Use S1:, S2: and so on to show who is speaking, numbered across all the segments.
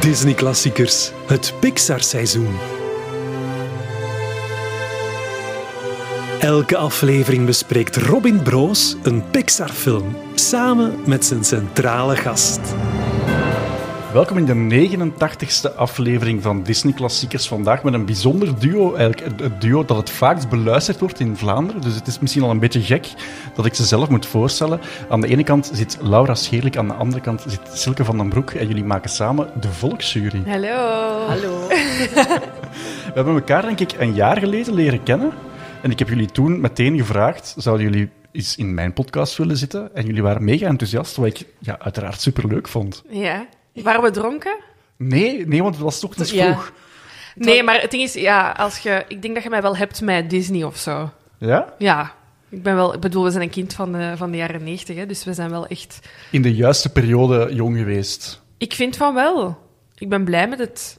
S1: Disney-klassiekers. Het Pixar-seizoen. Elke aflevering bespreekt Robin Broos een Pixar-film samen met zijn centrale gast.
S2: Welkom in de 89ste aflevering van Disney Klassiekers. Vandaag met een bijzonder duo. Eigenlijk het- het duo dat het vaakst beluisterd wordt in Vlaanderen. Dus het is misschien al een beetje gek dat ik ze zelf moet voorstellen. Aan de ene kant zit Laura Scheerlijk, aan de andere kant zit Silke van den Broek. En jullie maken samen de Volksjury.
S3: Hallo.
S4: Hallo.
S2: We hebben elkaar, denk ik, een jaar geleden leren kennen. En ik heb jullie toen meteen gevraagd: zouden jullie eens in mijn podcast willen zitten? En jullie waren mega enthousiast, wat ik ja, uiteraard superleuk vond.
S3: Ja. Waren we dronken?
S2: Nee, nee, want het was toch iets
S4: Ja.
S2: vroeg.
S3: Nee, maar het ding is, ja, als je, ik denk dat je mij wel hebt met Disney of zo.
S2: Ja?
S3: Ja. Ik ben wel, ik bedoel, we zijn een kind van de, van de jaren negentig, dus we zijn wel echt.
S2: in de juiste periode jong geweest.
S3: Ik vind van wel. Ik ben blij met het.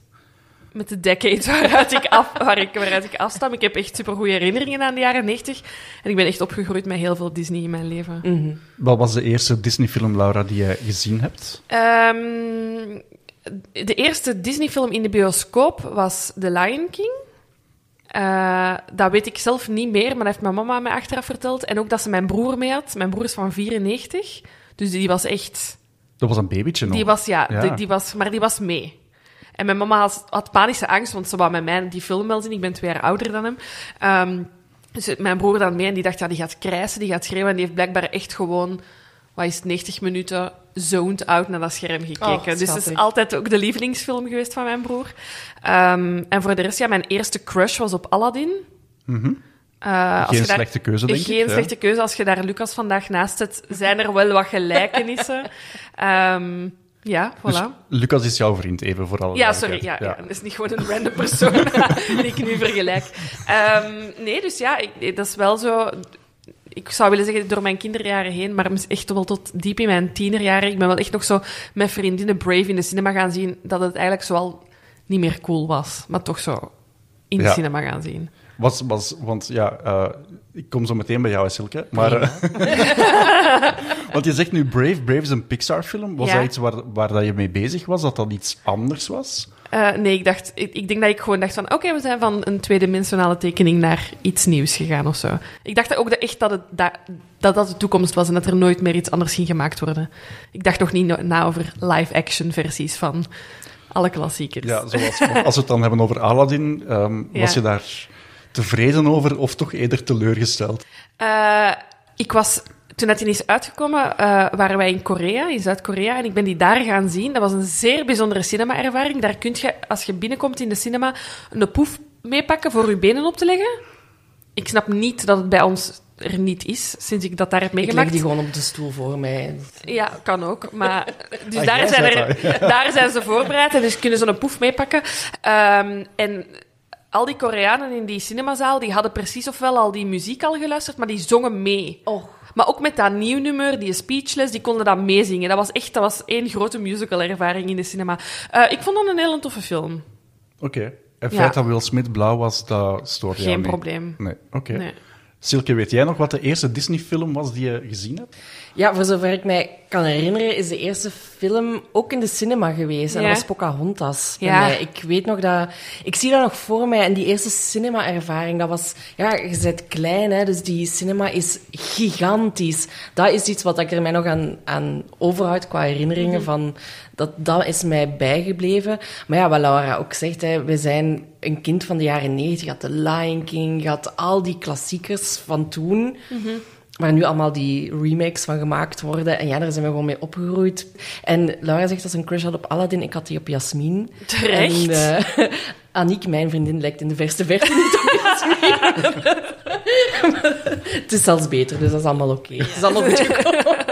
S3: Met de decade waaruit ik, af, waar ik, waaruit ik afstam. Ik heb echt supergoeie herinneringen aan de jaren 90. En ik ben echt opgegroeid met heel veel Disney in mijn leven.
S2: Wat was de eerste Disney-film, Laura, die je gezien hebt?
S3: Ehm, de eerste Disney-film in de bioscoop was The Lion King. Eh, dat weet ik zelf niet meer, maar dat heeft mijn mama mij achteraf verteld. En ook dat ze mijn broer mee had. Mijn broer is van 94. Dus die was echt...
S2: Dat was een babytje nog.
S3: Die was, ja,
S2: Ja.
S3: Die, die was, maar die was mee. En mijn mama had, had panische angst, want ze wou met mij die film wel zien. Ik ben twee jaar ouder dan hem. Ehm, dus mijn broer dan mee en die dacht, ja, die gaat krijsen, die gaat schreeuwen. En die heeft blijkbaar echt gewoon, wat is het, 90 minuten zoned out naar dat scherm
S4: Oh,
S3: gekeken. dus het is
S4: schattig.
S3: altijd ook de lievelingsfilm geweest van mijn broer. Ehm, en voor de rest, ja, mijn eerste crush was op Aladdin. Eh, als
S2: Mhm. Geen
S3: je daar-
S2: slechte keuze, denk
S3: geen
S2: ik. ja.
S3: slechte keuze. Als je daar Lucas vandaag naast zet, zijn er wel wat gelijkenissen. Ehm, ja, voilà.
S2: Dus Lucas is jouw vriend, even voor alle
S3: ja, sorry. Ja,
S2: duidelijkheid.
S3: ja. dat is niet gewoon een random persoon die ik nu vergelijk. Ehm, nee, dus ja, ik, dat is wel zo... Ik zou willen zeggen door mijn kinderjaren heen, maar echt wel tot diep in mijn tienerjaren. Ik ben wel echt nog zo met vriendinnen Brave in de cinema gaan zien, dat het eigenlijk zoal niet meer cool was. Maar toch zo in de
S2: Ja.
S3: cinema gaan zien.
S2: Was, was, want ja, eh, ik kom zo meteen bij jou, hè, Silke. Maar, eh, want je zegt nu Brave. Brave is een Pixar-film. Was
S3: Ja.
S2: dat iets waar, waar dat je mee bezig was? Dat dat iets anders was?
S3: Eh, nee, ik, dacht, ik, ik denk dat ik gewoon dacht van... Oké, we zijn van een tweedimensionale tekening naar iets nieuws gegaan of zo. Ik dacht ook dat echt dat, het, dat, dat dat de toekomst was en dat er nooit meer iets anders ging gemaakt worden. Ik dacht nog niet no- na over live-action versies van alle klassiekers.
S2: Ja, zoals, als we het dan hebben over Aladdin, ehm,
S3: Ja.
S2: was je daar tevreden over of toch eerder teleurgesteld?
S3: Eh, ik was, toen dat die is uitgekomen, eh, waren wij in Korea, in Zuid-Korea. En ik ben die daar gaan zien. Dat was een zeer bijzondere cinema-ervaring. Daar kun je, als je binnenkomt in de cinema, een poef meepakken voor je benen op te leggen. Ik snap niet dat het bij ons er niet is, sinds ik dat daar heb
S4: Ik leg
S3: meegemaakt.
S4: die gewoon op de stoel voor mij.
S3: Ja, kan ook. Maar, dus
S2: Ah, jij
S3: daar, zijn
S2: zei
S3: er, daar zijn ze voorbereid en dus kunnen ze een poef meepakken. Ehm, en al die Koreanen in die cinemazaal, die hadden precies ofwel al die muziek al geluisterd, maar die zongen mee.
S4: Oh.
S3: Maar ook met dat nieuw nummer, die Speechless, die konden dat meezingen. Dat was echt dat was één grote musical-ervaring in de cinema. Eh, ik vond dat een heel toffe film.
S2: Oké. Het
S3: Ja.
S2: feit dat Will Smith blauw was, dat stoort jou
S3: Geen
S2: niet.
S3: probleem.
S2: Nee, oké.
S3: Nee.
S2: Silke, weet jij nog wat de eerste Disney-film was die je gezien hebt?
S4: Ja, voor zover ik mij kan herinneren, is de eerste film ook in de cinema geweest. En
S3: Ja.
S4: dat was Pocahontas. bij
S3: Ja.
S4: mij. eh, Ik weet nog dat... Ik zie dat nog voor mij. En die eerste cinema-ervaring, dat was... Ja, je bent klein, hè, dus die cinema is gigantisch. Dat is iets wat ik er mij nog aan, aan overhoud qua herinneringen van... Dat, dat is mij bijgebleven. Maar ja, wat Laura ook zegt, hè, we zijn een kind van de jaren negentig. Je had The Lion King, je had al die klassiekers van toen... Waar nu allemaal die remakes van gemaakt worden. En ja, daar zijn we gewoon mee opgegroeid. En Laura zegt dat ze een crush had op Aladdin. Ik had die op Jasmin.
S3: Terecht.
S4: En, eh, Aniek, mijn vriendin, lijkt in de verste verte niet op Jasmin. het is zelfs beter, dus dat is allemaal oké. Het is allemaal goed gekomen.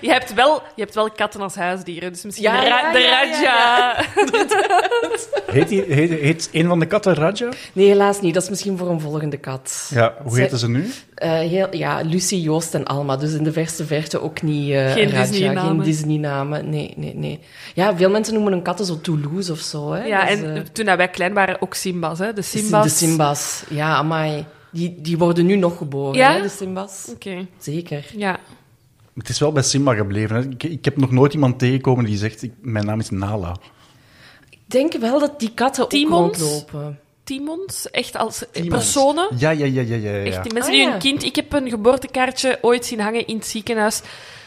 S3: Je, hebt wel, je hebt wel katten als huisdieren, dus misschien
S4: Ja,
S3: de, ra-
S4: ja,
S3: de
S4: ja, ja,
S3: Raja.
S2: Heet, die, heet, heet een van de katten Raja?
S4: Nee, helaas niet. Dat is misschien voor een volgende kat.
S2: Ja, hoe
S4: Zij-
S2: heten ze nu?
S4: Eh, heel, ja, Lucy, Joost en Alma. Dus in de verste verte ook niet eh,
S3: Geen
S4: Raja,
S3: Disney-namen.
S4: Geen Disney-namen. Nee, nee, nee. Ja, veel mensen noemen hun katten zo Toulouse of zo. Hè.
S3: Ja,
S4: Dat is,
S3: en
S4: eh,
S3: toen dat wij klein waren, ook Simba's. Hè? De Simba's.
S4: De Simbas, ja, amai. Die, die worden nu nog geboren,
S3: Ja?
S4: hè, de Simbas.
S3: Oké,
S4: Zeker.
S3: ja. Eh,
S2: Het is wel bij Simba gebleven. Hè? Ik, ik heb nog nooit iemand tegengekomen die zegt, ik- mijn naam is Nala.
S4: denk wel dat die katten
S3: Timons?
S4: ook rondlopen.
S3: Timons, echt als eh,
S2: Iemand.
S3: personen.
S2: Ja, ja, ja, ja, ja. ja.
S3: Echt, die mensen
S4: Ah,
S3: die
S4: ja.
S3: hun kind... Ik heb een geboortekaartje ooit zien hangen in het ziekenhuis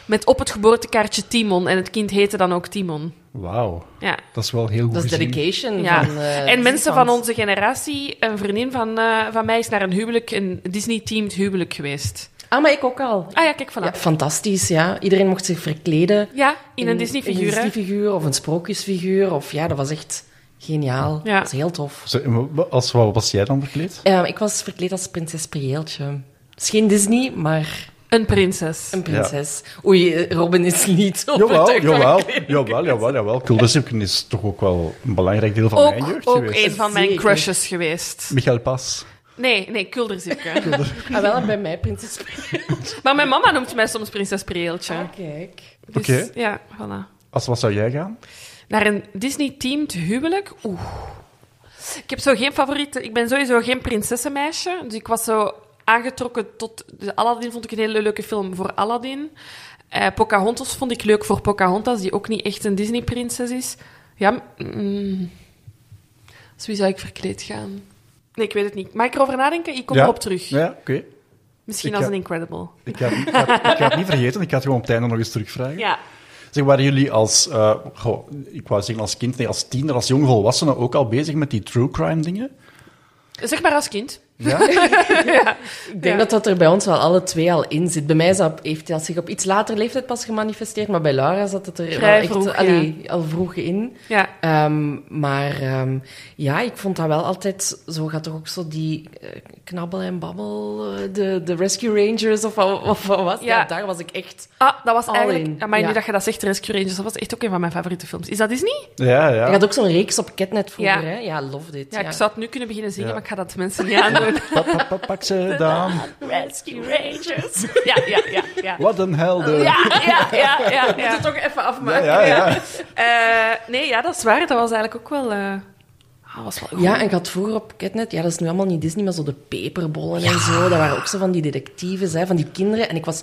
S3: met op het geboortekaartje Timon. En het kind heette dan ook Timon.
S2: Wauw.
S3: Ja.
S2: Dat is wel heel goed
S4: Dat is
S2: gezien.
S4: dedication
S3: Ja.
S4: van... eh,
S3: en mensen van
S4: Disneyland.
S3: onze generatie, een vriendin van, eh, van mij is naar een huwelijk, een Disney-teamed huwelijk geweest.
S4: Ah, maar ik ook al.
S3: Ah ja, kijk, voilà.
S4: Ja,
S3: Ja,
S4: fantastisch, ja. Iedereen mocht zich verkleden.
S3: in een Disney-figuur.
S4: Een
S3: hè.
S4: Disney-figuur of een sprookjesfiguur. Of, ja, dat was echt geniaal.
S3: Ja.
S4: Dat was heel tof.
S2: Zo, en wa- Als, wat was jij dan verkleed?
S4: Ehm, ik was verkleed als prinses Prieeltje. Is geen Disney, maar
S3: Een prinses.
S4: een prinses. Oei, eh, Robin is niet zo
S2: Jawel,
S4: overtuigd van
S2: jawel,
S4: mijn kleding.
S2: jawel, jawel, jawel. Kuldersukken is toch ook wel een belangrijk deel van mijn
S3: Ook,
S2: jeugd
S3: ook
S2: geweest.
S3: een van mijn
S4: Zeker.
S3: crushes geweest.
S2: Michael Pas.
S3: Nee, nee, Kulderzipke.
S4: Ah, wel, en bij mij prinses Prieeltje.
S3: maar mijn mama noemt mij soms prinses Preeltje.
S4: Ah, kijk.
S3: Dus,
S2: Oké.
S3: Ja, voilà.
S2: Als wat zou jij gaan?
S3: Naar een Disney-teamed huwelijk? Oeh. Ik heb zo geen favoriete... Ik ben sowieso geen prinsessenmeisje. Dus ik was zo aangetrokken tot... de Aladdin vond ik een hele leuke film voor Aladdin. Eh, Pocahontas vond ik leuk voor Pocahontas, die ook niet echt een Disney-prinses is. Ja, mm. Als wie zou ik verkleed gaan? Nee, ik weet het niet. Mag ik erover nadenken? Ik kom
S2: Ja?
S3: erop terug.
S2: Ja, oké.
S3: Misschien
S2: Ik
S3: als
S2: ga-
S3: een Incredible.
S2: Ik, ga- ik, ga- ik ga het niet vergeten, ik ga het gewoon op het einde nog eens terugvragen.
S3: Ja.
S2: Zeg, waren jullie als, eh, goh, ik wou zeggen als kind, nee, als tiener, als jonge volwassene ook al bezig met die true crime dingen?
S3: Zeg maar als kind.
S2: Ja?
S4: Ik denk
S3: Ja.
S4: dat dat er bij ons wel alle twee al in zit. Bij mij is dat, heeft dat zich op iets later leeftijd pas gemanifesteerd, maar bij Laura zat het er
S3: Vrij
S4: wel echt
S3: vroeg,
S4: allee, al vroeg in.
S3: Ja.
S4: Ehm, maar ehm, ja, ik vond dat wel altijd... Zo gaat toch ook zo die eh, knabbel en babbel, eh, de, de Rescue Rangers of, wat- of wat was.
S3: Ja.
S4: Ja. daar was ik echt...
S3: Ah, dat was
S4: All in,
S3: eigenlijk... Maar nu
S4: ja.
S3: dat je dat zegt, Rescue Rangers, dat was echt ook een van mijn favoriete films. Is dat Disney?
S2: Ja,
S4: Je
S2: ja.
S4: had ook zo'n reeks op Catnet vroeger,
S3: Ja.
S4: hè? Ja, love dit.
S3: Ja, ik zou het nu kunnen beginnen zingen,
S2: Ja.
S3: maar ik ga dat mensen niet aandoen.
S2: Pa- pa- pa- pak ze dan.
S3: Rescue Rangers. Ja, ja, ja, ja.
S2: Wat een helden.
S3: Ja, ja, ja, ja.
S4: Moet het toch even
S2: Ja,
S4: afmaken.
S2: ja, ja.
S3: Eh, nee, ja, dat is waar. Dat was eigenlijk ook wel... eh, ah, was wel goed.
S4: Ja, en ik had vroeger op Catnet, ja, dat is nu allemaal niet Disney, maar zo de peperbollen en zo. Dat waren ook zo van die detectives, hè, van die kinderen. En ik was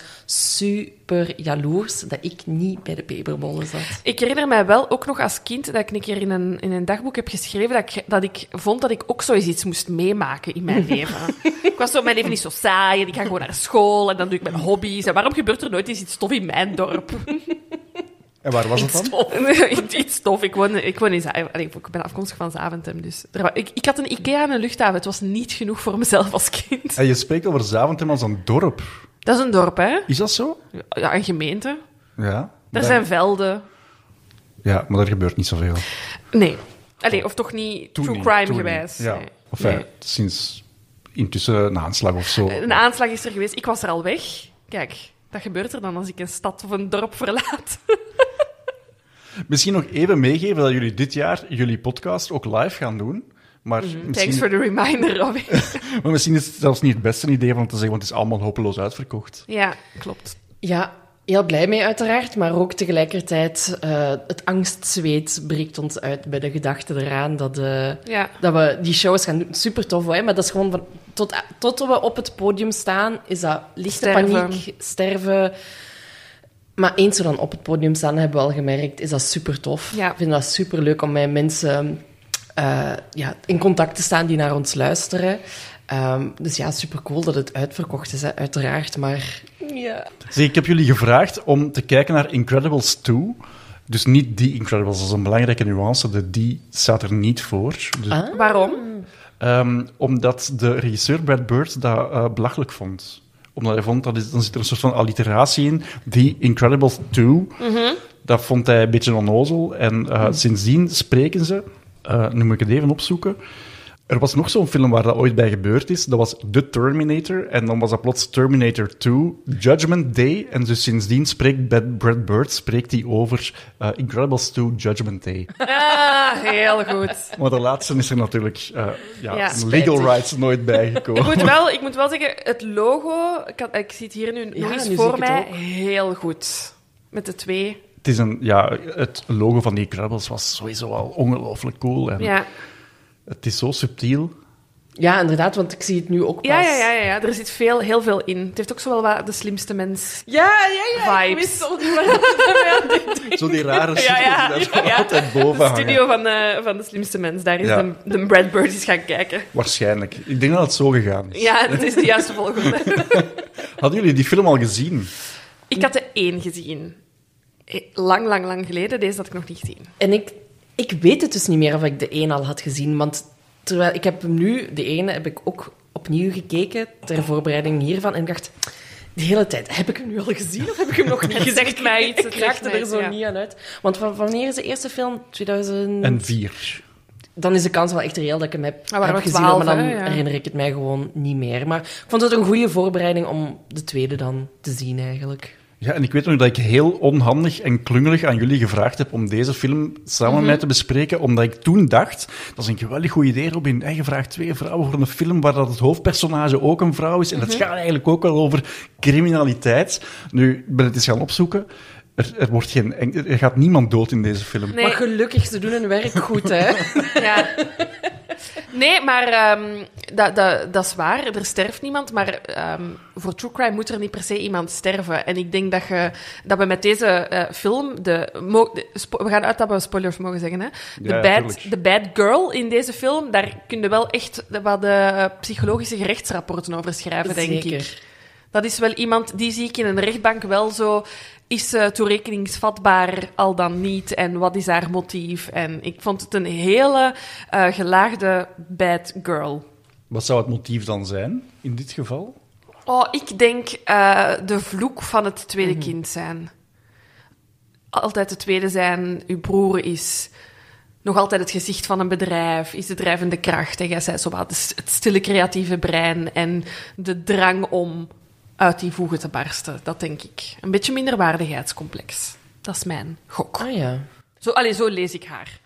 S4: super jaloers dat ik niet bij de peperbollen zat.
S3: Ik herinner mij wel ook nog als kind dat ik een keer in een, in een dagboek heb geschreven dat ik, dat ik vond dat ik ook zoiets iets moest meemaken in mijn leven. ik was zo, mijn leven is zo saai en ik ga gewoon naar school en dan doe ik mijn hobby's. En waarom gebeurt er nooit eens iets tof in mijn dorp?
S2: En waar was het dan?
S3: Iets- Iets tof. Ik woon, ik woon in Za- Allee, ik ben afkomstig van Zaventem, dus... er wa- ik, ik had een Ikea en een luchthaven. Het was niet genoeg voor mezelf als kind.
S2: En je spreekt over Zaventem als een dorp.
S3: Dat is een dorp, hè?
S2: Is dat zo?
S3: Ja, een gemeente.
S2: Ja.
S3: Er
S2: Daar-
S3: zijn velden.
S2: Ja, maar er gebeurt niet zoveel.
S3: Nee. Allee, of toch niet
S2: Oh. Toen
S3: true
S2: niet,
S3: crime
S2: toen
S3: gewijs.
S2: niet. Ja.
S3: Nee.
S2: Of ja,
S3: Nee. Eh,
S2: sinds intussen een aanslag of zo.
S3: Een aanslag is er geweest. Ik was er al weg. Kijk, dat gebeurt er dan als ik een stad of een dorp verlaat.
S2: Misschien nog even meegeven dat jullie dit jaar jullie podcast ook live gaan doen. Maar,
S3: Mhm. Thanks
S2: misschien,
S3: for the reminder, Robin.
S2: maar misschien is het zelfs niet het beste idee om te zeggen, want het is allemaal hopeloos uitverkocht.
S3: ja, klopt.
S4: Ja, heel blij mee uiteraard, maar ook tegelijkertijd eh, het angstzweet breekt ons uit bij de gedachte eraan dat, eh,
S3: Ja.
S4: dat we die shows gaan doen. Super tof, hè? maar dat is gewoon van... Tot, tot we op het podium staan, is dat lichte
S3: Sterven.
S4: paniek, sterven... Maar eens we dan op het podium staan, hebben we al gemerkt, is dat super tof.
S3: Ja.
S4: Ik vind dat super leuk om met mensen eh, ja, in contact te staan die naar ons luisteren. Ehm, dus ja, super cool dat het uitverkocht is, hè, uiteraard. Maar ja.
S2: Zeg, ik heb jullie gevraagd om te kijken naar Incredibles 2. Dus niet die Incredibles, dat is een belangrijke nuance. De die staat er niet voor. Dus,
S4: Ah.
S3: Waarom?
S2: ehm, omdat de regisseur Brad Bird dat eh, belachelijk vond. Omdat hij vond, dat is, dan zit er een soort van alliteratie in. Die Incredibles 2, dat vond hij een beetje onnozel. En eh, sindsdien spreken ze, eh, nu moet ik het even opzoeken... Er was nog zo'n film waar dat ooit bij gebeurd is. Dat was The Terminator. En dan was dat plots Terminator 2, Judgment Day. En dus sindsdien spreekt Brad- Brad Bird spreekt die over eh, Incredibles 2, Judgment Day.
S3: Ah, heel goed.
S2: Maar de laatste is er natuurlijk eh, ja,
S3: Ja.
S2: legal
S4: Spijtig.
S2: rights nooit
S3: Ik
S2: bijgekomen.
S3: moet, wel, ik moet wel zeggen, het logo, ik, had- ik zie het hier nu nog
S4: Ja,
S3: eens
S4: nu zie
S3: voor
S4: ik het
S3: mij,
S4: ook.
S3: heel goed. Met de twee.
S2: Het, is een, ja, het logo van die Incredibles was sowieso al ongelooflijk cool. En
S3: Ja.
S2: Het is zo subtiel.
S4: Ja, inderdaad, want ik zie het nu ook pas.
S3: Ja, ja, ja, ja, ja, er zit veel, heel veel in. Het heeft ook zowel wat de slimste mens.
S4: Ja, ja, ja, Ik
S3: Vibes.
S4: wist ook niet waar
S2: Zo die rare shit
S3: Ja, ja,
S2: die daar zo
S3: ja.
S2: altijd boven
S3: De
S2: hangen.
S3: studio van de, van de slimste mens, daar is
S2: Ja.
S3: de, de Brad Bird is gaan kijken.
S2: Waarschijnlijk. Ik denk dat het zo gegaan is.
S3: Ja, dat is de juiste volgorde.
S2: Hadden jullie die film al gezien?
S3: Ik had de één gezien. Eh, Lang, lang, lang geleden. Deze had ik nog niet gezien.
S4: En ik, ik weet het dus niet meer of ik de een al had gezien. Want terwijl ik heb hem nu, de ene heb ik ook opnieuw gekeken ter voorbereiding hiervan. En ik dacht, de hele tijd, heb ik hem nu al gezien of heb ik hem nog niet
S3: Het
S4: gezien?
S3: zegt mij iets,
S4: Ik
S3: het
S4: raakte
S3: zegt mij
S4: er
S3: iets,
S4: zo
S3: ja.
S4: niet aan uit. Want van, wanneer is de eerste film? 2000...
S2: En vier.
S4: Dan is de kans wel echt reëel dat ik hem heb,
S3: waren
S4: heb
S3: Ah, we
S4: gezien.
S3: 12,
S4: maar dan
S3: hè, ja.
S4: herinner ik het mij gewoon niet meer. Maar ik vond het een goede voorbereiding om de tweede dan te zien eigenlijk.
S2: Ja, en ik weet nog dat ik heel onhandig en klungelig aan jullie gevraagd heb om deze film samen met mij te bespreken, omdat ik toen dacht, dat is een geweldig goed idee, Robin. En je vraagt twee vrouwen voor een film waar dat het hoofdpersonage ook een vrouw is. En het gaat eigenlijk ook wel over criminaliteit. Nu, ik ben het eens gaan opzoeken. Er, er, wordt geen, en- er gaat niemand dood in deze film.
S3: Nee.
S4: Maar gelukkig, ze doen hun werk goed, hè.
S3: Ja. Nee, maar ehm, dat, dat, dat is waar. Er sterft niemand. Maar ehm, voor true crime moet er niet per se iemand sterven. En ik denk dat, je, dat we met deze eh, film... De, mo- de- spo- we gaan uit dat we spoilers mogen zeggen. Hè? De,
S2: Ja, ja,
S3: bad,
S2: tuurlijk.
S3: de bad girl in deze film, daar kun je wel echt wat de psychologische gerechtsrapporten over schrijven, denk
S4: Zeker.
S3: ik. Dat is wel iemand, die zie ik in een rechtbank wel zo. Is ze toerekeningsvatbaar, al dan niet? En wat is haar motief? En ik vond het een hele eh, gelaagde bad girl.
S2: Wat zou het motief dan zijn, in dit geval?
S3: Oh, ik denk eh, de vloek van het tweede
S4: Mhm.
S3: kind zijn. Altijd de tweede zijn, uw broer is nog altijd het gezicht van een bedrijf, is de drijvende kracht. En jij zei zo wat, het het stille creatieve brein en de drang om uit die voegen te barsten. Dat denk ik. Een beetje minderwaardigheidscomplex. Dat is mijn gok.
S4: Ah ja.
S3: Zo, allee, zo lees ik haar.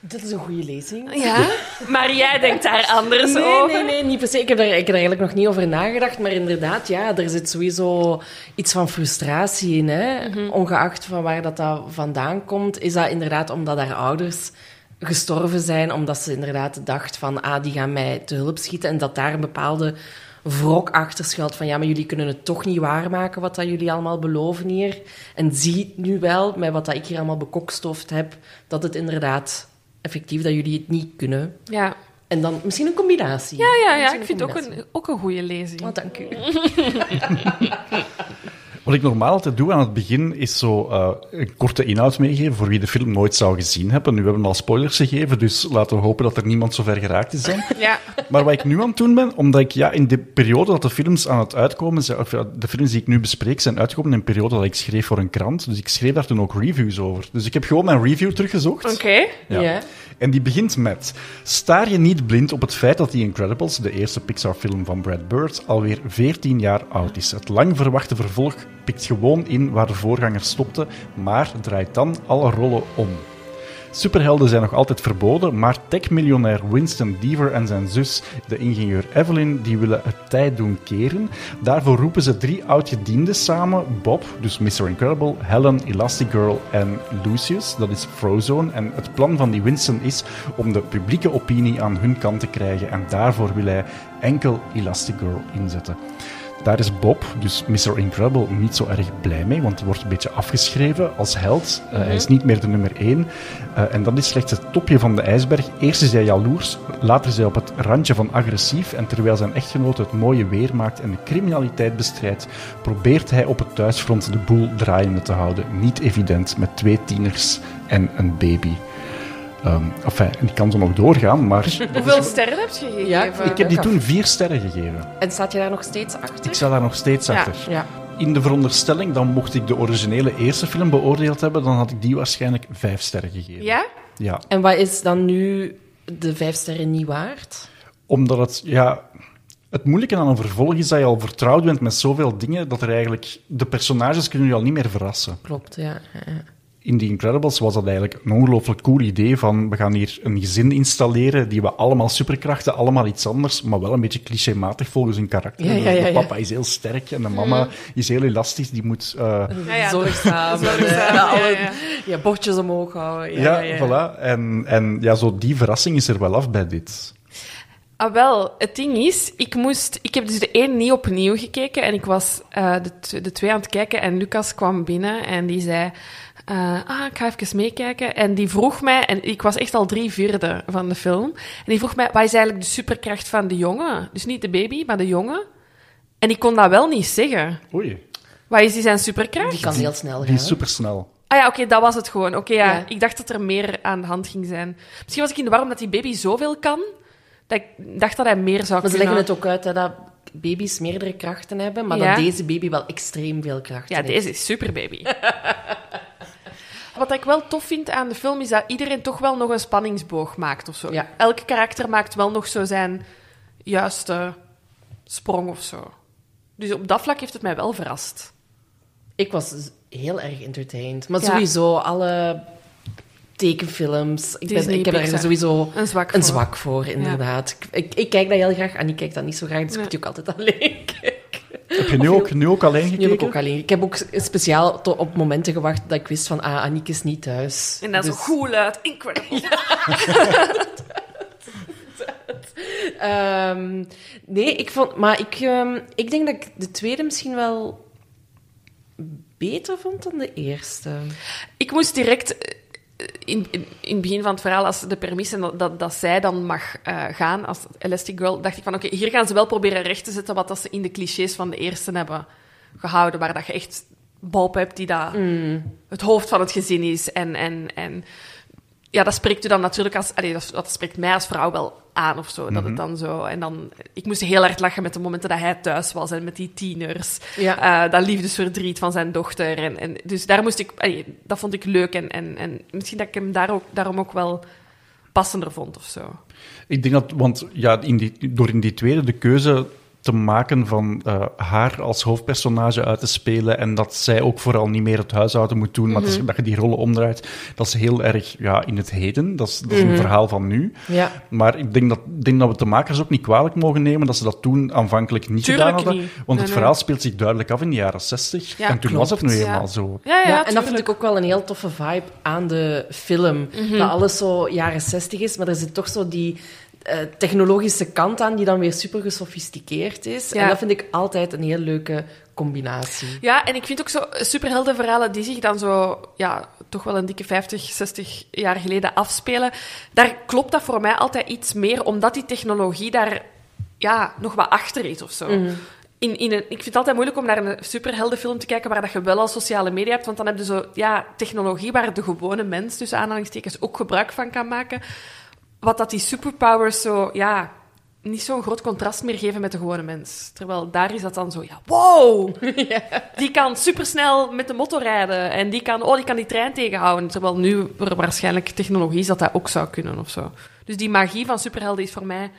S4: Dat is een goede lezing.
S3: Ja? maar jij denkt daar anders
S4: Nee,
S3: over.
S4: nee, nee, niet per se. Ik heb, daar, ik heb daar eigenlijk nog niet over nagedacht. Maar inderdaad, ja, er zit sowieso iets van frustratie in. Hè? Ongeacht van waar dat, dat vandaan komt, is dat inderdaad omdat haar ouders gestorven zijn. Omdat ze inderdaad dacht van, ah, die gaan mij te hulp schieten. En dat daar een bepaalde wrok achter schuilt van, ja, maar jullie kunnen het toch niet waarmaken wat dat jullie allemaal beloven hier. En zie nu wel, met wat dat ik hier allemaal bekokstoofd heb, dat het inderdaad effectief, dat jullie het niet kunnen.
S3: Ja,
S4: En dan misschien een combinatie.
S3: ja, ja, ja.
S4: Misschien
S3: ik vind het ook
S4: combinatie.
S3: een, ook een goede lezing.
S4: Oh, dank u.
S2: Wat ik normaal altijd doe aan het begin is zo eh, een korte inhoud meegeven voor wie de film nooit zou gezien hebben. Nu hebben we al spoilers gegeven, dus laten we hopen dat er niemand zo ver geraakt is dan.
S3: Ja.
S2: Maar wat ik nu aan het doen ben, omdat ik ja, in de periode dat de films aan het uitkomen zijn, of ja, de films die ik nu bespreek, zijn uitgekomen in een periode dat ik schreef voor een krant. Dus ik schreef daar toen ook reviews over. Dus ik heb gewoon mijn review teruggezocht.
S3: Oké.
S2: Ja.
S4: Ja.
S2: En die begint met: Staar je niet blind op het feit dat The Incredibles, de eerste Pixar-film van Brad Bird, alweer 14 jaar oud is? Het lang verwachte vervolg pikt gewoon in waar de voorganger stopte, maar draait dan alle rollen om. Superhelden zijn nog altijd verboden, maar tech-miljonair Winston Deaver en zijn zus, de ingenieur Evelyn, die willen het tijd doen keren. Daarvoor roepen ze drie oud-gedienden samen, Bob, dus Mr. Incredible, Helen, Elastigirl en Lucius, dat is Frozone. En het plan van die Winston is om de publieke opinie aan hun kant te krijgen en daarvoor wil hij enkel Elastigirl inzetten. Daar is Bob, dus Mr. Incredible, niet zo erg blij mee, want die wordt een beetje afgeschreven als held. Uh, Hij is niet meer de nummer één. Uh, en dat is slechts het topje van de ijsberg. Eerst is hij jaloers, later is hij op het randje van agressief. En terwijl zijn echtgenote het mooie weer maakt en de criminaliteit bestrijdt, probeert hij op het thuisfront de boel draaiende te houden. Niet evident, met twee tieners en een baby. Ehm enfin, die kan zo nog doorgaan, maar
S3: Hoeveel sterren heb je gegeven?
S4: Ja, ik
S2: ik heb die toen vier sterren gegeven.
S4: En staat je daar nog steeds achter?
S2: Ik sta daar nog steeds
S3: Ja.
S2: achter.
S4: Ja.
S2: In de veronderstelling, dan mocht ik de originele eerste film beoordeeld hebben, dan had ik die waarschijnlijk vijf sterren gegeven.
S3: Ja?
S2: Ja,
S4: En wat is dan nu de vijf sterren niet waard?
S2: omdat het, ja, het moeilijke aan een vervolg is dat je al vertrouwd bent met zoveel dingen, dat er eigenlijk, de personages kunnen je al niet meer verrassen.
S4: Klopt, ja. ja.
S2: In The Incredibles was dat eigenlijk een ongelooflijk cool idee van, we gaan hier een gezin installeren, die we allemaal superkrachten, allemaal iets anders, maar wel een beetje clichématig volgens hun karakter.
S4: Ja, ja,
S2: Dus
S4: ja, Mhm.
S2: de
S4: ja.
S2: papa is heel sterk en de mama is heel elastisch, die moet... eh,
S3: Ja, Ah ja.
S4: Zorgzaam.
S3: Zorgzaam,
S4: eh,
S3: ja,
S4: alle-
S3: ja.
S4: ja, bordjes omhoog houden. Ja,
S2: Ja,
S4: ja, ja.
S2: voilà. En, en ja, zo die verrassing is er wel af bij dit.
S3: Ah, wel, het ding is, ik, moest, ik heb dus de één niet opnieuw gekeken en ik was eh, de, tw- de twee aan het kijken en Lucas kwam binnen en die zei, eh, ah, ik ga even meekijken. En die vroeg mij, en ik was echt al drie vierde van de film, en die vroeg mij, wat is eigenlijk de superkracht van de jongen? Dus niet de baby, maar de jongen. En ik kon dat wel niet zeggen.
S2: Oei.
S3: Wat is die zijn superkracht?
S4: Die kan heel snel gaan.
S2: Die is
S4: hè.
S2: supersnel.
S3: Ah ja, oké, dat was het gewoon. Oké, ja.
S4: Ja.
S3: Ik dacht dat er meer aan de hand ging zijn. Misschien was ik in de war omdat die baby zoveel kan, dat ik dacht dat hij meer zou
S4: Maar ze
S3: kunnen.
S4: leggen het ook uit hè, dat baby's meerdere krachten hebben, maar
S3: Ja.
S4: dat deze baby wel extreem veel krachten
S3: Ja,
S4: heeft.
S3: deze is superbaby. Wat ik wel tof vind aan de film is dat iedereen toch wel nog een spanningsboog maakt of zo.
S4: Ja.
S3: Elk karakter maakt wel nog zo zijn juiste sprong of zo. Dus op dat vlak heeft het mij wel verrast.
S4: Ik was z- heel erg entertained. Maar
S3: Ja.
S4: sowieso, alle tekenfilms. Ik, ben,
S3: Disney,
S4: ik heb er
S3: Pixar.
S4: sowieso
S3: Een zwak.
S4: een
S3: voor.
S4: zwak voor, inderdaad. Ik, ik, ik kijk dat heel graag. Annie kijkt dat niet zo graag, dus
S3: Ja.
S4: ik moet die ook altijd alleen kijken.
S2: Heb je nu ook, nu ook alleen
S4: Nu heb ik
S2: gekeken?
S4: ook alleen. Ik heb ook speciaal to- op momenten gewacht dat ik wist van, ah, Annie is niet thuis.
S3: En dat is
S4: Dus,
S3: goed uit. Incredible.
S4: ehm, nee, ik vond... Maar ik, ehm, ik denk dat ik de tweede misschien wel beter vond dan de eerste.
S3: Ik moest direct eh, in, in, in het begin van het verhaal, als de permissie dat, dat, dat zij dan mag eh, gaan als Elastic Girl, dacht ik van oké, hier gaan ze wel proberen recht te zetten wat dat ze in de clichés van de eerste hebben gehouden, waar dat je echt Bob hebt die dat het hoofd van het gezin is. En, en, en ja, dat spreekt u dan natuurlijk als, allee, dat, dat spreekt mij als vrouw wel aan of zo. Dat het dan zo. En dan, ik moest heel hard lachen met de momenten dat hij thuis was en met die tieners.
S4: Ja.
S3: Eh, dat liefdesverdriet van zijn dochter. En, en, dus daar moest ik, allee, dat vond ik leuk. En, en, en misschien dat ik hem daar ook, daarom ook wel passender vond of zo.
S2: Ik denk dat, want ja, in die, door in die tweede de keuze te maken van eh, haar als hoofdpersonage uit te spelen en dat zij ook vooral niet meer het huishouden moet doen, maar
S4: Mhm.
S2: dat, is- dat je die rollen omdraait, dat is heel erg ja, in het heden. Dat is, dat is
S4: Mhm.
S2: een verhaal van nu.
S4: Ja.
S2: Maar ik denk dat, ik denk dat we het de makers ook niet kwalijk mogen nemen dat ze dat toen aanvankelijk niet
S3: Tuurlijk
S2: gedaan hadden.
S3: niet.
S2: Want
S3: Nee,
S2: het
S3: nee.
S2: verhaal speelt zich duidelijk af in de jaren 60.
S3: Ja,
S2: en toen was het nu
S3: klopt.
S2: helemaal
S3: Ja.
S2: zo.
S3: Ja, ja,
S4: Ja, en dat
S3: tuurlijk. Mhm.
S4: vind ik ook wel een heel toffe vibe aan de film. Dat alles zo jaren 60 is, maar er zit toch zo die eh, technologische kant aan die dan weer super gesofisticeerd is.
S3: Ja.
S4: En dat vind ik altijd een heel leuke combinatie.
S3: Ja, en ik vind ook zo superheldenverhalen die zich dan zo, ja, toch wel een dikke 50, 60 jaar geleden afspelen. Daar klopt dat voor mij altijd iets meer, omdat die technologie daar ja, nog wat achter is of zo. In, in een, ik vind het altijd moeilijk om naar een superheldenfilm te kijken waar dat je wel al sociale media hebt, want dan heb je zo ja, technologie waar de gewone mens, tussen aanhalingstekens, ook gebruik van kan maken. Wat dat die superpowers zo, ja, niet zo'n groot contrast meer geven met de gewone mens. Terwijl daar is dat dan zo, ja,
S4: Oh!
S3: wow! Die kan supersnel met de motor rijden. En die kan, oh, die kan die trein tegenhouden. Terwijl nu er waarschijnlijk technologie is dat dat ook zou kunnen of zo. Dus die magie van superhelden is voor mij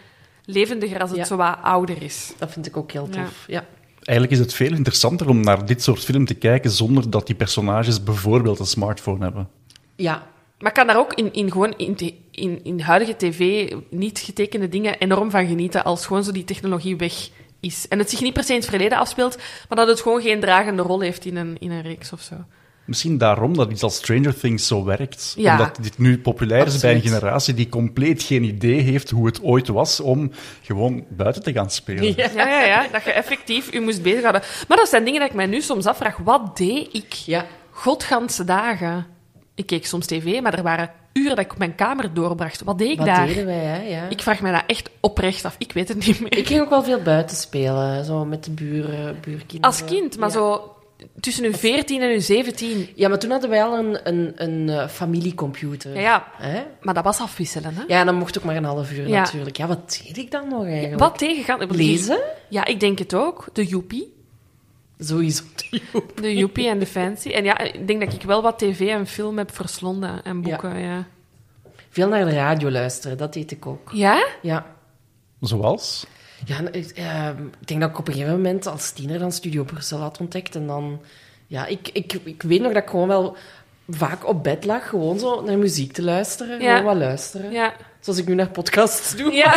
S3: levendiger als het
S4: Ja.
S3: zo wat ouder is.
S4: Dat vind ik ook heel tof. Ja.
S2: Eigenlijk is het veel interessanter om naar dit soort film te kijken zonder dat die personages bijvoorbeeld een smartphone hebben.
S4: Ja.
S3: Maar ik kan daar ook in, in, gewoon in, te- in, in huidige tv niet getekende dingen enorm van genieten als gewoon zo die technologie weg is. En het zich niet per se in het verleden afspeelt, maar dat het gewoon geen dragende rol heeft in een, in een reeks of zo.
S2: Misschien daarom dat iets als Stranger Things zo werkt.
S3: Ja.
S2: Omdat dit nu populair is bij een
S4: Absoluut.
S2: generatie die compleet geen idee heeft hoe het ooit was om gewoon buiten te gaan spelen.
S4: Ja.
S3: Ja, ja, ja. Dat je effectief je moest bezighouden. Maar dat zijn dingen dat ik mij nu soms afvraag. Wat deed ik?
S4: Ja.
S3: Godganse dagen. Ik keek soms tv, maar er waren uren dat ik op mijn kamer doorbracht. Wat deed ik
S4: Wat
S3: daar?
S4: deden wij, hè? Ja. Ik,
S3: Ik vraag mij dat echt oprecht af. Ik weet het niet meer.
S4: ging ook wel veel buiten spelen, zo met de buren, buurkinderen.
S3: Als kind, maar
S4: Ja.
S3: zo tussen uw 14 en uw 17.
S4: Ja, maar toen hadden wij al een, een, een eh, familiecomputer.
S3: Ja, ja.
S4: Hè?
S3: Maar dat was afwisselen, hè?
S4: Ja, en dan mocht ook maar een half uur
S3: Ja.
S4: natuurlijk. Ja, wat deed ik dan nog eigenlijk?
S3: Wat tegengaan? Ik bedoel,
S4: Lezen?
S3: Ja, ik denk het ook. De joepie.
S4: Sowieso.
S3: De joepie en de fancy. En ja, ik denk dat ik wel wat tv en film heb verslonden. En boeken, ja.
S4: Veel naar de radio luisteren, dat deed ik ook.
S3: Ja?
S4: Ja.
S2: Zoals?
S4: Ja, en ik, ehm, ik denk dat ik op een gegeven moment als tiener dan Studio Brussel had ontdekt. En dan... Ja, ik, ik, ik weet nog dat ik gewoon wel vaak op bed lag. Gewoon zo naar muziek te luisteren.
S3: Ja.
S4: Gewoon wat luisteren.
S3: Ja.
S4: Zoals ik nu naar podcasts doe.
S3: Ja.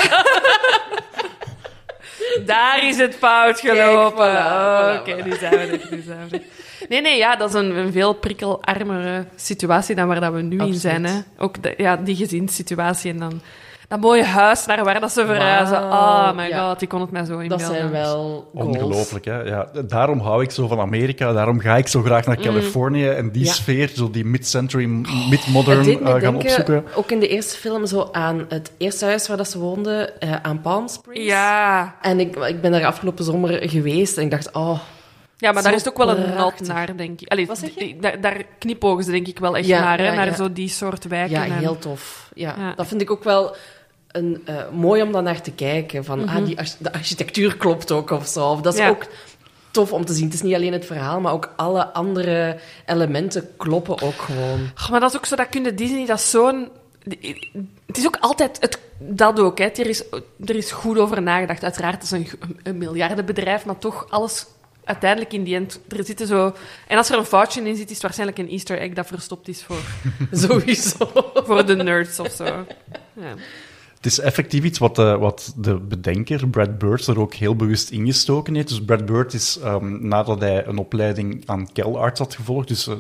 S3: Daar is het fout
S4: Kijk, voilà,
S3: gelopen. Oh,
S4: voilà,
S3: Oké, nu zijn we er, nu zijn we er. Nee, nee, ja, dat is een, een veel prikkelarmere situatie dan waar dat we nu in
S4: Absoluut.
S3: zijn. Hè. Ook de- ja, die gezinssituatie en dan... dat mooie huis naar waar dat ze verhuizen.
S4: Wauw,
S3: Oh my
S4: ja.
S3: god, ik kon het mij zo inbeelden.
S4: Dat zijn wel goals.
S2: Ongelooflijk, hè? Ja, daarom hou ik zo van Amerika, daarom ga ik zo graag naar Californië en die
S4: Mm. Ja. Oh,
S2: sfeer, zo die mid-century,
S4: Het
S2: mid-modern
S4: deed
S2: eh,
S4: me
S2: gaan
S4: denken,
S2: opzoeken.
S4: ook in de eerste film, zo aan het eerste huis waar dat ze woonden, eh, aan Palm Springs.
S3: Ja.
S4: En ik, ik ben daar afgelopen zomer geweest en ik dacht, oh,
S3: ja, maar daar
S4: Zo
S3: is het ook wel een nat
S4: prachtig.
S3: naar, denk ik. Allee,
S4: Wat zeg je?
S3: die- daar- daar knipogen ze denk ik wel echt
S4: Ja,
S3: naar, hè,
S4: ja,
S3: naar
S4: ja.
S3: zo die soort wijken.
S4: ja,
S3: en-
S4: heel tof. Ja,
S3: Ja.
S4: Dat vind ik ook wel een, eh, mooi om dan naar te kijken. Van, ah, die, arch- de architectuur klopt ook of zo. Of Dat is
S3: Mhm. Ja.
S4: ook tof om te zien. Het is niet alleen het verhaal, maar ook alle andere elementen kloppen ook gewoon.
S3: Oh, maar dat is ook zo, dat kunnen Disney, dat is zo'n... Het is ook altijd het, dat ook. Hè. Er, is, er is goed over nagedacht. Uiteraard, het is een, g- een miljardenbedrijf, maar toch alles uiteindelijk in die end. Er zitten zo... En als er een foutje in zit, is het waarschijnlijk een easter egg dat verstopt is voor,
S4: Sowieso.
S3: voor de nerds of zo. Ja.
S2: Het is effectief iets wat, eh, wat de bedenker, Brad Bird, er ook heel bewust ingestoken heeft. Dus Brad Bird is, ehm, nadat hij een opleiding aan CalArts had gevolgd, dus eh,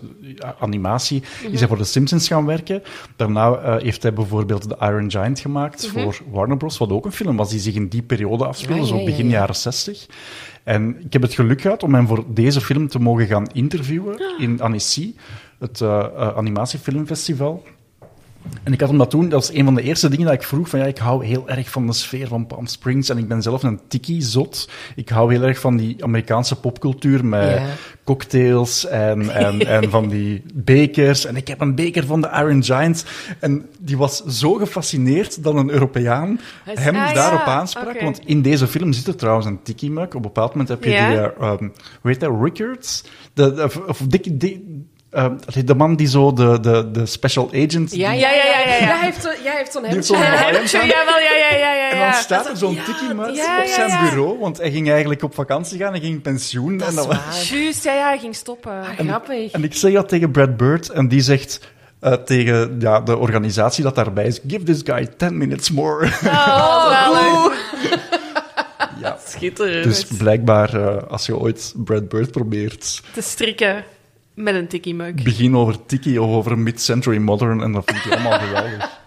S2: animatie, is
S4: Mhm.
S2: hij voor de Simpsons gaan werken. Daarna eh, heeft hij bijvoorbeeld The Iron Giant gemaakt voor Warner Bros., wat ook een film was die zich in die periode afspeelde,
S4: Mhm. Ja, ja,
S2: zo begin
S4: ja, ja.
S2: jaren 60. En ik heb het geluk gehad om hem voor deze film te mogen gaan interviewen in Annecy, het eh eh, animatiefilmfestival. En ik had hem dat toen, dat was een van de eerste dingen dat ik vroeg. Van ja, ik hou heel erg van de sfeer van Palm Springs en ik ben zelf een tiki-zot. Ik hou heel erg van die Amerikaanse popcultuur met
S4: Ja.
S2: cocktails en, en, en van die bekers. En ik heb een beker van de Iron Giant. En die was zo gefascineerd dat een Europeaan
S4: Hij is-
S2: hem
S3: Ah, ja,
S2: daarop aansprak.
S3: oké.
S2: Want in deze film zit er trouwens een tiki-mug. Op een bepaald moment heb je
S3: Ja.
S2: die, eh, ehm, hoe heet dat, Rickards? De, de- of, of Dickie- die- ehm, de man die zo de, de, de special agent... die-
S3: ja, ja, ja, ja, ja.
S4: hij heeft zo- ja, hij heeft zo'n
S2: Die heeft
S4: hemdje.
S2: zo'n
S4: aan.
S2: hemdje.
S3: Heb je- Eh, Jawel, ja, ja, ja, ja, ja.
S2: En dan staat er zo'n
S4: ja,
S2: tikkie muis
S3: ja,
S2: op
S3: ja,
S2: zijn
S3: ja.
S2: bureau, want hij ging eigenlijk op vakantie gaan, hij ging in pensioen.
S4: Dat
S2: en,
S4: is
S2: dan-
S4: waar.
S3: Juist, ja, ja, hij ging stoppen.
S4: Ah, Grappig.
S2: en ik zeg dat tegen Brad Bird en die zegt eh, tegen ja, de organisatie dat daarbij is, give this guy 10 minutes more.
S3: Oh, wel leuk.
S2: ja.
S4: Schitterend.
S2: Dus blijkbaar, eh, als je ooit Brad Bird probeert,
S3: Te strikken met een tikkie-mug.
S2: begin over tikkie of over mid-century modern en dat vind ik allemaal geweldig.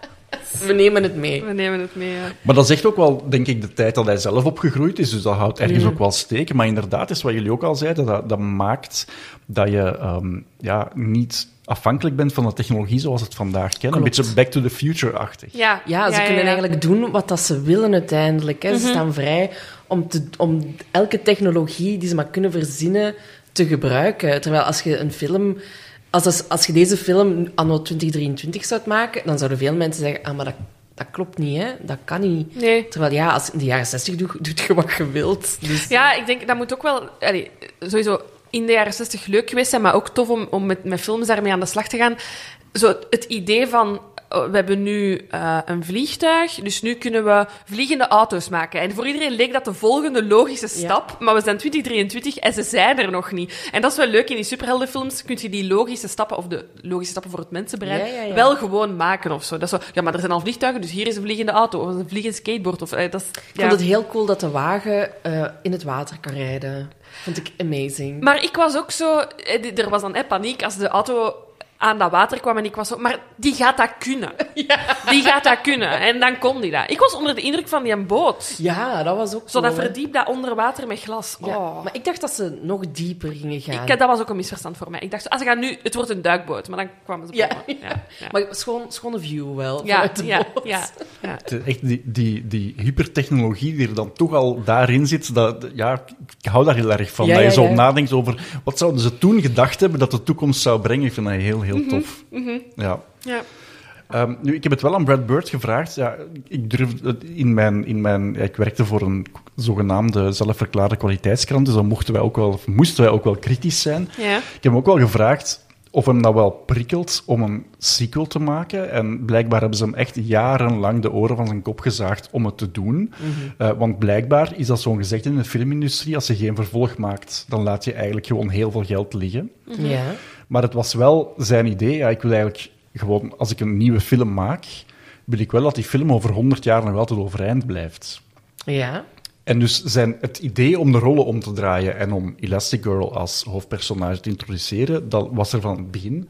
S4: We nemen het mee.
S3: We nemen het mee, ja.
S2: Maar dat zegt ook wel, denk ik, de tijd dat hij zelf opgegroeid is. Dus dat houdt ergens ook wel steken. Maar inderdaad, is wat jullie ook al zeiden, dat, dat maakt dat je ehm, ja, niet afhankelijk bent van de technologie zoals we het vandaag kennen.
S4: Klopt.
S2: Een beetje back to the future-achtig.
S3: Ja,
S4: Ja, ze kunnen
S3: ja. Mhm.
S4: eigenlijk doen wat dat ze willen uiteindelijk. Hè. Ze staan vrij om, te, om elke technologie die ze maar kunnen verzinnen te gebruiken. Terwijl als je een film... Als, als, als je deze film anno 2023 zou maken, dan zouden veel mensen zeggen... Ah, maar dat, dat klopt niet, hè. Dat kan niet.
S3: Nee.
S4: Terwijl ja, als je in de jaren 60 doet, doet je wat je wilt. Dus,
S3: Ja, ik denk dat moet ook wel allee, sowieso in de jaren 60 leuk geweest zijn, maar ook tof om, om met, met films daarmee aan de slag te gaan. Zo, het idee van. oh, We hebben nu eh, een vliegtuig, dus nu kunnen we vliegende auto's maken. En voor iedereen leek dat de volgende logische
S4: Ja.
S3: stap, maar we zijn 2023 en ze zijn er nog niet. En dat is wel leuk, in die superheldenfilms kun je die logische stappen, of de logische stappen voor het mensenbrein,
S4: Ja, ja, ja.
S3: wel gewoon maken of zo. Dat is zo, ja, maar er zijn al vliegtuigen, dus hier is een vliegende auto, of een vliegend skateboard. Of, eh, dat is,
S4: Ik vond het heel cool dat de wagen eh, in het water kan rijden. Vond ik amazing.
S3: Maar ik was ook zo... eh, d- Er was dan eh, paniek als de auto aan dat water kwam en ik was zo... Maar die gaat dat kunnen. Die gaat dat kunnen. En dan kon die dat. Ik was onder de indruk van die boot.
S4: ja, dat was ook
S3: Zo dat
S4: cool, hè.
S3: verdiep dat onder water met glas. Oh.
S4: Ja, Maar ik dacht dat ze nog dieper gingen gaan.
S3: ik, dat was ook een misverstand voor mij. Ik dacht, zo, ah, ze gaan nu... Het wordt een duikboot. Maar dan kwamen ze
S4: Ja,
S3: bij me. ja, ja.
S4: Maar schoon, schone view wel.
S3: ja,
S4: vanuit de
S3: ja,
S4: boot.
S3: ja, ja.
S2: Het is Echt die, die, die hypertechnologie die er dan toch al daarin zit, dat, ja, ik- ik hou daar heel erg van.
S4: Ja,
S2: dat je
S4: ja,
S2: zo
S4: ja.
S2: nadenkt over wat zouden ze toen gedacht hebben dat de toekomst zou brengen. Ik vind dat heel,
S4: Mhm,
S2: heel tof. Ja.
S3: ja.
S2: Ehm, nu, ik heb het wel aan Brad Bird gevraagd. Ja, ik durf het in mijn, in mijn, ja, ik werkte voor een zogenaamde zelfverklaarde kwaliteitskrant, dus dan mochten wij ook wel, of moesten wij ook wel kritisch zijn.
S3: Ja.
S2: Ik heb hem ook wel gevraagd of hem dat wel prikkelt om een sequel te maken. En blijkbaar hebben ze hem echt jarenlang de oren van zijn kop gezaagd om het te doen. Eh, want blijkbaar is dat zo'n gezegd in de filmindustrie, als je geen vervolg maakt, dan laat je eigenlijk gewoon heel veel geld liggen.
S3: Mhm.
S4: ja.
S2: Maar het was wel zijn idee. Ja, ik wil eigenlijk gewoon, als ik een nieuwe film maak, wil ik wel dat die film over 100 jaar nog altijd overeind blijft.
S4: Ja.
S2: En dus zijn het idee om de rollen om te draaien en om Elastigirl als hoofdpersonage te introduceren, dat was er van het begin.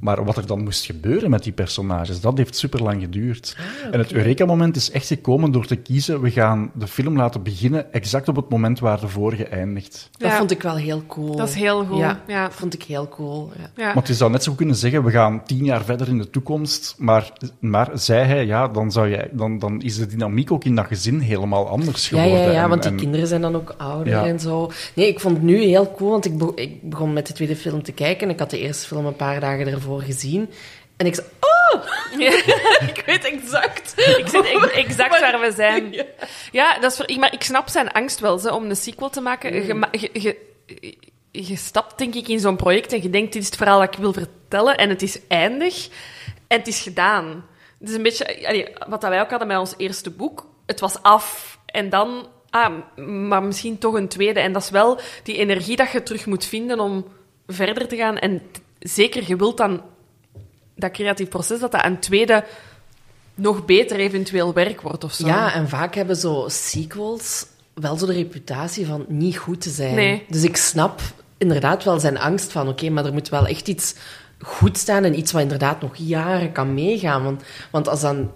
S2: Maar wat er dan moest gebeuren met die personages, dat heeft super lang geduurd. En het Eureka-moment is echt gekomen door te kiezen: we gaan de film laten beginnen exact op het moment waar de vorige eindigt.
S4: Dat
S3: Ja.
S4: vond ik wel heel cool.
S3: Dat is heel goed, ja.
S4: Dat vond ik heel cool. Ja.
S3: Ja.
S2: Want je zou net zo goed kunnen zeggen, we gaan tien jaar verder in de toekomst. Maar, maar zei hij, ja, dan, zou jij, dan, dan is de dynamiek ook in dat gezin helemaal anders
S4: Ja,
S2: geworden.
S4: ja, ja,
S2: En-
S4: want die
S2: en-
S4: kinderen zijn dan ook ouder
S2: Ja.
S4: en zo. Nee, ik vond het nu heel cool, want ik, be- ik begon met de tweede film te kijken. En ik had de eerste film een paar dagen ervoor gezien. En ik zei, oh, ik weet exact.
S3: Ik zit ex- exact waar we zijn.
S4: Ja.
S3: Ja, dat is voor, ik- maar ik snap zijn angst wel, ze, om een sequel te maken. Je, ma- je, je- je stapt denk ik in zo'n project en je denkt, dit is het verhaal dat ik wil vertellen. En het is eindig. En het is gedaan. Het is een beetje allee, wat dat wij ook hadden met ons eerste boek. Het was af. En dan, ah, m- maar misschien toch een tweede. En dat is wel die energie dat je terug moet vinden om verder te gaan. En t- zeker, je wilt dan dat creatief proces, dat dat een tweede nog beter eventueel werk wordt of zo.
S4: Ja, en vaak hebben zo sequels wel zo de reputatie van niet goed te zijn.
S3: Nee.
S4: Dus ik snap inderdaad wel zijn angst van, oké, maar er moet wel echt iets goed staan en iets wat inderdaad nog jaren kan meegaan. Want, want als dan...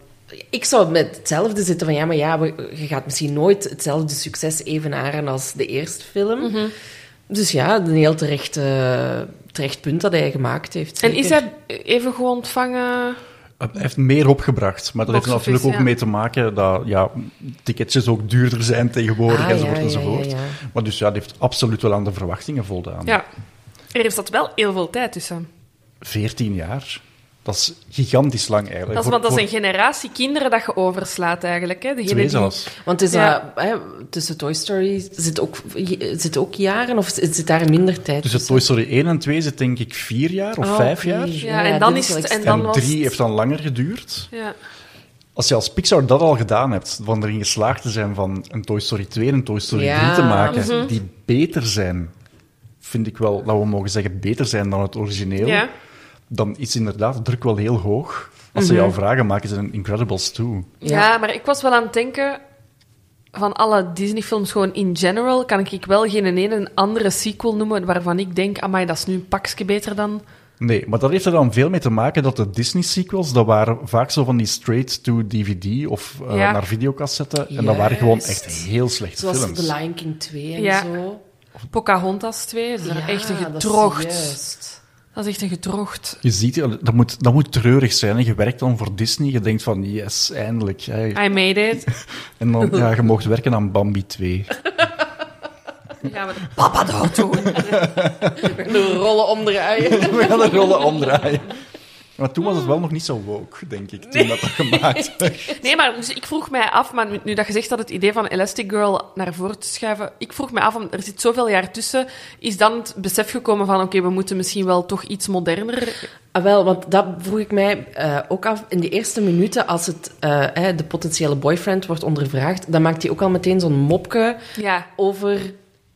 S4: Ik zou met hetzelfde zitten van, ja, maar ja, we- je gaat misschien nooit hetzelfde succes evenaren als de eerste film.
S3: Mhm.
S4: Dus ja, een heel terecht, eh, terecht punt dat hij gemaakt heeft.
S3: En is
S4: zeker.
S3: hij even goed ontvangen?
S2: Hij heeft meer opgebracht. Maar dat heeft er
S3: Box office,
S2: natuurlijk ook
S3: ja.
S2: mee te maken dat ja, ticketjes ook duurder zijn tegenwoordig,
S4: Ah,
S2: enzovoort,
S4: ja, ja,
S2: enzovoort.
S4: ja, ja.
S2: Maar dus ja, dat heeft absoluut wel aan de verwachtingen voldaan.
S3: Ja. Er zat wel heel veel tijd tussen.
S2: 14 jaar, dat is gigantisch lang eigenlijk.
S3: Dat is,
S2: Voor-
S3: want dat is
S2: voor
S3: een generatie kinderen dat je overslaat eigenlijk. Hè? Degene
S2: twee
S3: die-
S2: zelfs.
S4: Want is
S3: Ja.
S4: dat, hè, tussen Toy Story zit ook, zit ook jaren of zit zit daar minder tijd
S2: Dus het Toy Story 1 en 2 zit denk ik vier jaar of
S4: Oh,
S2: vijf
S4: oké.
S2: jaar.
S3: Ja,
S4: Ja,
S3: en dan
S4: dit
S3: is
S4: is wel
S3: het... En
S4: extreem.
S3: dan
S2: En
S3: was
S2: 3
S3: het-
S2: heeft dan langer geduurd.
S3: Ja.
S2: Als je als Pixar dat al gedaan hebt, van erin geslaagd te zijn van een Toy Story 2 en een Toy Story
S4: Ja. Mhm.
S2: 3 te maken, die beter zijn, vind ik wel dat we mogen zeggen beter zijn dan het origineel,
S3: Ja.
S2: dan is inderdaad de druk wel heel hoog. Als
S4: Mhm.
S2: ze jou vragen, maken ze een Incredibles 2.
S3: Ja, maar ik was wel aan het denken... Van alle Disney-films gewoon in general kan ik wel geen ene andere sequel noemen waarvan ik denk, amai, dat is nu een pakje beter dan...
S2: Nee, maar dat heeft er dan veel mee te maken dat de Disney-sequels, dat waren vaak zo van die straight-to-DVD of eh,
S3: Ja.
S2: naar videocassetten. En dat waren gewoon echt
S4: Juist.
S2: heel slechte
S4: Zoals
S2: films.
S4: The Lion King 2 en
S3: Ja.
S4: zo.
S3: Pocahontas 2, dat is
S4: Ja,
S3: daar echt een
S4: dat is
S3: gedrocht.
S4: juist.
S3: dat is echt een gedrocht.
S2: Je ziet, dat moet, dat moet treurig zijn. hè. Je werkt dan voor Disney, je denkt van, yes, eindelijk. hè.
S3: I made it.
S2: En dan, ja, je mocht werken aan Bambi 2.
S3: Dan gaan we de papa daar doen.
S4: De rollen om de uien.
S2: We gaan de rollen omdraaien. Maar toen was het wel nog niet zo woke, denk ik, toen dat dat gemaakt werd.
S3: Nee, maar dus ik vroeg mij af, maar nu- nu dat je zegt dat het idee van Elastic Girl naar voren te schuiven, ik vroeg mij af, om- er zit zoveel jaar tussen, is dan het besef gekomen van, oké, we moeten misschien wel toch iets moderner...
S4: Ah, wel, want dat vroeg ik mij eh, ook af. In de eerste minuten, als het, eh, hè, de potentiële boyfriend wordt ondervraagd, dan maakt hij ook al meteen zo'n mopje
S3: Ja.
S4: over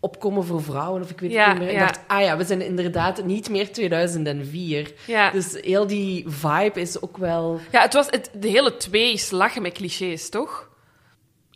S4: opkomen voor vrouwen. Of ik weet
S3: Ja,
S4: het niet meer. Ik
S3: ja.
S4: dacht, ah ja, we zijn inderdaad niet meer 2004.
S3: Ja.
S4: Dus heel die vibe is ook wel...
S3: Ja, het was... Het, de hele twee is lachen met clichés, toch?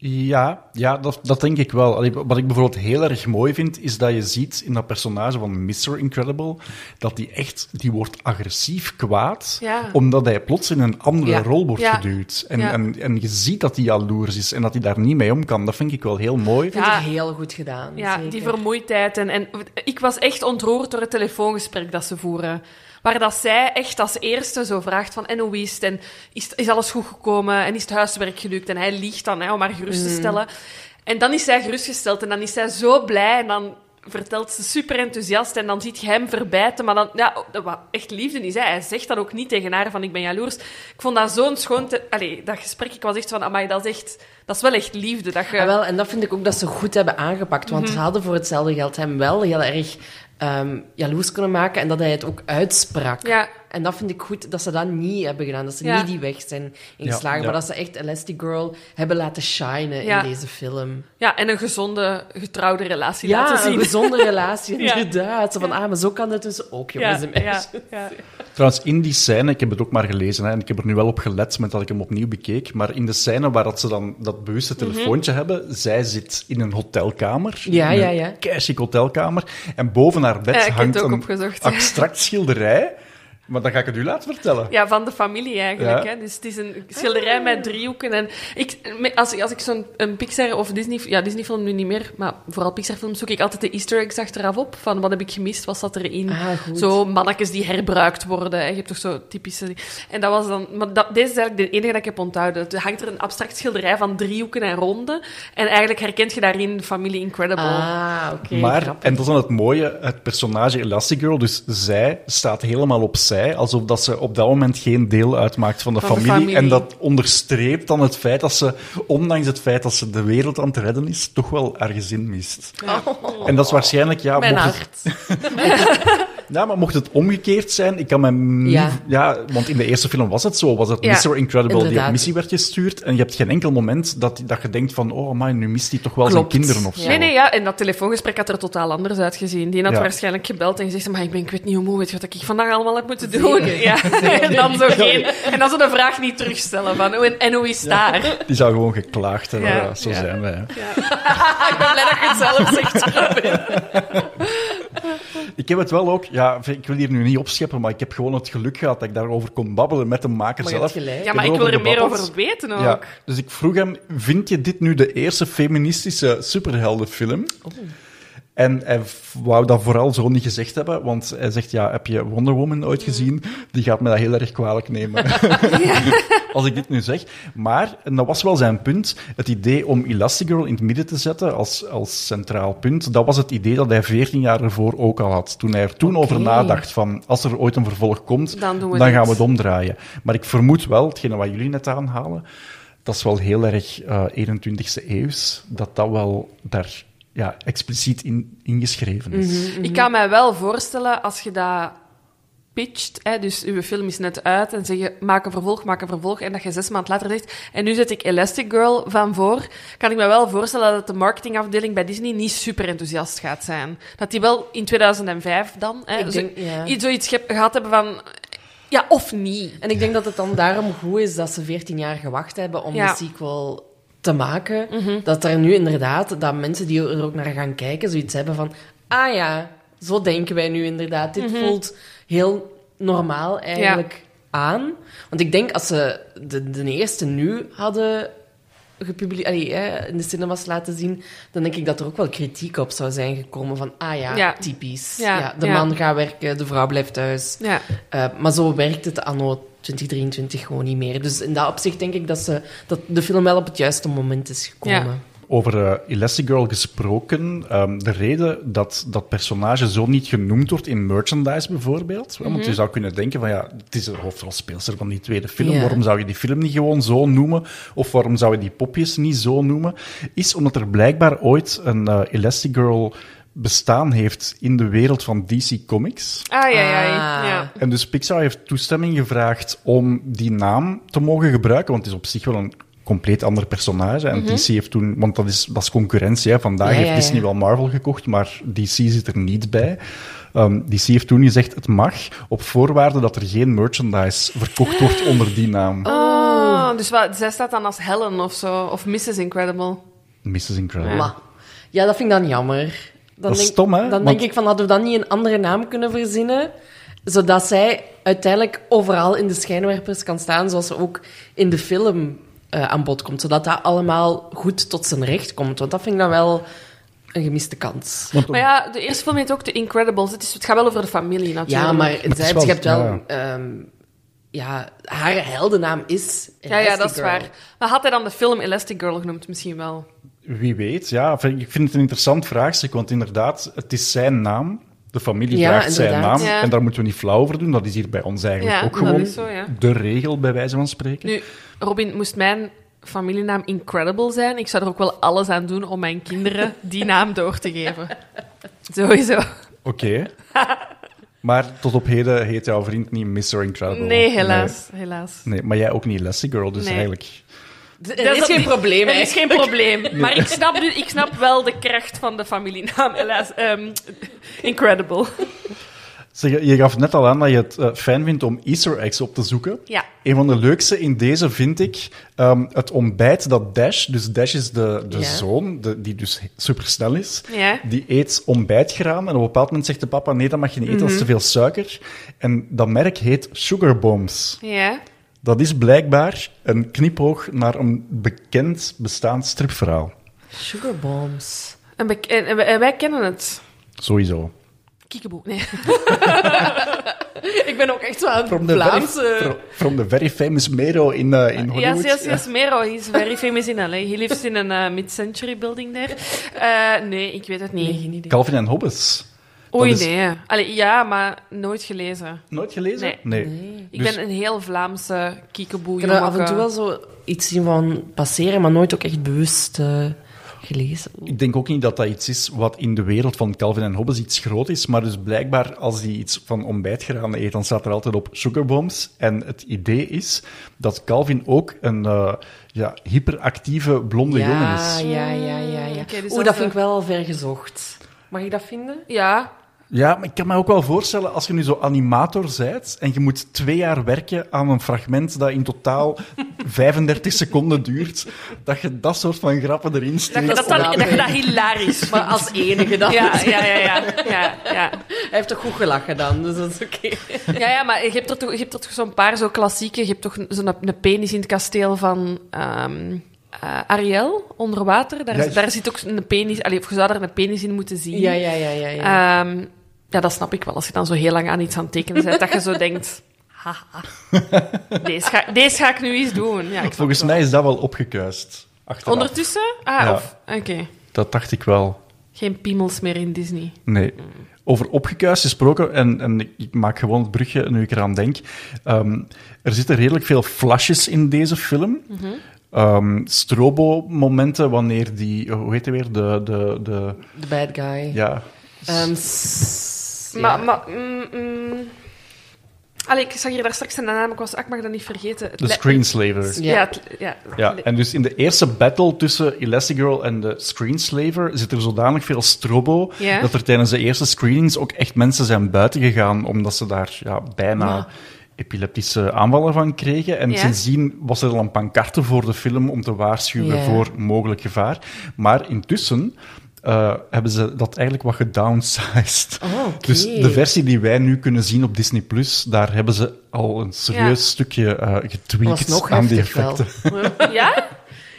S2: Ja, ja dat, dat denk ik wel. Allee, Wat ik bijvoorbeeld heel erg mooi vind, is dat je ziet in dat personage van Mr. Incredible, dat die echt, die wordt agressief kwaad,
S3: Ja.
S2: omdat hij plots in een andere
S4: Ja.
S2: rol wordt
S3: Ja.
S2: geduwd. En,
S3: Ja.
S2: en, en je ziet dat hij jaloers is en dat hij daar niet mee om kan. Dat vind ik wel heel mooi.
S4: Ik vind
S3: Ja.
S4: het heel goed gedaan.
S3: Ja,
S4: zeker.
S3: die vermoeidheid. En, en ik was echt ontroerd door het telefoongesprek dat ze voeren. Waar dat zij echt als eerste zo vraagt van, en hoe is het? En is, is alles goed gekomen? En is het huiswerk gelukt? En hij liegt dan, hè, om haar gerust
S4: Mm.
S3: te stellen. En dan is zij gerustgesteld en dan is zij zo blij. En dan vertelt ze super enthousiast en dan ziet je hem verbijten. Maar dan, ja, wat echt liefde is, hè. Hij zegt dat ook niet tegen haar van, ik ben jaloers. Ik vond dat zo'n schoon... Te... Allee, dat gesprek, ik was echt van, amai, dat is echt... Dat is wel echt liefde, dat je...
S4: Ja, Ah, wel, en dat vind ik ook dat ze goed hebben aangepakt.
S3: Mhm.
S4: Want ze hadden voor hetzelfde geld hem wel heel erg ehm, jaloers kunnen maken en dat hij het ook uitsprak.
S3: Ja.
S4: En dat vind ik goed dat ze dat niet hebben gedaan. Dat ze
S3: Ja.
S4: niet die weg zijn
S2: Ja,
S4: ingeslagen,
S2: ja.
S4: maar dat ze echt Elastigirl hebben laten shinen
S3: Ja.
S4: in deze film.
S3: Ja, en een gezonde, getrouwde relatie
S4: Ja,
S3: laten zien.
S4: een gezonde relatie,
S3: Ja.
S4: inderdaad. Zo van, ah, maar zo kan dat dus ook, jongens en meisjes.
S3: ja.
S2: Trouwens, in die scène, ik heb het ook maar gelezen hè, en ik heb er nu wel op gelet met dat ik hem opnieuw bekeek, maar in de scène waar dat ze dan dat bewuste
S3: Mhm.
S2: telefoontje hebben, zij zit in een hotelkamer.
S4: Ja,
S2: in
S4: ja,
S2: een
S4: ja.
S2: keichic hotelkamer. En boven haar bed
S3: Ja, ik heb het
S2: hangt
S3: ook
S2: een
S3: opgezocht.
S2: abstract schilderij Maar dan ga ik het u laten vertellen.
S3: Ja, van de familie eigenlijk.
S2: Ja.
S3: Hè? Dus het is een schilderij met driehoeken. En ik, me- als, ik- als ik zo'n een Pixar of Disney... Ja, Disney-film nu niet meer, maar vooral Pixar-films zoek ik altijd de easter eggs achteraf op. Van wat heb ik gemist, wat zat erin?
S4: Ah, goed.
S3: Zo mannetjes die herbruikt worden. hè. Je hebt toch zo typische... En dat was dan... Maar dat, deze is eigenlijk de enige dat ik heb onthouden. Er hangt er een abstract schilderij van driehoeken en ronden. En eigenlijk herkent je daarin familie Incredible.
S4: Ah, oké.
S2: maar,
S4: grappig.
S2: en dat is dan het mooie, het personage Elastigirl, dus zij staat helemaal opzij, alsof dat ze op dat moment geen deel uitmaakt van de,
S3: Van de
S2: familie.
S3: familie.
S2: En dat onderstreept dan het feit dat ze, ondanks het feit dat ze de wereld aan het redden is, toch wel haar gezin mist. En dat is waarschijnlijk, ja,
S3: Mijn
S2: mocht het-
S3: hart.
S2: Ja, maar mocht het omgekeerd zijn, ik kan me... niet-
S4: Ja.
S2: ja, want in de eerste film was het zo. Was het
S3: Ja,
S2: Mr. Incredible die op
S4: inderdaad.
S2: missie werd gestuurd. En je hebt geen enkel moment dat, dat je denkt van... Oh, maar nu mist hij toch wel
S4: Klopt.
S2: zijn kinderen of zo.
S3: Nee, nee, ja. En dat telefoongesprek had er totaal anders uitgezien. Die had
S2: Ja.
S3: waarschijnlijk gebeld en gezegd... Maar ik, ben, ik weet niet hoe moe, weet je wat ik vandaag allemaal heb moeten doen? Ja. En dan zo geen... En dan zo de vraag niet terugstellen van... "Oh, En, en hoe is het daar?
S2: Die zou gewoon geklaagd hebben.
S3: Ja.
S2: Ja, zo
S3: Ja.
S2: zijn wij. hè.
S3: Ah, ik ben blij dat je het zelf zegt, Robin.
S2: Ik heb het wel ook... Ja, ik wil hier nu niet opscheppen, maar ik heb gewoon het geluk gehad dat ik daarover kon babbelen met de maker
S4: Maar je hebt
S2: zelf.
S4: gelijk.
S3: Ja, maar ik
S2: heb
S3: wil er
S2: erover
S3: meer
S2: gebabbeld.
S3: over weten ook.
S2: Ja, dus ik vroeg hem, vind je dit nu de eerste feministische superheldenfilm? En hij v- wou dat vooral zo niet gezegd hebben, want hij zegt, ja, heb je Wonder Woman ooit gezien? Die gaat me dat heel erg kwalijk nemen. Als ik dit nu zeg. Maar, en dat was wel zijn punt, het idee om Elastigirl in het midden te zetten als, als centraal punt, dat was het idee dat hij 14 jaar ervoor ook al had. Toen hij er toen over nadacht van, als er ooit een vervolg komt,
S3: Dan doen we
S2: dan
S3: dit.
S2: gaan we het omdraaien. Maar ik vermoed wel, hetgene wat jullie net aanhalen, dat is wel heel erg eh 21ste eeuws, dat dat wel daar ja, expliciet in, ingeschreven is.
S3: Ik kan mij wel voorstellen, als je dat pitcht, hè, dus uw film is net uit en zeg je maak een vervolg, maak een vervolg, en dat je zes maanden later zegt, en nu zet ik Elastic Girl van voor, kan ik mij wel voorstellen dat de marketingafdeling bij Disney niet super enthousiast gaat zijn. Dat die wel in 2005 dan hè,
S4: Ik
S3: zo,
S4: denk, ja.
S3: iets, zoiets ge- gehad hebben van, ja, of niet.
S4: En ik denk dat het dan daarom goed is dat ze 14 jaar gewacht hebben om
S3: Ja. Mhm.
S4: de sequel te maken. Dat er nu inderdaad, dat mensen die er ook naar gaan kijken, zoiets hebben van... Ah ja, zo denken wij nu inderdaad. Dit
S3: Mhm.
S4: voelt heel normaal eigenlijk aan. Want ik denk als ze de, de eerste nu hadden gepubliceerd, in de cinemas laten zien, dan denk ik dat er ook wel kritiek op zou zijn gekomen van... Ah ja,
S3: Ja.
S4: typisch.
S3: Ja,
S4: Ja, de
S3: ja.
S4: man gaat werken, de vrouw blijft thuis.
S3: Ja.
S4: Eh, maar zo werkt het anno 2023 gewoon niet meer. Dus in dat opzicht denk ik dat, ze, dat de film wel op het juiste moment is gekomen.
S2: Over eh Elastigirl gesproken, ehm, de reden dat dat personage zo niet genoemd wordt in merchandise bijvoorbeeld, hè, want je zou kunnen denken van ja, het is de hoofdrolspeelster van die tweede film,
S4: Ja.
S2: waarom zou je die film niet gewoon zo noemen, of waarom zou je die popjes niet zo noemen, is omdat er blijkbaar ooit een eh, Elastigirl bestaan heeft in de wereld van DC Comics.
S3: Ah, ja, ja,
S4: Ah.
S3: ja.
S2: En dus Pixar heeft toestemming gevraagd om die naam te mogen gebruiken, want het is op zich wel een compleet ander personage. En DC heeft toen, want dat is, dat is concurrentie, hè. vandaag
S4: Mhm. Ja,
S2: heeft
S4: ja, ja.
S2: Disney wel Marvel gekocht, maar DC zit er niet bij. Ehm, DC heeft toen gezegd, het mag, op voorwaarde dat er geen merchandise verkocht wordt onder die naam.
S3: Ah, dus wat, zij staat dan als Helen of zo, of Mrs. Incredible.
S2: Mrs. Incredible.
S4: Ja. Maar ja, dat vind ik dan jammer.
S2: Dat
S4: Dan
S2: is
S4: denk,
S2: stom, hè?
S4: Dan
S2: Want-
S4: denk ik van, hadden we dan niet een andere naam kunnen verzinnen? Zodat zij uiteindelijk overal in de schijnwerpers kan staan, zoals ze ook in de film eh, aan bod komt. Zodat dat allemaal goed tot zijn recht komt. Want dat vind ik dan wel een gemiste kans.
S2: Want
S3: Maar ja, de eerste film heet ook The Incredibles. Het, is, het gaat wel over de familie natuurlijk.
S4: Ja, maar
S2: het
S4: zij,
S2: is wel-
S4: je hebt wel...
S2: ja.
S4: ehm, ja, haar heldennaam is
S3: Ja, ja, dat is
S4: Elastigirl.
S3: waar. Maar had hij dan de film Elastic Girl genoemd misschien wel?
S2: Wie weet, ja. Enfin, Ik vind het een interessant vraagstuk, want inderdaad, het is zijn naam. De familie
S4: Ja,
S2: draagt zijn
S4: inderdaad.
S2: naam.
S3: Ja.
S2: En daar moeten we niet flauw over doen. Dat is hier bij ons eigenlijk
S3: Ja,
S2: ook
S3: dat
S2: gewoon
S3: is zo, ja.
S2: de regel, bij wijze van spreken.
S3: Nu, Robin, moest mijn familienaam Incredible zijn? Ik zou er ook wel alles aan doen om mijn kinderen die naam door te geven. Sowieso.
S2: Oké. maar tot op heden heet jouw vriend niet Mr. Incredible.
S3: Nee, helaas. Helaas.
S2: Nee, nee, maar jij ook niet Lassie Girl, dus
S3: Nee.
S2: eigenlijk...
S4: Er is geen probleem,
S3: Er
S4: hè?
S3: is geen probleem. Maar ik snap, nu, ik snap wel de kracht van de familienaam. Helaas. ehm, incredible.
S2: Zeg, je gaf net al aan dat je het eh, fijn vindt om Easter eggs op te zoeken.
S3: Ja.
S2: Een van de leukste in deze vind ik ehm, het ontbijt dat Dash, dus Dash is de, de
S4: Ja.
S2: zoon, de- die dus supersnel is,
S3: Ja.
S2: die eet ontbijtgraan. En op een bepaald moment zegt de papa, nee, dat mag je niet eten,
S3: Mhm.
S2: dat is te veel suiker. En dat merk heet Sugar Bombs.
S3: Ja.
S2: Dat is blijkbaar een knipoog naar een bekend bestaand stripverhaal.
S4: Sugarbombs.
S3: En, bek- en- en wij- en wij kennen het.
S2: Sowieso.
S3: Kiekeboe. Nee. ik ben ook echt wel een
S2: From the, very,
S3: Vlaamse...
S2: fro- from the very famous Mero in, eh, in Hollywood.
S3: Yes, yes,
S2: Ja.
S3: yes. Mero is very famous in LA. He lives in een eh, mid-century building there. Eh, nee, ik weet het niet.
S4: Nee, geen idee.
S2: Calvin en Hobbes. dat
S3: Oei,
S2: is-
S3: nee. Allee, ja, maar nooit gelezen.
S2: Nooit gelezen?
S3: Nee. Ik
S2: Dus-
S3: ben een heel Vlaamse kiekeboe.
S4: Ik heb er af en
S3: jommeke.
S4: toe wel zo iets zien van passeren, maar nooit ook echt bewust eh, gelezen.
S2: Ik denk ook niet dat dat iets is wat in de wereld van Calvin en Hobbes iets groot is, maar dus blijkbaar als die iets van ontbijtgraan eet, dan staat er altijd op sugarbombs. En het idee is dat Calvin ook een eh, ja, hyperactieve blonde jongen
S4: ja,
S2: is.
S4: ja, ja, ja, ja.
S3: Oké, dus
S4: Oeh,
S3: dat
S4: dat
S3: is,
S4: vind ik wel ver gezocht. Mag ik dat vinden?
S3: Ja,
S2: Ja, maar ik kan me ook wel voorstellen, als je nu zo animator bent en je moet twee jaar werken aan een fragment dat in totaal 35 seconden duurt, dat je dat soort van grappen erin
S3: dat,
S2: steekt.
S3: dat, dat, dat, dat hilarisch
S4: Maar als enige dan.
S3: Ja, ja, ja, ja, ja, ja.
S4: Hij heeft toch goed gelachen dan, dus dat is oké.
S3: Ja, ja, maar je hebt er toch, je hebt er toch zo'n paar zo klassieke. Je hebt toch zo'n een penis in het kasteel van ehm, eh, Ariel, onder water. Daar,
S2: Ja,
S3: is- daar zit ook een penis... Allee, of je zou daar een penis in moeten zien.
S4: Ja, ja, ja, ja. ja.
S3: Ehm, ja, dat snap ik wel. Als je dan zo heel lang aan iets aan het tekenen bent, dat je zo denkt... Haha, deze ga, deze ga ik nu eens doen. Ja, ik snap
S2: Volgens
S3: het wel.
S2: mij is dat wel opgekuist. Achteraf.
S3: Ondertussen? Ah,
S2: Ja.
S3: of... Oké.
S2: Dat dacht ik wel.
S3: Geen piemels meer in Disney.
S2: Nee. Over opgekuist gesproken, en, en ik- ik maak gewoon het brugje nu ik eraan denk. Ehm, er zitten redelijk veel flashes in deze film. Ehm, strobo-momenten wanneer die, hoe heet hij weer? De, de, de,
S4: The bad guy.
S2: ja.
S4: Ehm, s- ja.
S3: Maar... maar mm, mm. Allee, ik zag hier daar straks een naam, ik, was, ah, ik mag dat niet vergeten. Het
S2: de
S3: le-
S2: screenslaver.
S3: Ja,
S4: Ja.
S3: het- ja.
S2: Ja, en dus in de eerste battle tussen Elastigirl en de Screenslaver zit er zodanig veel strobo
S3: Ja.
S2: dat er tijdens de eerste screenings ook echt mensen zijn buiten gegaan omdat ze daar ja, bijna epileptische aanvallen van kregen. En
S3: Ja.
S2: sindsdien was er al een pancarte voor de film om te waarschuwen
S4: Ja.
S2: voor mogelijk gevaar. Maar intussen... eh, hebben ze dat eigenlijk wat gedownsized.
S4: Oh, oké.
S2: Dus de versie die wij nu kunnen zien op Disney+, Plus, daar hebben ze al een serieus
S3: Ja.
S2: stukje eh
S4: was
S2: getweakt
S4: nog
S2: aan die
S4: heftig wel.
S2: effecten.
S3: ja?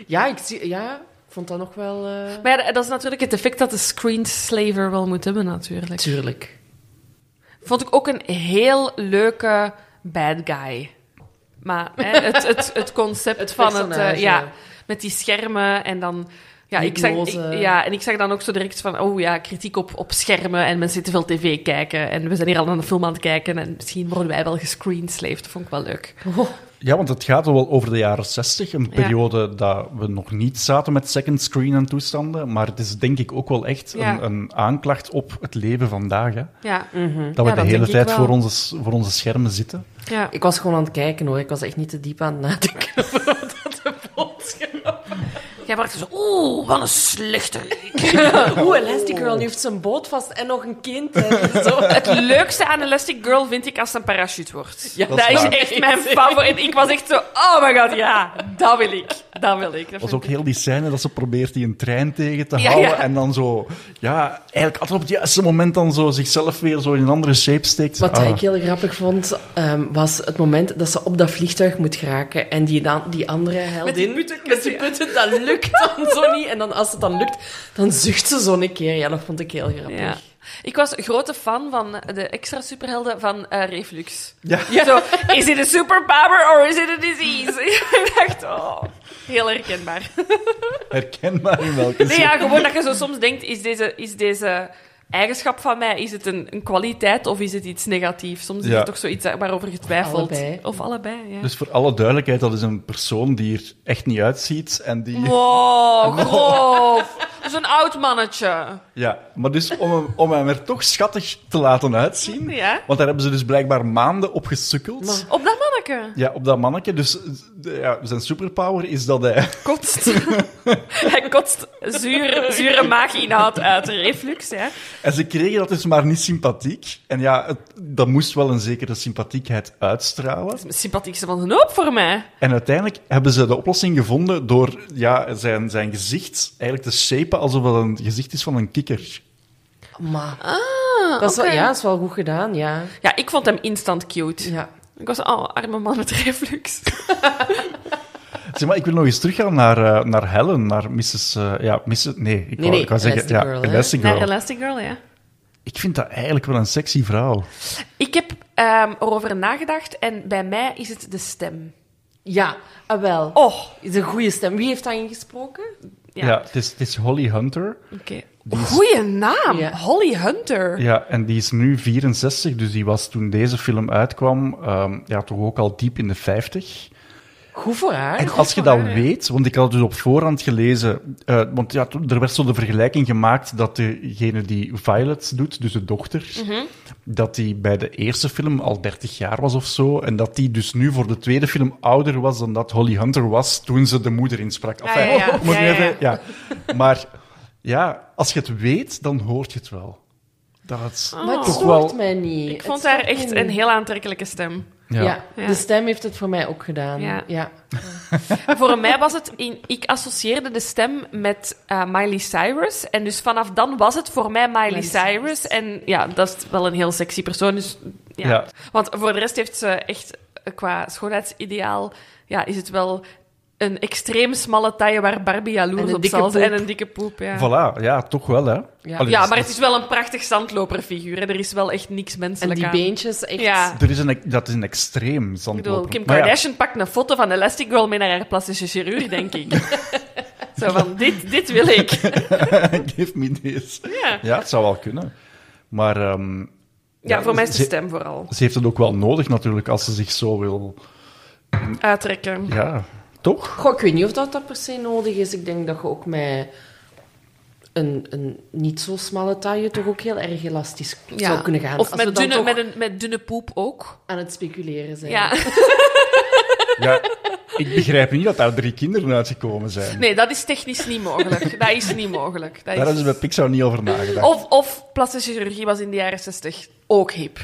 S4: Ja, ik zie, ja, ik vond dat nog wel... eh,
S3: Maar ja, dat is natuurlijk het effect dat de screenslaver wel moet hebben, natuurlijk.
S4: Tuurlijk.
S3: Vond ik ook een heel leuke bad guy. Maar hè, het, het, het concept
S4: Het
S3: van het... eh,
S4: personage.
S3: ja, met die schermen en dan... Ja, ik zag,
S4: Hypnose.
S3: ik- ja, en ik zag dan ook zo direct van... Oh ja, kritiek op, op schermen en mensen die te veel tv kijken. En we zijn hier al naar een film aan het kijken en misschien worden wij wel gescreenslaved. Dat vond ik wel leuk.
S2: Ja, want het gaat wel over de jaren 60, een
S3: Ja.
S2: periode dat we nog niet zaten met second screen en toestanden, maar het is denk ik ook wel echt
S3: Ja.
S2: een, een aanklacht op het leven vandaag, hè?
S3: Ja,
S2: dat we
S3: Ja, dat
S2: de
S3: denk
S2: hele
S3: ik
S2: tijd
S3: wel.
S2: voor onze, s- voor onze schermen zitten.
S3: ja.
S4: Ik was gewoon aan het kijken hoor, ik was echt niet te diep aan het nadenken over wat dat de boodschap
S3: Jij wordt zo... Oeh, wat een slechter.
S4: Oeh, Elastigirl, nu heeft zijn boot vast en nog een kind. hè. Zo.
S3: Het leukste aan Elastic Girl vind ik als het een parachute wordt.
S4: Ja,
S3: dat
S2: dat
S3: is
S2: is waar.
S3: echt mijn favoriet. Ik was echt zo, oh my god, ja, dat wil ik. Dat wil ik.
S2: Dat
S3: Dat
S2: was
S3: vind
S2: ook
S3: ik-
S2: heel die scène dat ze probeert die een trein tegen te
S3: Ja,
S2: houden
S3: ja.
S2: en dan zo, ja, eigenlijk altijd op het juiste moment dan zo zichzelf weer zo in een andere shape steekt.
S4: Wat
S2: Ah.
S4: ik heel grappig vond, ehm, was het moment dat ze op dat vliegtuig moet geraken en die, dan, die andere
S3: Met die
S4: heldin...
S3: putten,
S4: met die putten, dat lukt dan zo niet. En dan als het dan lukt, dan zucht ze zo een keer. Ja, dat vond ik heel grappig.
S3: Ja. Ik was grote fan van de extra superhelden van eh, Reflux.
S2: Ja.
S3: Zo, is it a superpower or is it a disease? ik dacht, oh, heel herkenbaar.
S2: herkenbaar in welke
S3: Nee,
S2: zin.
S3: ja, gewoon dat je zo soms denkt, is deze, is deze eigenschap van mij, is het een, een kwaliteit of is het iets negatiefs? Soms is
S2: Ja.
S3: er toch zoiets eh, waarover getwijfeld.
S4: Allebei.
S3: Of allebei, ja.
S2: Dus voor alle duidelijkheid, dat is een persoon die er echt niet uitziet en die...
S3: Wow, grof. zo'n oud mannetje.
S2: Ja, maar dus om hem, om hem er toch schattig te laten uitzien.
S3: Ja.
S2: Want daar hebben ze dus blijkbaar maanden op gesukkeld.
S3: Op dat manneke.
S2: Ja, op dat mannetje. Dus eh, ja, zijn superpower is dat hij...
S3: Kotst. Hij kotst zure, zure maaginhoud uit. Reflux, ja.
S2: En ze kregen dat dus maar niet sympathiek. En ja, het, dat moest wel een zekere sympathiekheid uitstralen.
S3: Het sympathiekste van zijn hoop voor mij.
S2: En uiteindelijk hebben ze de oplossing gevonden door ja, zijn, zijn gezicht eigenlijk te shapen alsof het een gezicht is van een kikker.
S4: Maar,
S3: Ah,
S4: dat is wel,
S3: oké.
S4: ja, dat is wel goed gedaan, ja.
S3: Ja, ik vond hem instant cute.
S4: ja.
S3: Ik was al arme man met reflux.
S2: Zeg maar, ik wil nog eens teruggaan naar, eh, naar Helen, naar Mrs... eh, ja, Mrs... Nee, ik
S4: Nee,
S2: wou,
S4: nee,
S2: ik wou zeggen...
S4: Elastigirl,
S2: ja,
S4: hè?
S2: Elastigirl.
S3: Naar Elastigirl, ja.
S2: Ik vind dat eigenlijk wel een sexy vrouw.
S3: Ik heb ehm, erover nagedacht en bij mij is het de stem.
S4: Ja, ah, wel.
S3: Oh,
S4: Is een goede stem. Wie heeft dat ingesproken?
S3: Ja.
S2: Ja, het, is, het is Holly Hunter.
S3: oké.
S2: Die is-
S3: Goeie naam.
S4: Ja.
S3: Holly Hunter.
S2: Ja, en die is nu 64, dus die was toen deze film uitkwam ehm, ja, toch ook al diep in de 50.
S4: Goed voor haar.
S2: En als je dat weet, want ik had het dus op voorhand gelezen, eh, want ja, toen- er werd zo de vergelijking gemaakt dat degene die Violet doet, dus de dochter,
S3: Mhm.
S2: dat die bij de eerste film al 30 jaar was of zo, en dat die dus nu voor de tweede film ouder was dan dat Holly Hunter was toen ze de moeder insprak. Enfin,
S3: Ah, ja, ja.
S2: om het
S3: Ja,
S2: nu
S3: ja, ja.
S2: even- ja. Maar ja, als je het weet, dan hoort je het wel. Dat is
S4: Maar het
S3: Oh.
S2: toch
S4: stoort
S2: wel...
S4: mij niet.
S3: Ik
S4: Het
S3: vond
S4: stoort
S3: haar echt
S4: mij
S3: een
S4: niet.
S3: heel aantrekkelijke stem.
S2: Ja.
S4: Ja.
S3: Ja.
S4: de stem heeft het voor mij ook gedaan.
S3: Ja.
S4: Ja.
S3: Voor mij was het... in- ik associeerde de stem met eh, Miley Cyrus. En dus vanaf dan was het voor mij Miley,
S4: Miley
S3: Cyrus. En ja, dat is wel een heel sexy persoon. Dus, ja.
S2: Ja.
S3: Want voor de rest heeft ze echt eh, qua schoonheidsideaal... Ja, is het wel een extreem smalle taille waar Barbie
S4: En
S3: jaloers
S4: een
S3: op
S4: dikke
S3: zal zijn. En
S4: poep.
S3: een dikke poep, ja.
S2: Voilà, ja, toch wel, hè.
S4: Ja.
S2: Allee,
S3: Ja,
S2: dus-
S3: maar het is wel een prachtig zandloperfiguur. hè. Er is wel echt niks
S4: En
S3: menselijk
S4: die
S3: aan.
S4: beentjes, echt.
S3: Ja.
S2: Er is een, dat is een extreem
S3: Ik
S2: zandloper.
S3: bedoel, Kim
S2: Maar ja,
S3: Kardashian pakt een foto van Elastic Girl mee naar haar plastische chirurg, denk ik. Zo van, dit, dit wil ik.
S2: Give me this.
S3: Ja, ja,
S2: Ja, het zou wel kunnen. Maar ehm,
S3: voor mij is de
S2: ze,
S3: stem vooral.
S2: ze heeft het ook wel nodig natuurlijk als ze zich zo wil.
S3: Uittrekken.
S2: Ja, toch?
S4: Goh, ik weet niet of dat, dat per se nodig is. Ik denk dat je ook met een, een niet zo smalle taille toch ook heel erg elastisch zou kunnen gaan.
S3: Of
S4: Als we
S3: met
S4: dan
S3: dunne,
S4: toch
S3: met, een, met dunne poep ook.
S4: aan het speculeren zijn.
S3: Ja.
S2: Ja, ik begrijp niet dat daar drie kinderen uitgekomen zijn.
S3: Nee, dat is technisch niet mogelijk. Dat is niet mogelijk. Dat
S2: Daar
S3: is...
S2: hebben ze bij Pixar niet over nagedacht.
S3: Of, of plastische chirurgie was in de jaren 60 ook hip.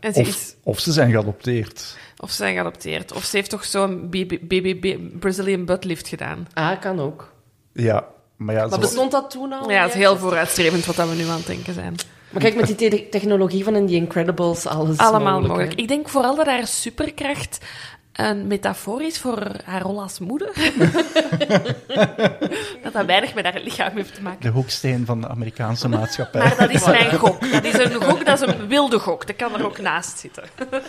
S3: En ze is...
S2: of, of ze zijn geadopteerd.
S3: Of ze zijn geadopteerd. Of ze heeft toch zo'n BB BBB Brazilian butt lift gedaan.
S4: Ah, kan ook.
S2: Ja, maar ja,
S4: Maar
S2: zo,
S4: bestond dat toen al?
S3: Ja, het is heel vooruitstrevend wat dat we nu aan het denken zijn.
S4: Maar kijk, met die te- technologie van in die Incredibles, alles is
S3: Allemaal mogelijk.
S4: mogelijk. hè.
S3: Ik denk vooral dat haar superkracht een metafoor is voor haar rol als moeder. dat dat weinig met haar lichaam heeft te maken.
S2: de hoeksteen van de Amerikaanse maatschappij.
S3: Maar dat is mijn gok. Dat is een gok, dat is een wilde gok. Dat kan er ook naast zitten.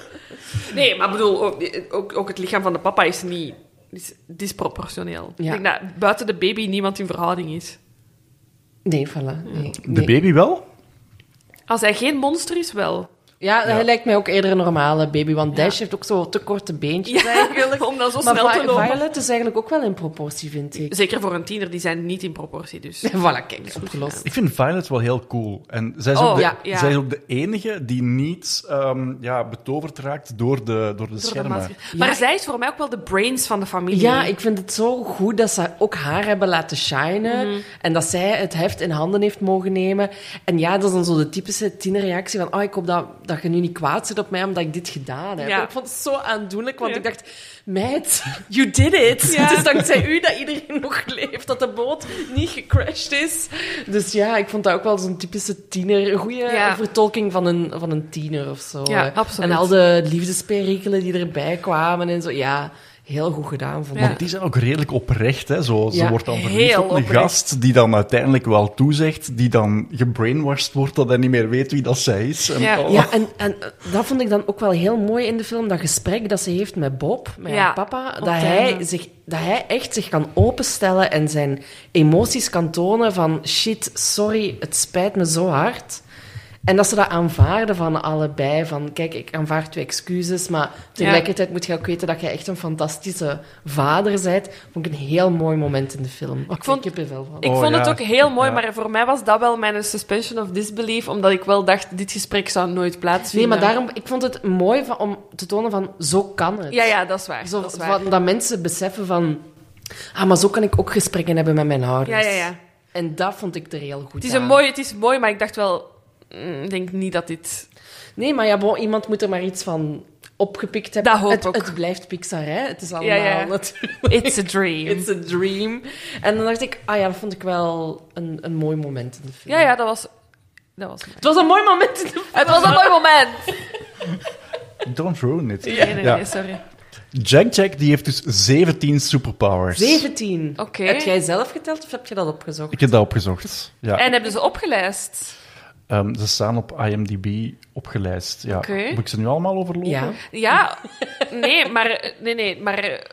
S3: Nee, maar ik bedoel, ook, ook, ook het lichaam van de papa is niet is disproportioneel.
S4: Ja.
S3: Ik denk dat buiten de baby niemand in verhouding is.
S4: Nee, voilà. Nee,
S2: De
S4: nee.
S2: baby wel?
S3: Als hij geen monster is, wel.
S4: Ja, hij
S2: Ja.
S4: lijkt mij ook eerder een normale baby, want Dash heeft ook zo te korte beentjes.
S3: eigenlijk. Om dan zo
S4: Maar
S3: snel te
S4: Vi-
S3: lopen.
S4: Violet is eigenlijk ook wel in proportie, vind ik.
S3: Zeker voor een tiener, die zijn niet in proportie. Dus.
S4: voilà, kijk, is goed gelost.
S2: Ik vind Violet wel heel cool. En zij is,
S3: Oh,
S2: ook, de,
S3: ja, ja.
S2: Zij is ook de enige die niet ehm, ja, betoverd raakt door de, door de
S3: Door de
S2: schermen.
S3: masker. Maar zij is voor mij ook wel de brains van de familie.
S4: Ja, ik vind het zo goed dat ze ook haar hebben laten shinen.
S3: Mhm.
S4: En dat zij het heft in handen heeft mogen nemen. En ja, dat is dan zo de typische tienerreactie van... Oh, ik hoop dat, dat je nu niet kwaad zit op mij omdat ik dit gedaan heb.
S3: Ja.
S4: Ik vond het zo aandoenlijk, want
S3: Ja.
S4: ik dacht... Meid, you did it.
S3: Ja.
S4: Het is dankzij u dat iedereen nog leeft. Dat de boot niet gecrashed is. Dus ja, ik vond dat ook wel zo'n typische tiener... Een goede
S3: Ja.
S4: vertolking van een, van een tiener of zo.
S3: Ja,
S4: Eh,
S3: absoluut.
S4: En al de liefdesperikelen die erbij kwamen en zo. Ja, heel goed gedaan, vond ik.
S3: Ja.
S2: Want die zijn ook redelijk oprecht. Hè? Zo, ze
S4: Ja,
S2: wordt dan verliefd
S3: heel
S2: op een
S3: oprecht.
S2: gast die dan uiteindelijk wel toezegt, die dan gebrainwashed wordt, dat hij niet meer weet wie dat zij is. En,
S3: Ja.
S2: oh.
S4: Ja, en, en eh, dat vond ik dan ook wel heel mooi in de film, dat gesprek dat ze heeft met Bob, met
S3: Ja,
S4: haar papa,
S3: op
S4: dat
S3: het
S4: hij,
S3: einde.
S4: zich, dat hij echt zich kan openstellen en zijn emoties kan tonen van shit, sorry, het spijt me zo hard. En dat ze dat aanvaarden van allebei. Van, kijk, ik aanvaard je excuses, maar tegelijkertijd moet je ook weten dat je echt een fantastische vader bent. Vond ik een heel mooi moment in de film. Ik,
S3: vond-
S4: vond... ik heb er wel van.
S3: Ik
S2: Oh,
S3: vond het
S2: ja.
S3: ook heel mooi,
S2: Ja.
S3: maar voor mij was dat wel mijn suspension of disbelief, omdat ik wel dacht, dit gesprek zou nooit
S4: Nee,
S3: plaatsvinden.
S4: maar daarom, ik vond het mooi van, om te tonen van, zo kan het.
S3: Ja, ja, dat is waar.
S4: Zo,
S3: dat is waar.
S4: van, dat mensen beseffen van, ah, maar zo kan ik ook gesprekken hebben met mijn
S3: ja,
S4: ouders.
S3: ja, ja.
S4: En dat vond ik er heel goed
S3: Het is,
S4: aan.
S3: een mooi, het is mooi, maar ik dacht wel, mm, ik denk niet dat dit...
S4: Nee, maar ja, bon, iemand moet er maar iets van opgepikt hebben.
S3: Dat hoop
S4: het,
S3: ik.
S4: het blijft Pixar, hè. Het is allemaal
S3: Ja, ja.
S4: natuurlijk...
S3: It's a dream.
S4: It's a dream. En dan dacht ik, ah ja, dat vond ik wel een, een mooi moment in de film.
S3: Ja, ja, dat was... Dat was mooi.
S4: Het was een mooi moment in de film.
S3: Het was een mooi moment!
S2: oh, Don't ruin it.
S3: Nee, nee,
S2: Ja.
S3: nee, sorry.
S2: Jack Jack die heeft dus 17 superpowers.
S4: 17.
S3: Oké.
S4: Heb jij zelf geteld of heb je dat opgezocht?
S2: Ik heb dat opgezocht. Ja.
S3: En hebben ze opgelijst?
S2: Ehm, ze staan op IMDb opgelijst. Ja.
S3: Oké.
S2: Moet ik ze nu allemaal overlopen?
S4: Ja.
S3: Ja, nee, maar... Nee, nee, maar...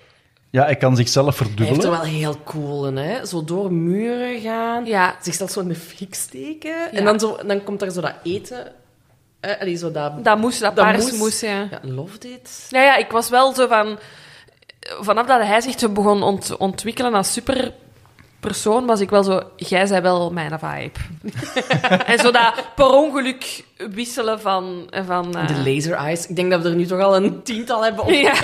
S2: Ja, hij kan zichzelf
S4: Hij heeft er
S2: verdubbelen.
S4: wel heel cool in, hè. Zo door muren gaan.
S3: Ja,
S4: Zichzelf zo in de fik steken. En dan, zo, dan komt daar zo dat eten. Eh, allee, zo dat...
S3: dat moest, dat,
S4: Dat
S3: paars
S4: moest.
S3: moest, ja.
S4: Ja, love dit.
S3: Ja, ja, ik was wel zo van... Vanaf dat hij zich zo begon ont- ontwikkelen als superpersoon, was ik wel zo... Jij zij wel mijn vibe. en zo dat per ongeluk wisselen van... van eh,
S4: De laser eyes. Ik denk dat we er nu toch al een tiental hebben op.
S3: ja.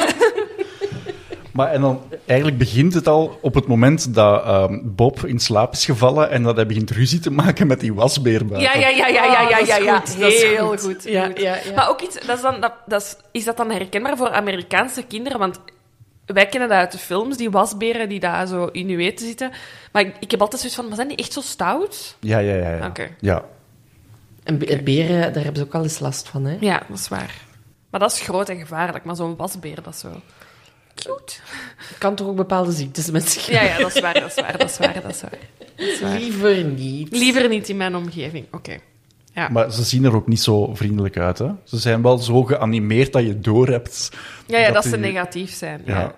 S2: Maar en dan, eigenlijk begint het al op het moment dat ehm, Bob in slaap is gevallen en dat hij begint ruzie te maken met die wasbeer
S3: ja,
S2: buiten.
S3: ja, ja, ja, ja,
S4: Ah,
S3: ja,
S4: dat is
S3: ja, ja.
S4: goed, dat is
S3: Heel
S4: goed.
S3: goed.
S4: Ja,
S3: goed.
S4: ja, ja.
S3: Maar ook iets... Dat is, dan, dat, dat is, is dat dan herkenbaar voor Amerikaanse kinderen? Want wij kennen dat uit de films, die wasberen die daar zo in je eten zitten. Maar ik, ik heb altijd zoiets van, maar zijn die echt zo stout?
S2: Ja, ja, ja. ja.
S3: Oké.
S2: Ja.
S4: En be- beren, daar hebben ze ook al eens last van, hè.
S3: Ja, dat is waar. Maar dat is groot en gevaarlijk, maar zo'n wasbeer, dat is zo... Cute.
S4: Kan toch ook bepaalde ziektes met zich
S3: Ja, ja, dat is waar, dat is waar, dat is waar, dat is waar. Dat is waar.
S4: Liever niet.
S3: Liever niet in mijn omgeving, oké. Ja.
S2: Maar ze zien er ook niet zo vriendelijk uit. Hè? Ze zijn wel zo geanimeerd dat je doorhebt.
S3: ja, ja, dat ze
S2: die-
S3: negatief zijn. Ja.
S2: Ja.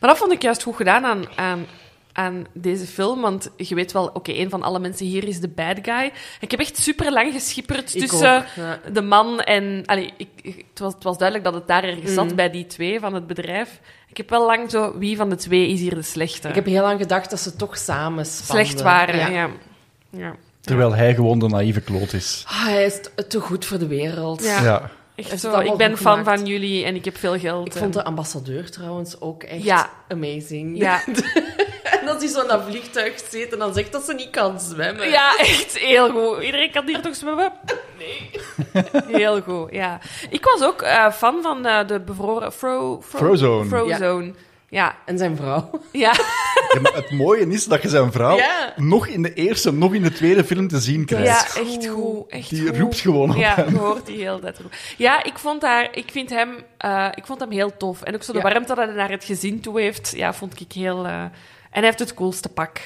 S3: Maar dat vond ik juist goed gedaan aan, aan, aan deze film, want je weet wel, oké, een van alle mensen hier is de bad guy. Ik heb echt super lang geschipperd
S4: Ik
S3: tussen
S4: ook, ja.
S3: de man en... Allee, ik, ik- het, was, het was duidelijk dat het daar ergens zat, bij die twee van het bedrijf. Ik heb wel lang zo, wie van de twee is hier de slechte?
S4: Ik heb heel lang gedacht dat ze toch samen spanden.
S3: slecht waren. Ja.
S4: Ja.
S3: Ja.
S2: Terwijl hij gewoon de naïeve kloot is.
S4: Ah, hij is t- te goed voor de wereld.
S3: Ja.
S2: Ja.
S3: Echt
S4: Is
S3: zo,
S4: het allemaal
S3: Dus ik ben
S4: goed
S3: fan
S4: gemaakt?
S3: van jullie en ik heb veel geld.
S4: Ik
S3: en-
S4: vond de ambassadeur trouwens ook echt
S3: Ja.
S4: amazing.
S3: ja.
S4: En als hij zo in dat vliegtuig zit en dan zegt dat ze niet kan zwemmen.
S3: ja, echt heel goed. Iedereen kan hier toch zwemmen? Nee. Heel goed, ja. Ik was ook eh, fan van eh, de bevroren... Fro, fro-
S2: Frozone.
S3: Frozone. Ja.
S4: En zijn vrouw.
S3: Ja.
S2: Ja, maar het mooie is dat je zijn vrouw
S4: Ja.
S2: nog in de eerste, nog in de tweede film te zien
S3: Ja,
S2: krijgt.
S3: echt goed. Echt
S2: Die
S3: goed.
S2: roept gewoon op
S3: Ja,
S2: hem.
S3: je hoort die heel dat roepen. Ja, ik vond, haar, ik, vind hem, eh, ik vond hem heel tof. En ook zo de
S4: Ja.
S3: warmte dat hij naar het gezin toe heeft, ja, vond ik heel... eh, En hij heeft het coolste pak.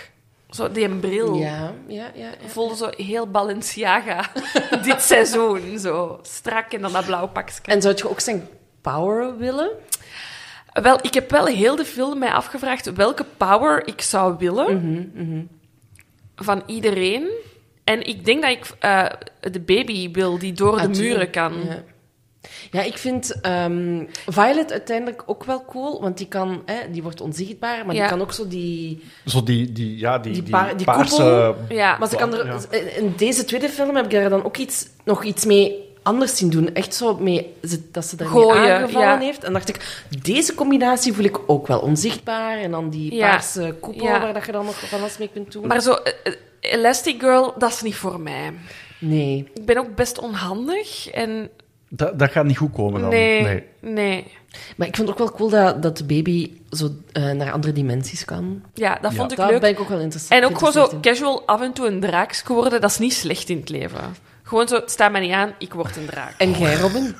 S3: Zo, die een bril.
S4: Ja, ja, ja. ja.
S3: voelde zo heel Balenciaga dit seizoen. Zo strak en dan dat blauw pakje.
S4: En zou je ook zijn power willen?
S3: Wel, ik heb wel heel de film mij afgevraagd welke power ik zou willen
S4: Mhm,
S3: van iedereen. En ik denk dat ik eh, de baby wil die door de
S4: Ah, tuurlijk,
S3: muren kan.
S4: Ja. Ja, ik vind ehm, Violet uiteindelijk ook wel cool, want die, kan, hè, die wordt onzichtbaar, maar
S3: Ja.
S4: die kan ook zo die...
S2: Zo die, die, ja, die,
S4: Die
S2: die,
S4: paar- die
S2: paarse...
S4: koepel.
S3: Ja.
S4: Maar ze kan er,
S2: Ja.
S4: in deze tweede film heb ik daar dan ook iets, nog iets mee anders zien doen. Echt zo mee, ze- dat ze daarmee
S3: Gooien,
S4: aangevallen
S3: ja.
S4: heeft. En dacht ik, deze combinatie voel ik ook wel onzichtbaar. En dan die
S3: Ja.
S4: paarse koepel
S3: Ja.
S4: waar dat je dan nog van alles mee kunt doen.
S3: Maar zo, eh, eh, Elastic Girl, dat is niet voor mij.
S4: nee.
S3: Ik ben ook best onhandig en...
S2: Dat, dat gaat niet goed komen dan.
S3: Nee, nee. nee.
S4: Maar ik vond ook wel cool dat, dat de baby zo eh, naar andere dimensies kan.
S3: Ja, dat
S2: Ja.
S3: vond ik
S4: Daar
S3: leuk.
S4: ben ik ook wel interessant
S3: En ook gewoon zo
S4: geïnteresseerd in.
S3: casual af en toe een draak worden, dat is niet slecht in het leven. Gewoon zo, het staat mij niet aan, ik word een draak.
S4: En jij, Robin?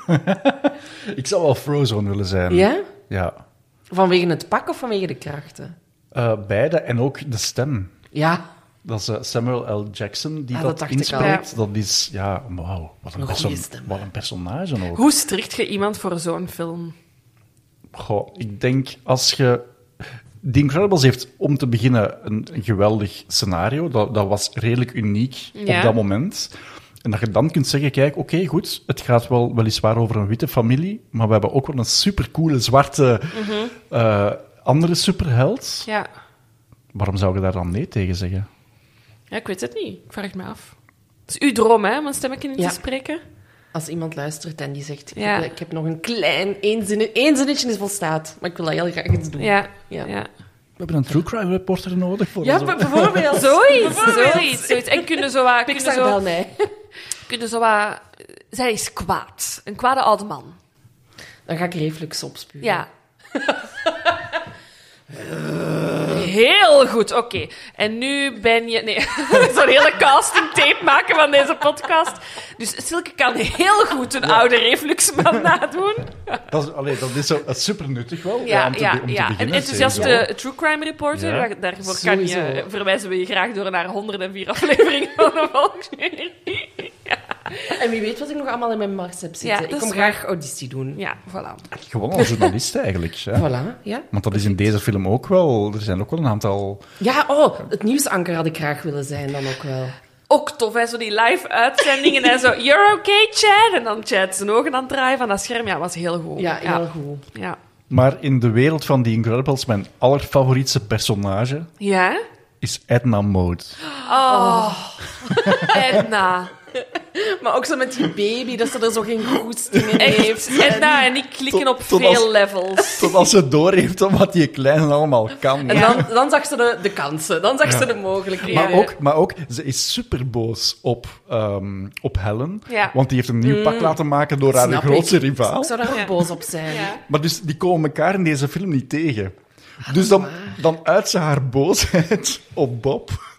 S2: Ik zou wel Frozone willen zijn.
S4: Ja?
S2: Ja.
S4: Vanwege het pak of vanwege de krachten?
S2: Eh, beide en ook de stem.
S4: Ja,
S2: Dat is eh, Samuel L. Jackson die
S4: Ah, dat
S2: dat,
S4: dacht ik
S2: inspreekt. Dat is, ja, wauw. Wat een,
S4: Een goeie
S2: perso-
S4: stem.
S2: wat een personage ook.
S3: Hoe strikt je iemand voor zo'n film?
S2: Goh, ik denk als je. The Incredibles heeft om te beginnen een, een geweldig scenario. Dat, dat was redelijk uniek
S3: Ja.
S2: op dat moment. En dat je dan kunt zeggen, kijk, oké, goed, het gaat wel weliswaar over een witte familie, maar we hebben ook wel een supercoole zwarte
S4: Mhm.
S2: eh, andere superheld.
S3: Ja.
S2: Waarom zou je daar dan nee tegen zeggen?
S3: ja, ik weet het niet. Ik vraag het me af. Het is uw droom, hè, om een stemmetje in
S4: Ja.
S3: te spreken?
S4: Als iemand luistert en die zegt, ik,
S3: Ja.
S4: heb, ik heb nog een klein, één, zin, één zinnetje is volstaat, maar ik wil dat heel graag eens doen.
S3: Ja.
S4: Ja.
S3: ja.
S2: We hebben een true crime reporter nodig voor
S4: Ja,
S2: ons.
S4: b- bijvoorbeeld.
S3: Zoiets, zoiets, zoiets. En kunnen zo wat... Kunnen
S4: Pixar
S3: zo,
S4: bel mij.
S3: kunnen zo wat... Zij is kwaad. Een kwade oude man.
S4: Dan ga ik reflux opspuwen.
S3: Ja. Heel goed, oké. En nu ben je... Nee, zo'n hele casting tape maken van deze podcast. Dus Silke kan heel goed een oude refluxman nadoen.
S2: Dat is, allee, dat is zo, dat is super nuttig wel. Ja,
S3: Ja,
S2: om te,
S3: ja,
S2: be- om te
S3: ja.
S2: beginnen,
S3: Een enthousiaste
S2: sowieso.
S3: true crime reporter.
S2: Ja.
S3: Daar- Daarvoor kan je,
S4: Sowieso.
S3: verwijzen we je graag door naar 104 afleveringen van de Volksjury.
S4: En wie weet wat ik nog allemaal in mijn mars heb
S3: Ja,
S4: zitten. ik
S3: dat
S4: kom
S3: is waar.
S4: graag auditie doen.
S3: Ja, voilà.
S2: Gewoon als journalist eigenlijk. Ja.
S4: Voilà, ja.
S2: Want dat is in deze film ook wel. Er zijn ook wel een aantal.
S4: Ja, oh, het nieuwsanker had ik graag willen zijn dan ook wel.
S3: Ook tof, hè? Zo die live uitzendingen en zo. You're okay, Chad? En dan Chad zijn ogen aan het draaien van dat scherm. Ja, was heel goed.
S4: Ja, heel
S3: ja.
S4: goed.
S3: Ja.
S2: Maar in de wereld van The Incredibles, mijn allerfavorietste personage
S3: Ja?
S2: is Edna Mode.
S3: Oh. Edna.
S4: Maar ook zo met die baby, dat ze er zo geen goesting in heeft.
S3: Echt. Edna en ik klikken op
S2: Tot- tot
S3: veel
S2: als-
S3: levels.
S2: Tot als ze doorheeft om wat die kleine allemaal kan.
S4: En dan, dan zag ze de, de kansen, dan zag ze de mogelijkheden.
S2: Maar ook, maar ook, ze is super boos op, ehm, op Helen.
S3: Ja. Mm.
S2: Want die heeft een nieuw pak laten maken door haar
S4: Snap
S2: grootste
S4: ik.
S2: rivaal.
S4: Ik zou daar ook
S3: Ja.
S4: boos op zijn.
S3: Ja.
S2: Maar dus die komen elkaar in deze film niet tegen.
S3: Ah,
S2: Dus dan, dan uit ze haar boosheid op Bob.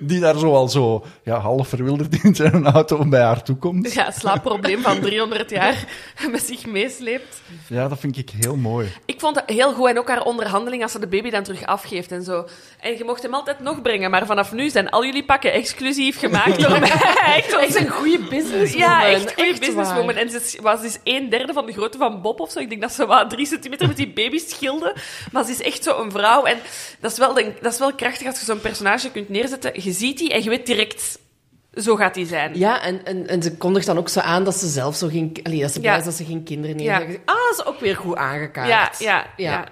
S2: Die daar zo al zo ja, half verwilderd in zijn auto bij haar toe komt.
S3: Ja, het slaapprobleem van 300 jaar met zich meesleept.
S2: Ja, dat vind ik heel mooi.
S3: Ik vond dat heel goed en ook haar onderhandeling als ze de baby dan terug afgeeft en zo. En je mocht hem altijd nog brengen, maar vanaf nu zijn al jullie pakken exclusief gemaakt door mij. Echt
S4: Echt een goede businesswoman.
S3: Ja, echt goede businesswoman.
S4: waar.
S3: En ze is- was dus een derde van de grootte van Bob of zo. Ik denk dat ze wel drie centimeter met die baby schilde. Maar ze is echt zo'n vrouw. En dat is, wel, denk- dat is wel krachtig als je zo'n personage kunt neerzetten. Je ziet die en je weet direct, zo gaat die zijn.
S4: Ja, en, en, en ze kondigt dan ook zo aan dat ze zelf zo geen... Allee, dat ze blij
S3: Ja.
S4: is dat ze geen kinderen
S3: Ja.
S4: heeft. Dan zeg ik, Ah, dat is ook weer goed aangekaart.
S3: ja, ja. ja.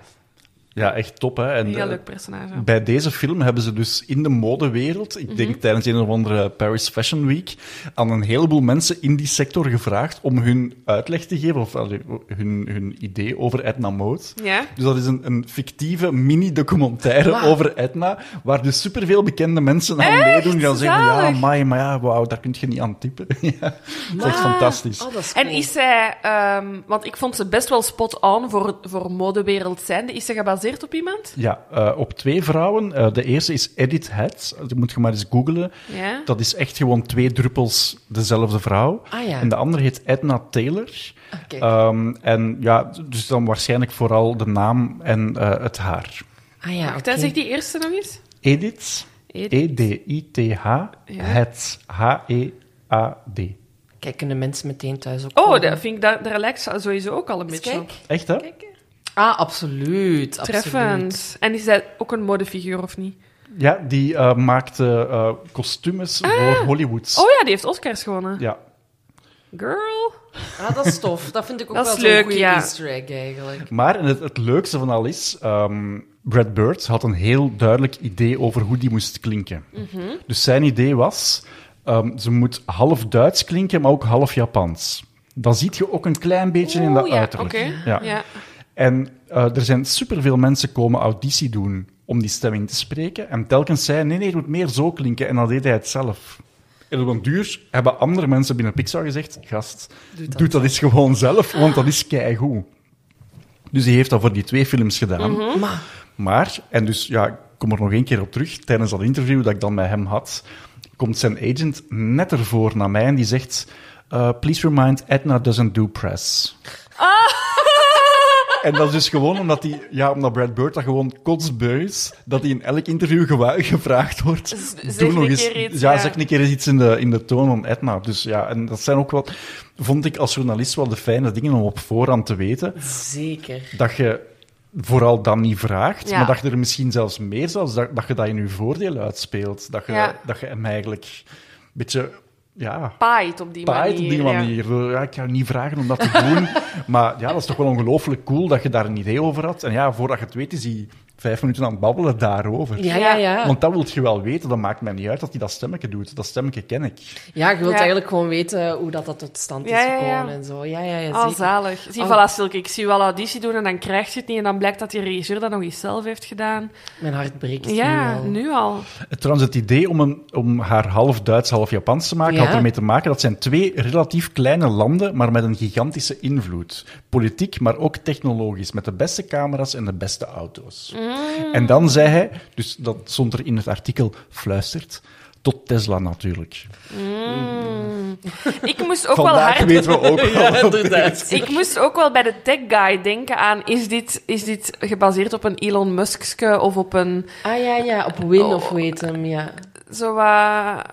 S2: Ja, echt top. Hè? En,
S3: Een heel
S2: eh,
S3: leuk personage.
S2: Bij deze film hebben ze dus in de modewereld, ik
S3: Mhm.
S2: denk tijdens een of andere Paris Fashion Week, aan een heleboel mensen in die sector gevraagd om hun uitleg te geven of eh, hun, hun idee over Edna Mode.
S3: Ja.
S2: Dus dat is een, een fictieve mini-documentaire
S4: Wauw.
S2: over Edna, waar dus superveel bekende mensen aan meedoen. Die dan zeggen, ja,
S3: Zalig.
S2: amai, maar ja, wauw, daar kun je niet aan typen. ja. Dat is echt
S4: Maar-
S2: fantastisch.
S4: Oh, dat is
S3: En
S4: cool.
S3: is zij, ehm, want ik vond ze best wel spot-on voor, voor modewereld zijnde. Is ze gebaseerd op iemand?
S2: Ja, eh, op twee vrouwen. Eh, de eerste is Edith Head. Dat moet je maar eens googlen.
S3: Ja.
S2: Dat is echt gewoon twee druppels dezelfde vrouw.
S4: Ah, ja.
S2: En de andere heet Edna Taylor.
S4: Oké.
S2: Ehm, en ja, dus dan waarschijnlijk vooral de naam en eh, het haar.
S4: Ah ja, oké.
S3: Daar zegt die eerste nog eens.
S2: Edith,
S3: Edith.
S2: E E-D-I-T-H, Het, E H-E-A-D.
S4: Kijk, kunnen mensen meteen thuis ook
S3: Oh,
S4: komen.
S3: dat vind ik, dat, daar lijkt ze sowieso ook al een
S4: Eens
S3: beetje op.
S4: kijk.
S2: Echt, hè?
S4: Ah, absoluut. absoluut.
S3: Treffend. En is zij ook een modefiguur of niet?
S2: Ja, die eh, maakte eh, kostumes voor Hollywoods.
S3: Ah. Oh ja, die heeft Oscars gewonnen.
S2: Ja.
S3: Girl.
S4: Ah, dat is tof. Dat vind ik ook
S3: Dat
S4: wel
S3: is
S4: zo'n
S3: leuk,
S4: goeie
S3: ja.
S4: easter egg eigenlijk.
S2: Maar en het, het leukste van al is, ehm, Brad Bird had een heel duidelijk idee over hoe die moest klinken.
S3: Mhm.
S2: Dus zijn idee was, ehm, ze moet half Duits klinken, maar ook half Japans. Dan ziet je ook een klein beetje in de
S3: Oeh, ja,
S2: uiterlijk.
S3: oké.
S2: Ja.
S3: Ja.
S2: En eh, er zijn superveel mensen komen auditie doen om die stem in te spreken. En telkens zei hij, nee, nee, het moet meer zo klinken. En dan deed hij het zelf. En op een duur hebben andere mensen binnen Pixar gezegd, gast, doe dat, eens gewoon zelf, want dat is keigoed. Dus hij heeft dat voor die twee films gedaan.
S4: Maar,
S2: Maar, en dus ja, ik kom er nog één keer op terug, tijdens dat interview dat ik dan met hem had, komt zijn agent net ervoor naar mij en die zegt, eh, please remind Edna doesn't do press. En dat is dus gewoon omdat, die, ja, omdat Brad Bird dat gewoon kotsbeu is, dat hij in elk interview gewa- gevraagd wordt.
S3: Z-
S2: doe
S3: zeg
S2: nog
S3: een
S2: eens-
S3: keer iets,
S2: ja,
S3: ja.
S2: zeg een keer eens iets in de, in de toon van Edna. Dus ja, en dat zijn ook wat, vond ik als journalist wel de fijne dingen om op voorhand te weten
S4: zeker.
S2: dat je vooral dan niet vraagt,
S3: Ja.
S2: maar dat je er misschien zelfs meer zelfs, dat, dat je dat in je voordeel uitspeelt. Dat je,
S3: Ja.
S2: dat je hem eigenlijk een beetje ja,
S3: paait op die
S2: paait
S3: manier.
S2: op die
S3: ja.
S2: manier. Zo, Ja, ik ga je niet vragen om dat te doen. maar ja, dat is toch wel ongelooflijk cool dat je daar een idee over had. En ja, voordat je het weet, is hij vijf minuten aan het babbelen daarover.
S4: Ja, ja, ja.
S2: Want dat wil je wel weten. Dat maakt mij niet uit dat hij dat stemmetje doet. Dat stemmetje ken ik.
S4: Ja, je wilt
S3: Ja.
S4: eigenlijk gewoon weten hoe dat, dat tot stand is
S3: Ja, ja, ja.
S4: gekomen en zo. Ja, ja, ja,
S3: Ah,
S4: zeker.
S3: zalig. Zie,
S4: Oh.
S3: voilà, Silke, ik zie wel auditie doen en dan krijg je het niet. En dan blijkt dat die regisseur dat nog eens zelf heeft gedaan.
S4: Mijn hart breekt
S3: ja,
S4: nu al.
S3: nu al.
S2: Eh, Trouwens, het idee om, een, om haar half Duits, half Japans te maken,
S4: Ja.
S2: had ermee te maken dat zijn twee relatief kleine landen, maar met een gigantische invloed. Politiek, maar ook technologisch. Met de beste camera's en de beste auto's.
S4: Mm.
S2: En dan zei hij, dus dat stond er in het artikel, fluistert, tot Tesla natuurlijk.
S3: Ik moest ook wel
S2: Vandaag
S3: hard...
S2: weten we ook wel.
S4: Ja, inderdaad.
S3: Ik moest ook wel bij de tech guy denken aan... Is dit, is dit gebaseerd op een Elon Muskske of op een...
S4: Ah ja, ja, op Win
S2: Oh.
S4: of weet hem, ja.
S3: Zo wat...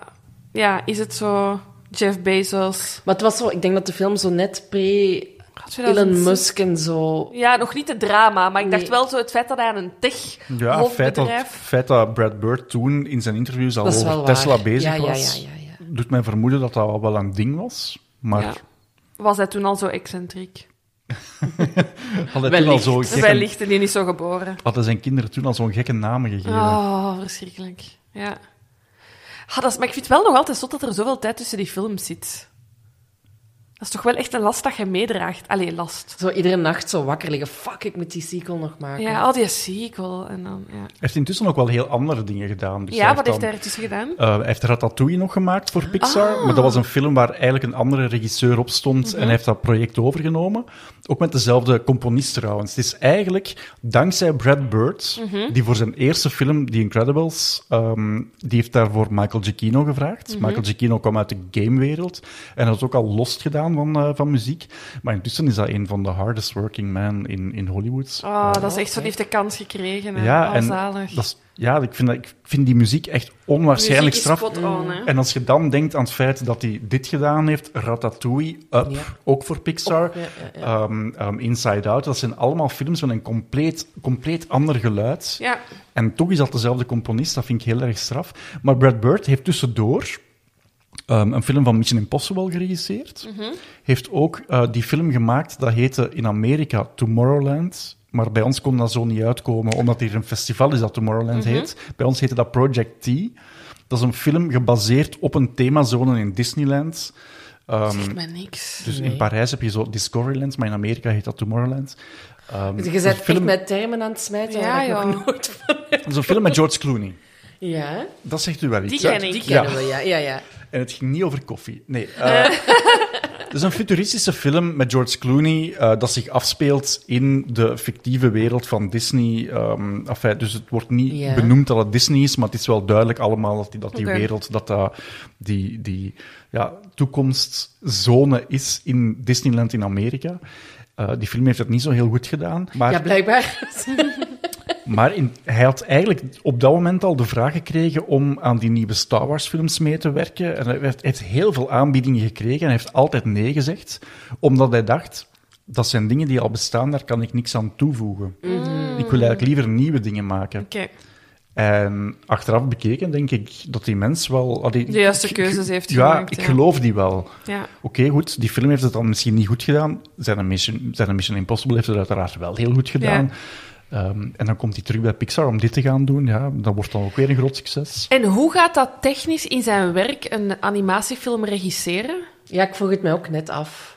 S3: Ja, is het zo... Jeff Bezos...
S4: Maar het was zo, ik denk dat de film zo net pre-Elon
S3: 2006.
S4: Musk en zo.
S3: Ja, nog niet het drama, maar ik dacht
S4: Nee.
S3: wel zo het feit dat hij aan een
S2: Ja, het feit dat,
S3: tech-hoofdbedrijf...
S2: feit dat Brad Bird toen in zijn interviews al
S4: Dat is
S2: over
S4: wel waar.
S2: Tesla bezig
S4: ja,
S2: was,
S4: Ja, ja, ja, ja.
S2: doet mij vermoeden dat dat wel een ding was. Maar
S3: Ja. Was hij toen al zo excentriek?
S2: had hij toen al zo gekke,
S3: Wellicht, en die is zo geboren.
S2: hadden zijn kinderen toen al zo'n gekke namen gegeven.
S3: Oh, verschrikkelijk. Ja. Ah, dat is, maar ik vind het wel nog altijd zot dat er zoveel tijd tussen die films zit. Dat is toch wel echt een last dat je meedraagt. Allee, last.
S4: Zo iedere nacht zo wakker liggen. Fuck, ik moet die sequel nog maken.
S3: Ja, al die sequel. En dan, ja.
S2: Hij heeft intussen ook wel heel andere dingen gedaan. Dus
S3: ja, wat
S2: dan-
S3: heeft hij Ah. ertussen gedaan?
S2: eh, hij heeft Ratatouille nog gemaakt voor Pixar, maar dat was een film waar eigenlijk een andere regisseur op stond
S3: Mhm.
S2: en hij heeft dat project overgenomen. Ook met dezelfde componist trouwens. Het is eigenlijk dankzij Brad Bird,
S3: Mhm.
S2: die voor zijn eerste film, The Incredibles, ehm, die heeft daarvoor Michael Giacchino gevraagd.
S3: Mhm.
S2: Michael Giacchino kwam uit de gamewereld en had ook al lost gedaan van, eh, van muziek. Maar intussen is dat een van de hardest working men in, in Hollywood.
S3: Oh, dat is echt zo,
S4: oké.
S3: die heeft de kans gekregen. Hè.
S2: Ja,
S3: Oh,
S2: en
S3: zalig.
S2: dat is- ja ik, vind dat, ik vind die muziek echt onwaarschijnlijk
S3: Muziek is
S2: straf.
S3: spot on, hè.
S2: En als je dan denkt aan het feit dat hij dit gedaan heeft, Ratatouille, Up,
S4: Ja.
S2: ook voor Pixar,
S4: Ja, ja, ja.
S2: ehm, ehm, Inside Out, dat zijn allemaal films met een compleet, compleet ander geluid.
S3: Ja.
S2: En toch is dat dezelfde componist, dat vind ik heel erg straf. Maar Brad Bird heeft tussendoor ehm, een film van Mission Impossible geregisseerd.
S4: Mhm.
S2: Heeft ook eh, die film gemaakt, dat heette in Amerika Tomorrowland. Maar bij ons kon dat zo niet uitkomen, omdat hier een festival is dat Tomorrowland
S4: Mhm.
S2: heet. Bij ons heette dat Project T. Dat is een film gebaseerd op een themazone in Disneyland. Ehm,
S3: Zegt mij niks.
S2: dus in
S4: Nee.
S2: Parijs heb je zo Discoveryland, maar in Amerika heet dat Tomorrowland. Ehm, dat is
S4: Je
S2: een
S4: bent echt met termen aan het smijten.
S3: Ja,
S4: waar ik nog
S3: joh.
S4: nooit van-
S2: dat is een film met George Clooney.
S4: Ja,
S2: Dat zegt u wel iets.
S3: Die
S2: hè?
S3: ken ik.
S4: die
S2: Ja.
S4: kennen we, ja. ja, ja.
S2: En het ging niet over koffie. Nee. eh, het is een futuristische film met George Clooney eh, dat zich afspeelt in de fictieve wereld van Disney. ehm, enfin, dus het wordt niet
S4: Ja.
S2: benoemd dat het Disney is, maar het is wel duidelijk allemaal dat die, dat die
S3: Oké.
S2: wereld, dat dat die, die ja, toekomstzone is in Disneyland in Amerika. Eh, die film heeft dat niet zo heel goed gedaan. Maar
S4: ja, blijkbaar.
S2: maar in- hij had eigenlijk op dat moment al de vraag gekregen om aan die nieuwe Star Wars films mee te werken. En hij heeft, heeft heel veel aanbiedingen gekregen en hij heeft altijd nee gezegd, omdat hij dacht, dat zijn dingen die al bestaan, daar kan ik niks aan toevoegen.
S3: Mm-hmm.
S2: Ik wil eigenlijk liever nieuwe dingen maken.
S3: Oké,
S2: En achteraf bekeken denk ik dat die mens wel... ah, die-
S3: De juiste
S2: ik- ik-
S3: keuzes heeft
S2: Ja,
S3: gemaakt,
S2: ik
S3: ja.
S2: geloof die wel.
S3: ja.
S2: Oké, goed. Die film heeft het dan misschien niet goed gedaan. Zijn Mission, zijn Mission Impossible heeft het uiteraard wel heel goed gedaan. Ehm, en dan komt hij terug bij Pixar om dit te gaan doen. Ja, dat wordt dan ook weer een groot succes.
S3: En hoe gaat dat technisch in zijn werk een animatiefilm regisseren?
S4: Ja, ik vroeg het mij ook net af.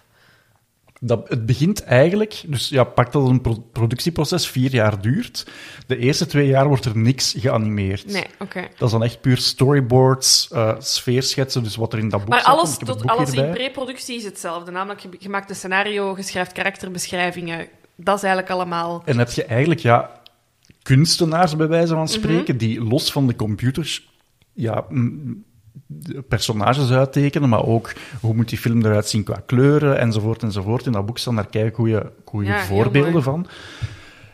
S2: Dat, het begint eigenlijk, dus ja, pak dat een pro- productieproces vier jaar duurt. De eerste twee jaar wordt er niks geanimeerd.
S3: Nee, oké.
S2: Dat is dan echt puur storyboards, eh, sfeerschetsen, dus wat er in dat boek
S3: Maar
S2: staat.
S3: alles,
S2: want ik heb het
S3: tot,
S2: boek
S3: alles in
S2: hierbij.
S3: pre-productie is hetzelfde. Namelijk, je, je maakt een scenario, je schrijft karakterbeschrijvingen. Dat is eigenlijk allemaal...
S2: En heb je eigenlijk ja, kunstenaars, bij wijze
S3: Mhm.
S2: van spreken, die los van de computers ja, mm, de personages uittekenen, maar ook hoe moet die film eruit zien qua kleuren, enzovoort, enzovoort. In dat boek staan daar kijk goede
S3: Ja, heel
S2: voorbeelden
S3: mooi.
S2: van.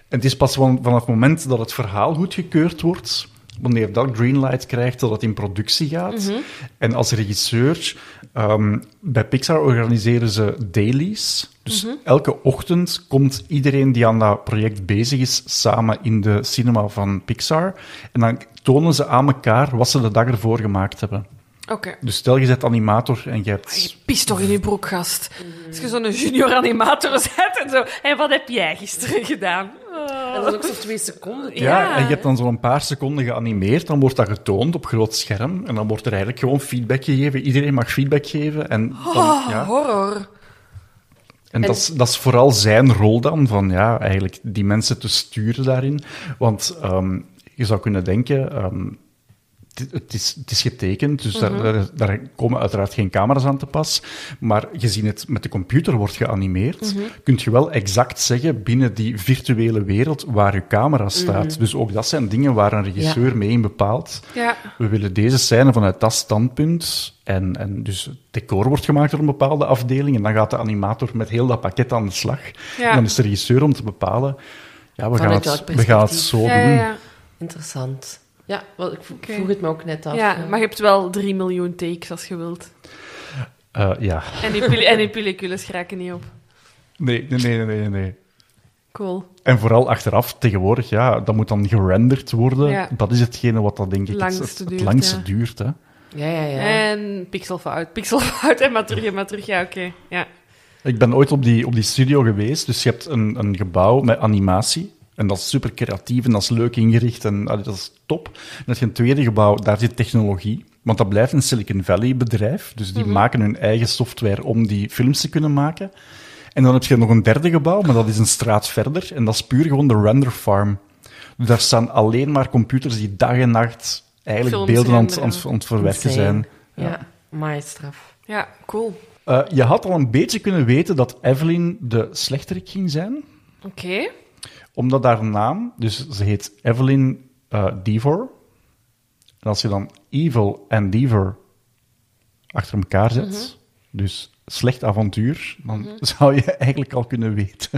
S2: En het is pas van, vanaf het moment dat het verhaal goedgekeurd wordt, wanneer dat greenlight krijgt, dat het in productie gaat.
S3: Mhm.
S2: En als regisseur, ehm, bij Pixar organiseren ze dailies. Dus
S3: Mhm.
S2: elke ochtend komt iedereen die aan dat project bezig is samen in de cinema van Pixar. En dan tonen ze aan elkaar wat ze de dag ervoor gemaakt hebben.
S3: Oké.
S2: Dus stel, je bent animator en je
S3: Ah, Je
S2: hebt...
S3: pist toch in je broek, gast. Als je zo'n junior animator zet en zo. En wat heb jij gisteren gedaan? Oh.
S4: En dat is ook zo'n twee seconden.
S2: Ja,
S3: ja.
S2: en je hebt dan zo'n paar seconden geanimeerd, dan wordt dat getoond op groot scherm en dan wordt er eigenlijk gewoon feedback gegeven. Iedereen mag feedback geven en dan,
S3: Oh,
S2: ja.
S3: horror.
S2: En
S4: En-
S2: dat is, dat is vooral zijn rol dan, van ja, eigenlijk die mensen te sturen daarin. Want ehm, je zou kunnen denken, ehm, het- het, is, het is getekend, dus daar- daar, daar komen uiteraard geen camera's aan te pas. Maar gezien het met de computer wordt geanimeerd, kun je wel exact zeggen binnen die virtuele wereld waar je camera staat. Dus ook dat zijn dingen waar een regisseur mee in bepaalt
S3: Ja.
S2: we willen deze scène vanuit dat standpunt. En, en dus het decor wordt gemaakt door een bepaalde afdeling. En dan gaat de animator met heel dat pakket aan de slag.
S3: Ja.
S2: En dan is de regisseur om te bepalen. Ja, we, gaan
S4: Vanuit
S2: het,
S4: welk
S2: we gaan het
S4: perspectief?
S2: zo
S3: Ja, ja,
S2: doen.
S3: ja.
S4: Interessant. Ja, wel, ik vo-
S3: Oké.
S4: vroeg het me ook net af.
S3: Ja, maar je hebt wel 3 miljoen takes als je wilt.
S2: Eh, ja.
S3: En die, pil- en die pellicules geraken niet op.
S2: Nee, nee, nee, nee, nee, nee.
S3: Cool.
S2: En vooral achteraf, tegenwoordig, ja, dat moet dan gerenderd worden.
S3: Ja.
S2: Dat is hetgene wat dat denk ik het,
S3: Langste
S2: het, het
S3: duurt,
S2: langste
S3: ja.
S2: duurt. Hè.
S4: ja, ja. ja.
S3: En pixelfout, pixelfout. En maar terug, en maar terug. Ja, oké. Ja.
S2: Ik ben ooit op die, op die studio geweest, dus je hebt een, een gebouw met animatie. En dat is super creatief en dat is leuk ingericht en allee, dat is top. En dan heb je een tweede gebouw, daar zit technologie. Want dat blijft een Silicon Valley bedrijf, dus
S3: Mhm.
S2: die maken hun eigen software om die films te kunnen maken. En dan heb je nog een derde gebouw, maar dat is een straat verder. En dat is puur gewoon de render farm. Dus daar staan alleen maar computers die dag en nacht eigenlijk
S3: Films
S2: beelden aan het, aan
S3: renderen.
S2: het- aan het verwerken
S4: Insane.
S2: zijn.
S4: Ja, maar straf.
S3: ja, cool.
S2: Eh, je had al een beetje kunnen weten dat Evelyn de slechterik ging zijn.
S3: Oké.
S2: Omdat haar naam, dus ze heet Evelyn eh Devor. En als je dan Evil en Devor achter elkaar zet, dus slecht avontuur, dan zou je eigenlijk al kunnen weten.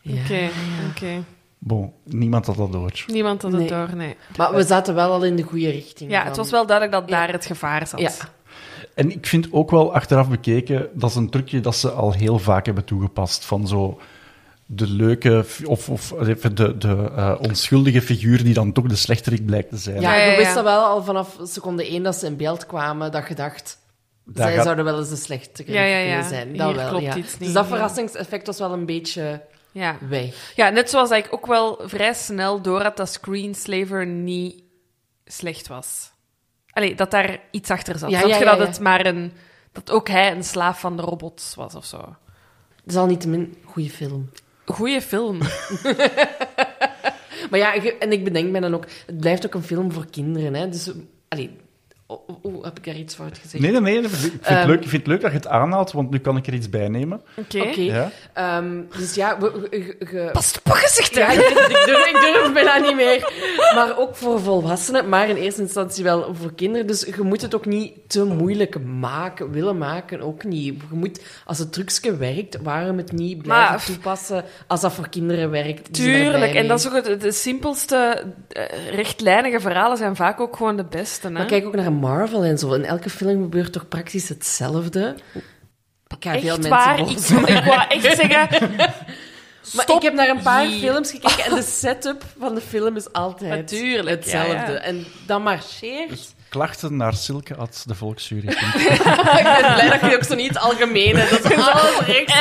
S4: Ja.
S3: Oké, oké.
S2: Bon, niemand had dat door.
S3: Niemand had het
S4: Nee.
S3: door, nee.
S4: Maar we zaten wel al in de goede richting.
S3: Ja,
S4: dan.
S3: het was wel duidelijk dat
S4: Ja.
S3: daar het gevaar zat.
S4: Ja.
S2: En ik vind ook wel achteraf bekeken, dat is een trucje dat ze al heel vaak hebben toegepast. Van zo de leuke, f- of, of even de, de eh, onschuldige figuur die dan toch de slechterik blijkt te zijn.
S4: Ja,
S3: Ja, ja,
S4: je
S3: ja.
S4: wist dat wel al vanaf seconde één dat ze in beeld kwamen, dat je dacht...
S2: Daar
S4: zij
S2: gaat-
S4: zouden wel eens de slechte
S3: Ja, ja, ja.
S4: kunnen zijn. Dat
S3: Hier
S4: wel,
S3: klopt
S4: ja.
S3: iets niet,
S4: Dus dat
S3: ja.
S4: verrassingseffect was wel een beetje
S3: Ja.
S4: weg.
S3: ja, net zoals dat ik ook wel vrij snel door had dat Screenslaver niet slecht was. Allee, dat daar iets achter zat.
S4: Ja,
S3: Snap
S4: ja,
S3: je
S4: ja,
S3: dat
S4: ja.
S3: het maar een... Dat ook hij een slaaf van de robots was of zo.
S4: Het is al niet een goede film.
S3: Goeie film.
S4: Maar ja, ik- en ik bedenk me dan ook... Het blijft ook een film voor kinderen, hè. Dus... Allee, oh, oh, oh, heb ik daar iets fout gezegd?
S2: Nee, nee, nee. Ik vind, het
S4: Ehm.
S2: leuk, ik vind het leuk dat je het aanhaalt, want nu kan ik er iets bij nemen.
S3: Oké.
S4: Oké.
S2: Ja.
S4: Ehm, dus ja, we, we- ge- ge-
S3: Pas op gezicht,
S4: Ja, ik, ik durf, ik durf bijna niet meer. Maar ook voor volwassenen, maar in eerste instantie wel voor kinderen. Dus je moet het ook niet te moeilijk maken, willen maken ook niet. Je moet, als het trucje werkt, waarom het niet blijven
S3: Maar-
S4: toepassen als dat voor kinderen werkt? Die zijn er blij
S3: Tuurlijk, en
S4: mee.
S3: dat is ook het, de simpelste eh, rechtlijnige verhalen zijn vaak ook gewoon de beste. Hè?
S4: Maar kijk ook naar Marvel en zo. In elke film gebeurt toch praktisch hetzelfde? Ik ga
S3: echt
S4: veel mensen
S3: waar,
S4: boos
S3: ik, ik wou echt zeggen,
S4: Maar
S3: Stop
S4: ik heb naar een paar
S3: hier.
S4: films gekeken en de setup van de film is altijd
S3: Natuurlijk,
S4: hetzelfde.
S3: ja, ja.
S4: En dat marcheert.
S2: Klachten naar Silke at de Volksjury.
S4: ik ben blij dat je ook zo niet algemeen hebt. Dat is alles rechts.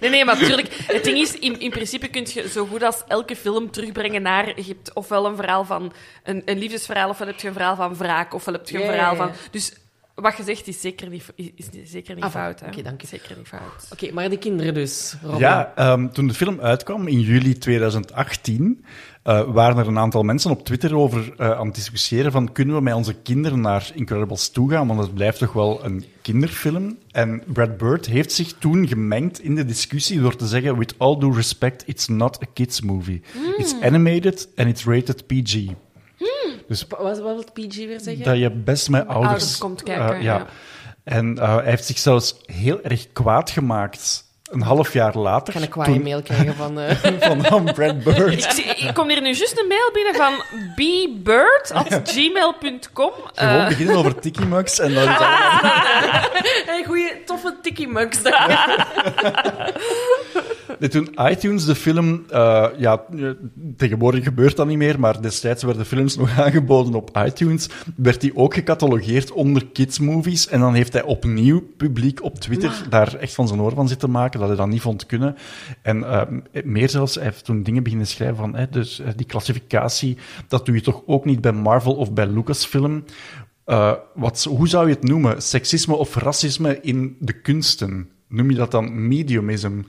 S3: Nee, nee, maar natuurlijk. Het ding is, in, in principe kun je zo goed als elke film terugbrengen naar... Je hebt ofwel een verhaal van... Een, een liefdesverhaal, ofwel heb je een verhaal van wraak, ofwel heb je een
S4: Ja, ja,
S3: verhaal van...
S4: ja.
S3: Dus wat je zegt is zeker niet, is, is zeker niet
S4: Ah,
S3: fout. hè.
S4: oké, dank je.
S3: Zeker niet fout.
S4: Oké, maar de kinderen dus, Robin.
S2: Ja, ehm, toen de film uitkwam in juli 2018, eh, waren er een aantal mensen op Twitter over eh, aan het discussiëren van kunnen we met onze kinderen naar Incredibles toe gaan, want het blijft toch wel een kinderfilm. En Brad Bird heeft zich toen gemengd in de discussie door te zeggen, with all due respect, it's not a kids movie. It's animated and it's rated PG.
S4: Wat, wat wil het PG weer zeggen?
S2: Dat je best met ouders...
S3: ouders komt kijken,
S2: eh,
S3: ja.
S2: En eh, hij heeft zich zelfs heel erg kwaad gemaakt. Een half jaar later.
S4: Ik ga een
S2: toen-
S4: kwaaie mail krijgen van... eh,
S2: Van van Brad Bird.
S3: Ik, zie- ik kom hier nu juist een mail binnen van bbird.gmail.com.
S2: Gewoon beginnen over Tiki Max en dan...
S4: hey, goeie, toffe tikkie mugs. Dat
S2: Nee, toen iTunes de film, eh, ja, eh, tegenwoordig gebeurt dat niet meer, maar destijds werden films nog aangeboden op iTunes, werd die ook gecatalogeerd onder kids movies. En dan heeft hij opnieuw publiek op Twitter daar echt van zijn oor van zitten maken, dat hij dat niet vond kunnen. En eh, meer zelfs, hij heeft toen dingen beginnen schrijven van, hè, dus eh, die klassificatie, dat doe je toch ook niet bij Marvel of bij Lucasfilm. Eh, wat, hoe zou je het noemen? Seksisme of racisme in de kunsten? Noem je dat dan mediumism?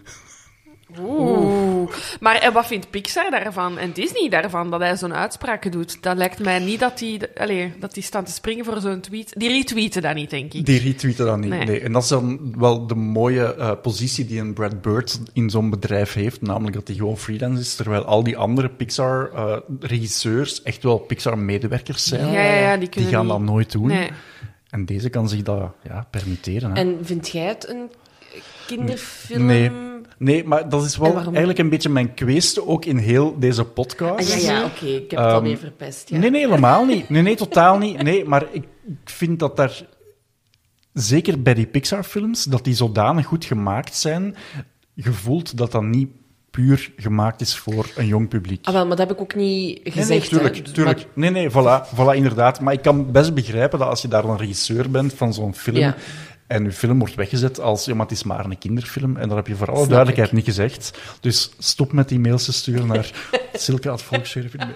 S3: Oeh. Maar en wat vindt Pixar daarvan en Disney daarvan dat hij zo'n uitspraak doet? Dat lijkt mij niet dat die, allee, dat die staan te springen voor zo'n tweet. Die retweeten dat niet, denk ik.
S2: Die retweeten dat niet. Nee.
S3: Nee.
S2: En dat is dan wel de mooie eh, positie die een Brad Bird in zo'n bedrijf heeft. Namelijk dat hij gewoon freelance is, terwijl al die andere Pixar-regisseurs echt wel Pixar-medewerkers zijn.
S3: Ja, ja, ja, die
S2: die
S3: kunnen
S2: gaan
S3: niet.
S2: dat nooit doen.
S3: Nee.
S2: En deze kan zich dat ja, permitteren. Hè.
S4: En vind jij het een kinderfilm?
S2: Nee. Nee, maar dat is wel
S4: En waarom?
S2: eigenlijk een beetje mijn kweeste, ook in heel deze podcast.
S4: Ah, ja, ja, oké. Ik heb het
S2: Ehm,
S4: alweer verpest. Ja.
S2: Nee, nee, helemaal niet. Nee, nee, totaal niet. Nee, maar ik ik vind dat daar... Zeker bij die Pixar-films, dat die zodanig goed gemaakt zijn, gevoeld dat dat niet puur gemaakt is voor een jong publiek.
S4: Ah, wel, maar dat heb ik ook niet
S2: Nee,
S4: gezegd.
S2: nee,
S4: hè.
S2: tuurlijk, tuurlijk.
S4: Maar-
S2: Nee, nee, voilà, voilà, inderdaad. Maar ik kan best begrijpen dat als je daar een regisseur bent van zo'n film...
S4: Ja.
S2: En uw film wordt weggezet als, ja, maar het is maar een kinderfilm. En dat heb je voor alle
S4: Snap
S2: duidelijkheid
S4: ik.
S2: niet gezegd. Dus stop met die mails te sturen naar silke.volksservice.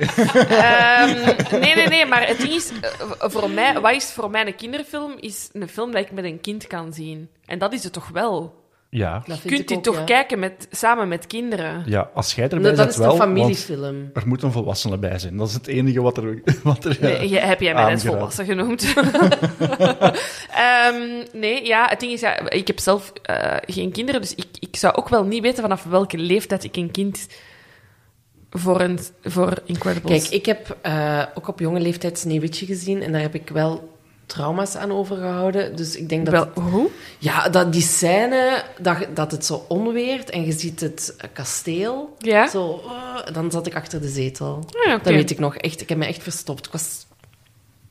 S3: Ehm, nee, nee, nee, maar het ding is, eh, voor mij, wat is voor mij een kinderfilm, is een film dat ik met een kind kan zien. En dat is het toch wel?
S2: Ja.
S4: Dat
S3: Je
S4: vind
S3: kunt
S4: ik
S3: die
S4: ook,
S3: toch
S4: ja.
S3: kijken met, samen met kinderen.
S2: Ja, als jij erbij
S4: Dat, dat
S2: bent
S4: is
S2: wel,
S4: een
S2: want
S4: familiefilm.
S2: er moet een volwassene bij zijn. Dat is het enige wat er... Wat er eh,
S3: Nee, je- heb jij mij net
S2: aangeraden.
S3: volwassen genoemd? Ehm, nee, ja, het ding is, ja, ik heb zelf eh, geen kinderen, dus ik, ik zou ook wel niet weten vanaf welke leeftijd ik een kind voor, een, voor Incredibles...
S4: Kijk, ik heb eh, ook op jonge leeftijd Sneeuwwitje gezien en daar heb ik wel trauma's aan overgehouden. Dus ik denk dat...
S3: Wel, hoe?
S4: Ja, dat die scène, dat, dat het zo onweert en je ziet het eh, kasteel.
S3: Ja. Ah,
S4: Zo, eh, dan zat ik achter de zetel.
S3: ja, oké.
S4: Dat weet ik nog. Echt, ik heb me echt verstopt. Ik was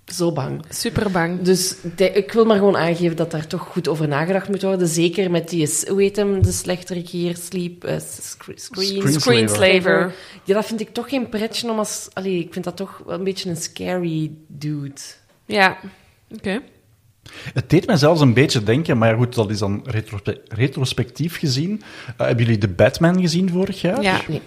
S4: zo bang.
S3: Super bang.
S4: Dus ik denk- ik wil maar gewoon aangeven dat daar toch goed over nagedacht moet worden. Zeker met die, s- hoe heet hem, de slechterik hier, Sleep, eh, s- scre- Screen...
S2: Screen-
S3: Screenslaver.
S4: Ja, dat vind ik toch geen pretje om als... Allee, ik vind dat toch wel een beetje een scary dude.
S3: Ja, oké.
S2: Het deed mij zelfs een beetje denken, maar ja, goed, dat is dan retrospe- retrospectief gezien. Eh, hebben jullie de Batman gezien vorig jaar?
S3: Ja.
S4: Nee.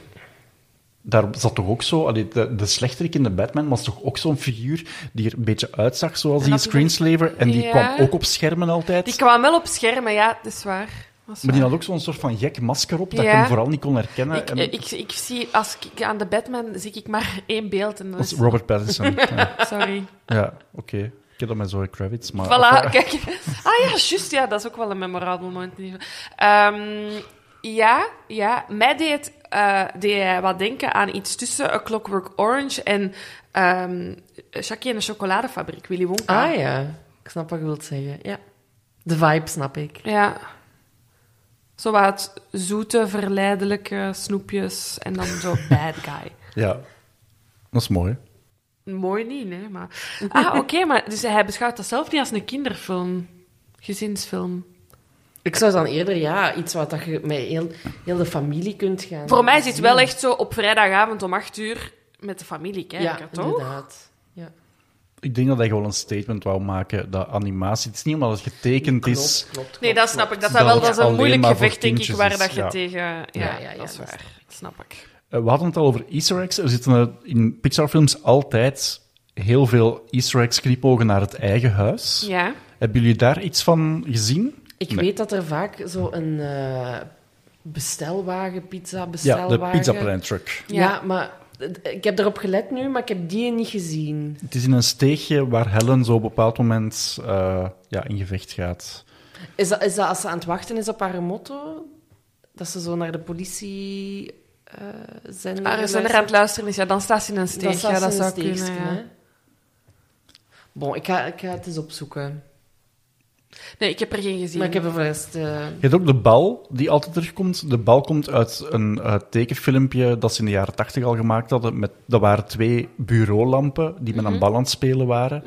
S2: Daar zat toch ook zo... allee, de, de slechterik in de Batman was toch ook zo'n figuur die er een beetje uitzag, zoals die
S3: dat die-
S2: screenslaver. En die
S3: Ja.
S2: kwam ook op schermen altijd.
S3: Die kwam wel op schermen, ja, dat is waar. Dat is
S2: Maar die
S3: waar.
S2: had ook zo'n soort van gek masker op, dat
S3: Ja.
S2: ik hem vooral niet kon herkennen.
S3: Ik,
S2: En
S3: eh, ik, ik zie, als ik aan de Batman zie ik maar één beeld en dat
S2: Dat is
S3: is...
S2: Robert Pattinson. ja.
S3: Sorry.
S2: Ja, oké. Ik heb dat met Zoe Kravitz, maar... eh,
S3: Voilà,
S4: eh,
S2: Enfin,
S3: kijk. Ah ja, juist, ja, dat is ook wel een memorabel moment. in ieder geval. Ehm, ja, ja, mij deed, eh, deed hij wat denken aan iets tussen A Clockwork Orange en ehm Jackie en de chocoladefabriek, Willy Wonka.
S4: Ah ja, ik snap wat je wilt zeggen. Ja. De vibe snap ik.
S3: Ja. Zo wat zoete, verleidelijke snoepjes en dan zo bad guy.
S2: Ja. Dat is mooi.
S3: Mooi niet, nee, maar... Ah, oké, maar dus hij beschouwt dat zelf niet als een kinderfilm. Gezinsfilm.
S4: Ik zou dan eerder, ja, iets wat dat je met heel, heel de familie kunt gaan.
S3: Voor mij is het
S4: zien.
S3: wel echt zo op vrijdagavond om 8 uur met de familie kijken,
S4: Ja,
S3: toch?
S4: inderdaad. Ja.
S2: Ik denk dat hij gewoon een statement wou maken, dat animatie... Het is niet omdat het getekend is...
S4: Klopt, klopt,
S3: Nee, dat
S4: klopt.
S3: snap ik. Dat,
S2: Dat
S3: dat, wel,
S2: het
S3: dat is een
S2: alleen
S3: moeilijk
S2: maar voor
S3: gevecht, denk ik,
S2: kindjes
S3: waar
S2: is,
S3: dat je
S2: ja.
S3: tegen... Ja,
S4: Ja, ja,
S3: dat is
S4: ja, dat
S3: waar. Snap ik.
S2: Eh, We hadden het al over Easter eggs. Er zitten eh, in Pixar-films altijd heel veel Easter eggs knipogen naar het eigen huis.
S3: Ja.
S2: Hebben jullie daar iets van gezien?
S4: Ik
S2: Nee.
S4: weet dat er vaak zo'n eh, bestelwagen, pizza
S2: Ja,
S4: bestelwagen...
S2: de Pizza Plan Truck.
S4: Ja,
S3: Ja.
S4: maar d- ik heb erop gelet nu, maar ik heb die niet gezien.
S2: Het is in een steegje waar Helen zo op een bepaald moment eh, ja, in gevecht gaat.
S4: Is dat, is dat als ze aan het wachten is op haar motto? Dat ze zo naar de politie eh zijn
S3: Maar als ze er aan het luisteren is, ja, dan staat ze in een steeg.
S4: Dat,
S3: Ah, ja, dat
S4: zou
S3: zou
S4: steeks
S3: kunnen,
S4: kunnen,
S3: ja.
S4: hè? Bon, ik ga, ik ga het eens opzoeken.
S3: Nee, ik heb er geen gezien.
S4: Maar ik heb er voor de rest... eh,
S2: Je hebt ook de bal die altijd terugkomt. De bal komt uit een eh, tekenfilmpje dat ze in de jaren tachtig al gemaakt hadden. Met, dat waren twee bureaulampen die met een bal aan het spelen waren.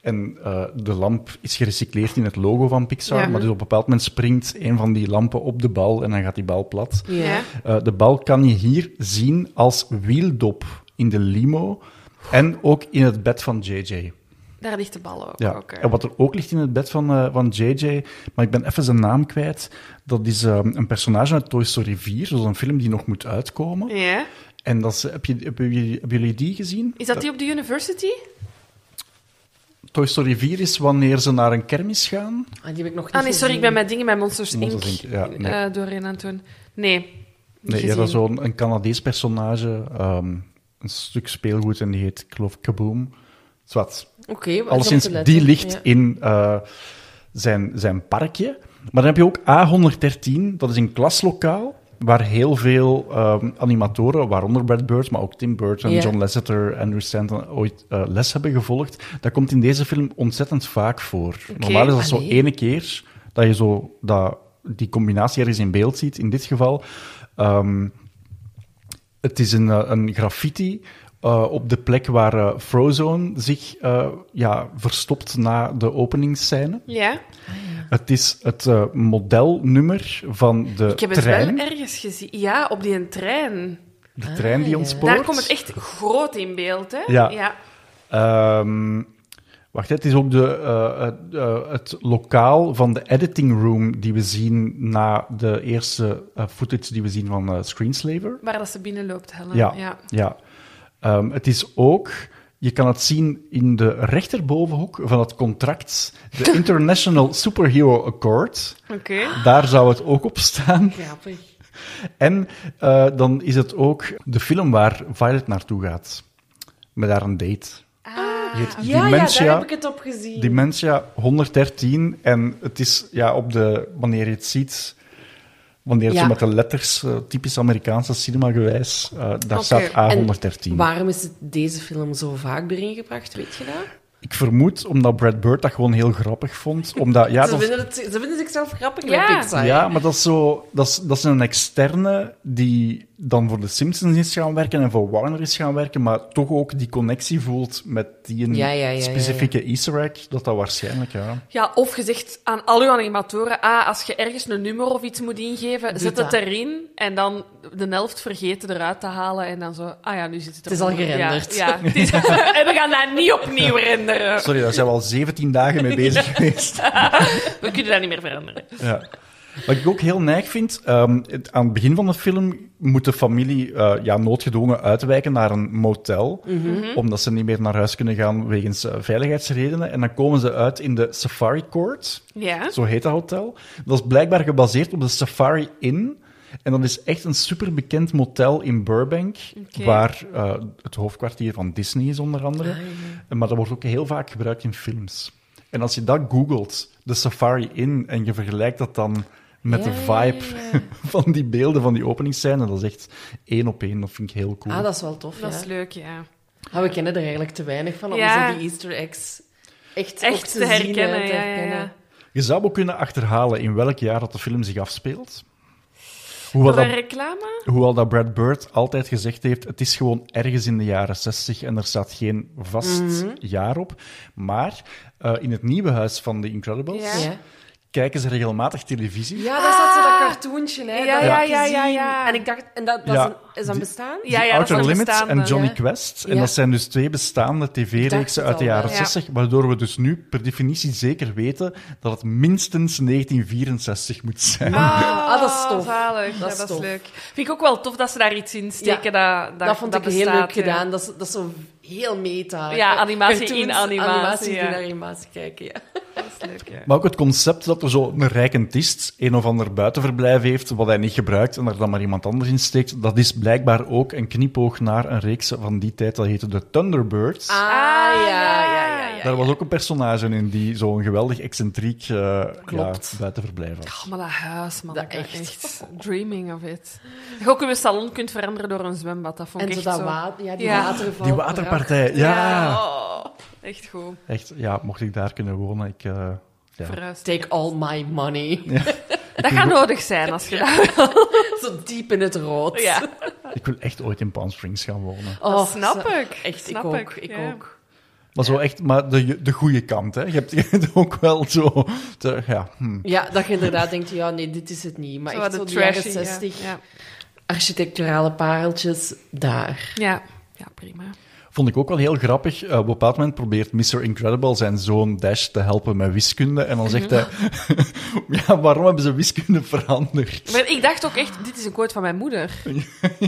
S2: En eh, de lamp is gerecycleerd in het logo van Pixar.
S3: Ja.
S2: Maar dus op een bepaald moment springt een van die lampen op de bal en dan gaat die bal plat.
S4: Ja.
S3: Ja.
S2: Eh, de bal kan je hier zien als wieldop in de limo en ook in het bed van JJ.
S3: Daar ligt de bal ook.
S2: Ja.
S3: Oké.
S2: En wat er ook ligt in het bed van, eh, van JJ, maar ik ben even zijn naam kwijt. Dat is ehm, een personage uit Toy Story 4, dat is een film die nog moet uitkomen.
S3: Ja.
S2: En dat is, heb je, heb je- hebben jullie die gezien?
S3: Is dat die op de university? Ah,
S2: Toy Story 4 is wanneer ze naar een kermis gaan.
S4: Ah, die heb ik nog niet
S3: Ah nee, sorry, ik ben
S4: gezien.
S3: met dingen bij Monsters,
S2: Monsters,
S3: Inc.
S2: Inc., ja, nee.
S3: eh, doorheen aan het doen. Nee. niet
S2: Nee, ja,
S3: gezien.
S2: dat is zo'n een Canadees personage. ehm, een stuk speelgoed en die heet, ik geloof, Kaboom. Zwat.
S4: Oké, we-
S2: Alleszins,
S4: op te letten.
S2: die ligt
S4: Ja.
S2: in eh, zijn, zijn parkje. Maar dan heb je ook A113, dat is een klaslokaal. Waar heel veel ehm, animatoren, waaronder Brad Bird, maar ook Tim Burton,
S4: Ja.
S2: John Lasseter, Andrew Stanton, ooit eh, les hebben gevolgd. Dat komt in deze film ontzettend vaak voor. Normaal is dat zo
S4: allee.
S2: ene keer dat je zo dat, die combinatie ergens in beeld ziet. In dit geval, ehm, het is een, eh, een graffiti eh, op de plek waar eh, Frozone zich eh, ja, verstopt na de openingsscène.
S3: Ja.
S2: Het is het eh, modelnummer van de
S3: Ik heb het
S2: trein.
S3: wel ergens gezien. Ja, op die trein.
S2: De trein
S4: Ah,
S2: die
S4: ja.
S2: ontspoort.
S3: Daar komt het echt groot in beeld, hè?
S2: Ja.
S3: ja.
S2: Ehm, wacht, hè, het is ook de, eh, het, eh, het lokaal van de editing room die we zien na de eerste eh, footage die we zien van eh, Screenslaver.
S3: Waar dat ze binnenloopt, Helen.
S2: Ja, ja.
S3: Oh, ja.
S2: Ehm, het is ook, je kan het zien in de rechterbovenhoek van het contract, de International Superhero Accord.
S3: Oké.
S2: Daar zou het ook op staan.
S4: Grappig.
S2: En eh, dan is het ook de film waar Violet naartoe gaat. Met haar een date.
S3: Ah,
S2: Je hebt
S4: Ja,
S2: Dementia.
S4: ja, daar heb ik het op gezien.
S2: Dementia 113. En het is ja, op de, wanneer je het ziet, wanneer het
S4: Ja.
S2: zo met de letters, eh, typisch Amerikaanse cinema gewijs, eh, daar
S3: Oké,
S2: staat
S4: en
S2: A113.
S4: Waarom is het deze film zo vaak erin gebracht, weet je dat?
S2: Ik vermoed omdat Brad Bird dat gewoon heel grappig vond. Omdat, ja,
S4: ze,
S2: dat,
S4: vinden het, ze vinden zichzelf grappig
S3: Ja.
S4: met Pixar.
S2: ja, maar dat is, zo, dat, is, dat is een externe die dan voor de Simpsons is gaan werken en voor Warner is gaan werken, maar toch ook die connectie voelt met die een
S4: Ja, ja, ja, ja,
S2: specifieke easter egg, dat dat waarschijnlijk, ja.
S3: Ja, of gezegd aan al uw animatoren, ah, als je ergens een nummer of iets moet ingeven,
S4: Doe
S3: zet
S4: dat.
S3: het erin en dan de helft vergeten eruit te halen en dan zo, ah ja, nu zit het er.
S4: Het is al
S3: onder.
S4: gerenderd.
S3: Ja, ja, het is- en we gaan dat niet opnieuw
S4: Eh,
S3: renderen.
S2: Sorry, daar zijn we al 17 dagen mee bezig geweest.
S3: We kunnen dat niet meer veranderen.
S2: Ja. Wat ik ook heel neig vind, ehm, het- aan het begin van de film moet de familie eh, ja, noodgedwongen uitwijken naar een motel, omdat ze niet meer naar huis kunnen gaan wegens eh, veiligheidsredenen. En dan komen ze uit in de Safari Court,
S3: Ja.
S2: zo heet dat hotel. Dat is blijkbaar gebaseerd op de Safari Inn. En dat is echt een superbekend motel in Burbank,
S3: Oké.
S2: waar eh, het hoofdkwartier van Disney is onder
S4: Ah,
S2: andere. Maar dat wordt ook heel vaak gebruikt in films. En als je dat googelt, de Safari in, en je vergelijkt dat dan met
S4: Ja,
S2: de
S4: ja, ja,
S2: vibe van die beelden van die openingsscène, dat is echt één op één. Dat vind ik heel cool.
S4: Ah, dat is wel tof.
S3: Dat
S4: ja.
S3: is leuk, ja.
S4: Ah, we kennen er eigenlijk te weinig van om
S3: Ja.
S4: zo die Easter eggs echt, ook
S3: Echt
S4: te,
S3: te
S4: zien en
S3: herkennen,
S4: te
S3: ja, ja,
S4: herkennen.
S3: ja.
S2: Je zou ook kunnen achterhalen in welk jaar dat de film zich afspeelt. Hoewel
S3: Voor een
S2: dat,
S3: reclame?
S2: hoewel dat Brad Bird altijd gezegd heeft, het is gewoon ergens in de jaren 60 en er staat geen vast
S3: Mhm.
S2: jaar op. Maar eh, in het nieuwe huis van The Incredibles
S3: Ja.
S4: Ja.
S2: kijken ze regelmatig televisie.
S4: Ja, daar zat zo dat cartoontje, hè.
S3: Ah. Ja,
S4: dat
S3: ja,
S4: heb ik
S3: ja, ja,
S4: gezien.
S3: ja.
S4: En ik dacht, en dat, dat
S2: Ja.
S4: is, een, is dat
S2: Die-
S4: bestaan?
S3: Ja,
S2: The
S3: ja, dat is
S2: Outer
S3: een
S2: Limits
S3: bestaande.
S2: en Johnny
S4: Ja.
S2: Quest. En
S4: Ja.
S2: dat zijn dus twee bestaande
S4: dacht
S2: tv-reeksen
S4: het
S2: uit de
S4: al,
S2: jaren
S3: ja.
S2: 60, waardoor we dus nu per definitie zeker weten dat het minstens 1964 moet zijn.
S4: Ah, dat is tof.
S3: Oh, Zalig.
S4: Dat
S3: ja,
S4: is
S3: dat is
S4: tof.
S3: leuk. Vind ik ook wel tof dat ze daar iets in steken. dat, dat,
S4: dat vond ik heel
S3: bestaat,
S4: leuk
S3: ja.
S4: gedaan. Dat is, dat is zo heel meta.
S3: Ja, animatie in
S4: Cartoons,
S3: animatie,
S4: animatie
S3: ja.
S4: die naar animatie kijken, ja.
S3: Dat is leuk, ja.
S2: Maar ook het concept dat er zo een rijkentist een of ander buitenverblijf heeft, wat hij niet gebruikt en er dan maar iemand anders in steekt, dat is blijkbaar ook een knipoog naar een reeks van die tijd, dat heette de Thunderbirds.
S4: Ah, ja, ja, ja. ja.
S2: Daar was ook een personage in die zo'n geweldig excentriek eh ja,
S4: Klopt.
S2: buitenverblijf had.
S3: Oh, maar dat huis, man.
S4: Dat
S3: ik echt.
S4: echt.
S3: Dreaming of it. Dat je ook je salon kunt veranderen door een zwembad. Dat vond
S4: En
S3: ik
S4: zo
S3: echt
S4: dat
S3: zo.
S4: water, ja, die
S3: Ja.
S4: waterval.
S2: Die waterpartij, ja.
S3: oh, echt goed.
S2: Echt, ja, mocht ik daar kunnen wonen, ik... eh, ja.
S3: Verhuis.
S4: Take all my money.
S3: Dat gaat nodig zijn als je dat...
S4: Zo diep in het rood.
S3: Ja,
S2: Ik wil echt ooit in Palm Springs gaan wonen.
S4: Oh,
S3: snap
S4: zo-
S3: ik.
S4: Echt,
S3: Snap
S4: ik ook.
S3: ik,
S4: Ik
S3: ja.
S4: ook.
S2: Maar zo echt maar de, de goede kant. Hè? Je hebt, je hebt ook wel zo... de- ja, hm.
S4: Ja, dat je inderdaad denkt, ja, nee, dit is het niet. Maar
S3: Zo wat
S4: echt zo
S3: de
S4: de jaren
S3: trashy, ja.
S4: 60,
S3: Ja.
S4: architecturale pareltjes, daar.
S3: Ja. ja, prima.
S2: Vond ik ook wel heel grappig. Eh, op een bepaald moment probeert Mr. Incredible zijn zoon Dash te helpen met wiskunde. En dan zegt hij... ja, waarom hebben ze wiskunde veranderd?
S3: Maar ik dacht ook echt, dit is een quote van mijn moeder.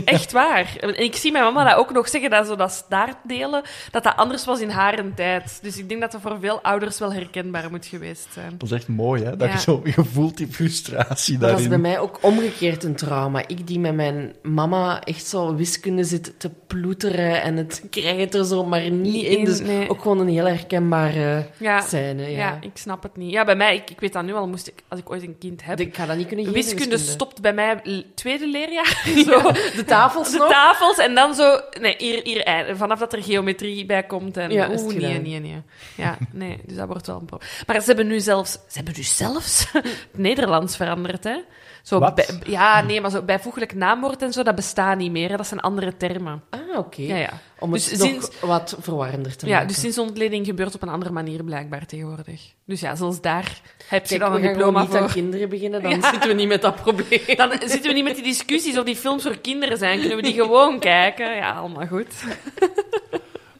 S3: Echt waar. En ik zie mijn mama dat ook nog zeggen, dat zo dat staartdelen, dat dat anders was in haar tijd. Dus ik denk dat dat voor veel ouders wel herkenbaar moet geweest zijn.
S2: Dat is echt mooi, hè? Dat
S3: Ja.
S2: je zo je voelt die frustratie
S4: Maar dat is
S2: daarin.
S4: bij mij ook omgekeerd een trauma. Ik die met mijn mama echt zo wiskunde zit te ploeteren en het krijgt het er zo maar niet in.
S3: in,
S4: Dus
S3: nee.
S4: ook gewoon een heel herkenbare
S3: Ja.
S4: scène.
S3: Ja.
S4: Ja.
S3: ik snap het niet. Ja, bij mij, ik, ik weet dat nu al, moest ik, als ik ooit een kind heb...
S4: Ik ga dat niet kunnen geven.
S3: Wiskunde stopt bij mij l- tweede leerjaar. Zo.
S4: De tafels
S3: De
S4: nog.
S3: tafels en dan zo... Nee, hier, hier, eind- vanaf dat er geometrie bij komt en...
S4: Ja, is het
S3: Oeh, nee,
S4: gedaan.
S3: nee, nee. Ja, nee, dus dat wordt wel een probleem. Maar ze hebben nu zelfs... Ze hebben nu zelfs het Nederlands veranderd, hè? Zo
S2: Wat?
S3: bij- ja, nee, maar zo bijvoeglijk naamwoord en zo, dat bestaat niet meer. hè. Dat zijn andere termen.
S4: Ah, oké.
S3: Ja, ja.
S4: Om het
S3: Dus
S4: nog
S3: sinds-
S4: wat verwarrender te
S3: Ja,
S4: maken.
S3: dus sinds ontleding gebeurt op een andere manier blijkbaar tegenwoordig. Dus ja, zelfs daar heb je
S4: Kijk,
S3: dan
S4: we
S3: een
S4: gaan gewoon
S3: diploma
S4: niet
S3: voor.
S4: aan kinderen beginnen, dan
S3: Ja.
S4: zitten we niet met dat probleem.
S3: Dan zitten we niet met die discussies of die films voor kinderen zijn. Kunnen we die gewoon kijken? Ja, allemaal goed.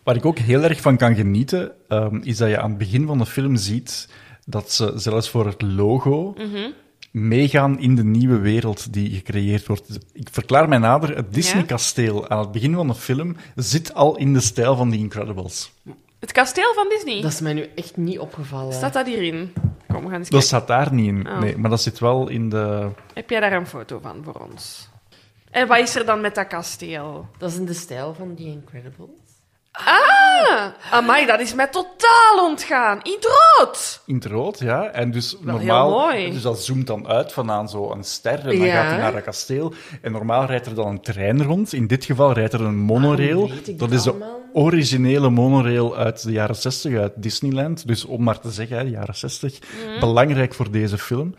S2: Waar ik ook heel erg van kan genieten, ehm, is dat je aan het begin van de film ziet dat ze zelfs voor het logo
S4: Mhm.
S2: meegaan in de nieuwe wereld die gecreëerd wordt. Ik verklaar mij nader, het Disney-kasteel aan het begin van de film zit al in de stijl van The Incredibles.
S3: Het kasteel van Disney.
S4: Dat is eh, mij nu echt niet opgevallen.
S3: Staat dat hierin? Kom, we gaan eens
S2: Dat
S3: kijken.
S2: staat daar niet in,
S3: Oh.
S2: nee, maar dat zit wel in de...
S3: Heb jij daar een foto van voor ons? En wat is er dan met dat kasteel?
S4: Dat is in de stijl van The Incredibles.
S3: Ah, amai, dat is mij totaal ontgaan. In het rood.
S2: In het rood, ja. En dus
S3: Wel heel
S2: normaal,
S3: mooi.
S2: dus dat zoomt dan uit van aan zo'n ster en dan
S4: Ja.
S2: gaat hij naar dat kasteel. En normaal rijdt er dan een trein rond. In dit geval rijdt er een monorail.
S4: Waarom Ah, weet ik
S2: dat
S4: dit
S2: is de
S4: allemaal?
S2: originele monorail uit de jaren 60 uit Disneyland. Dus om maar te zeggen, hè, de jaren 60.
S4: Mhm.
S2: Belangrijk voor deze film.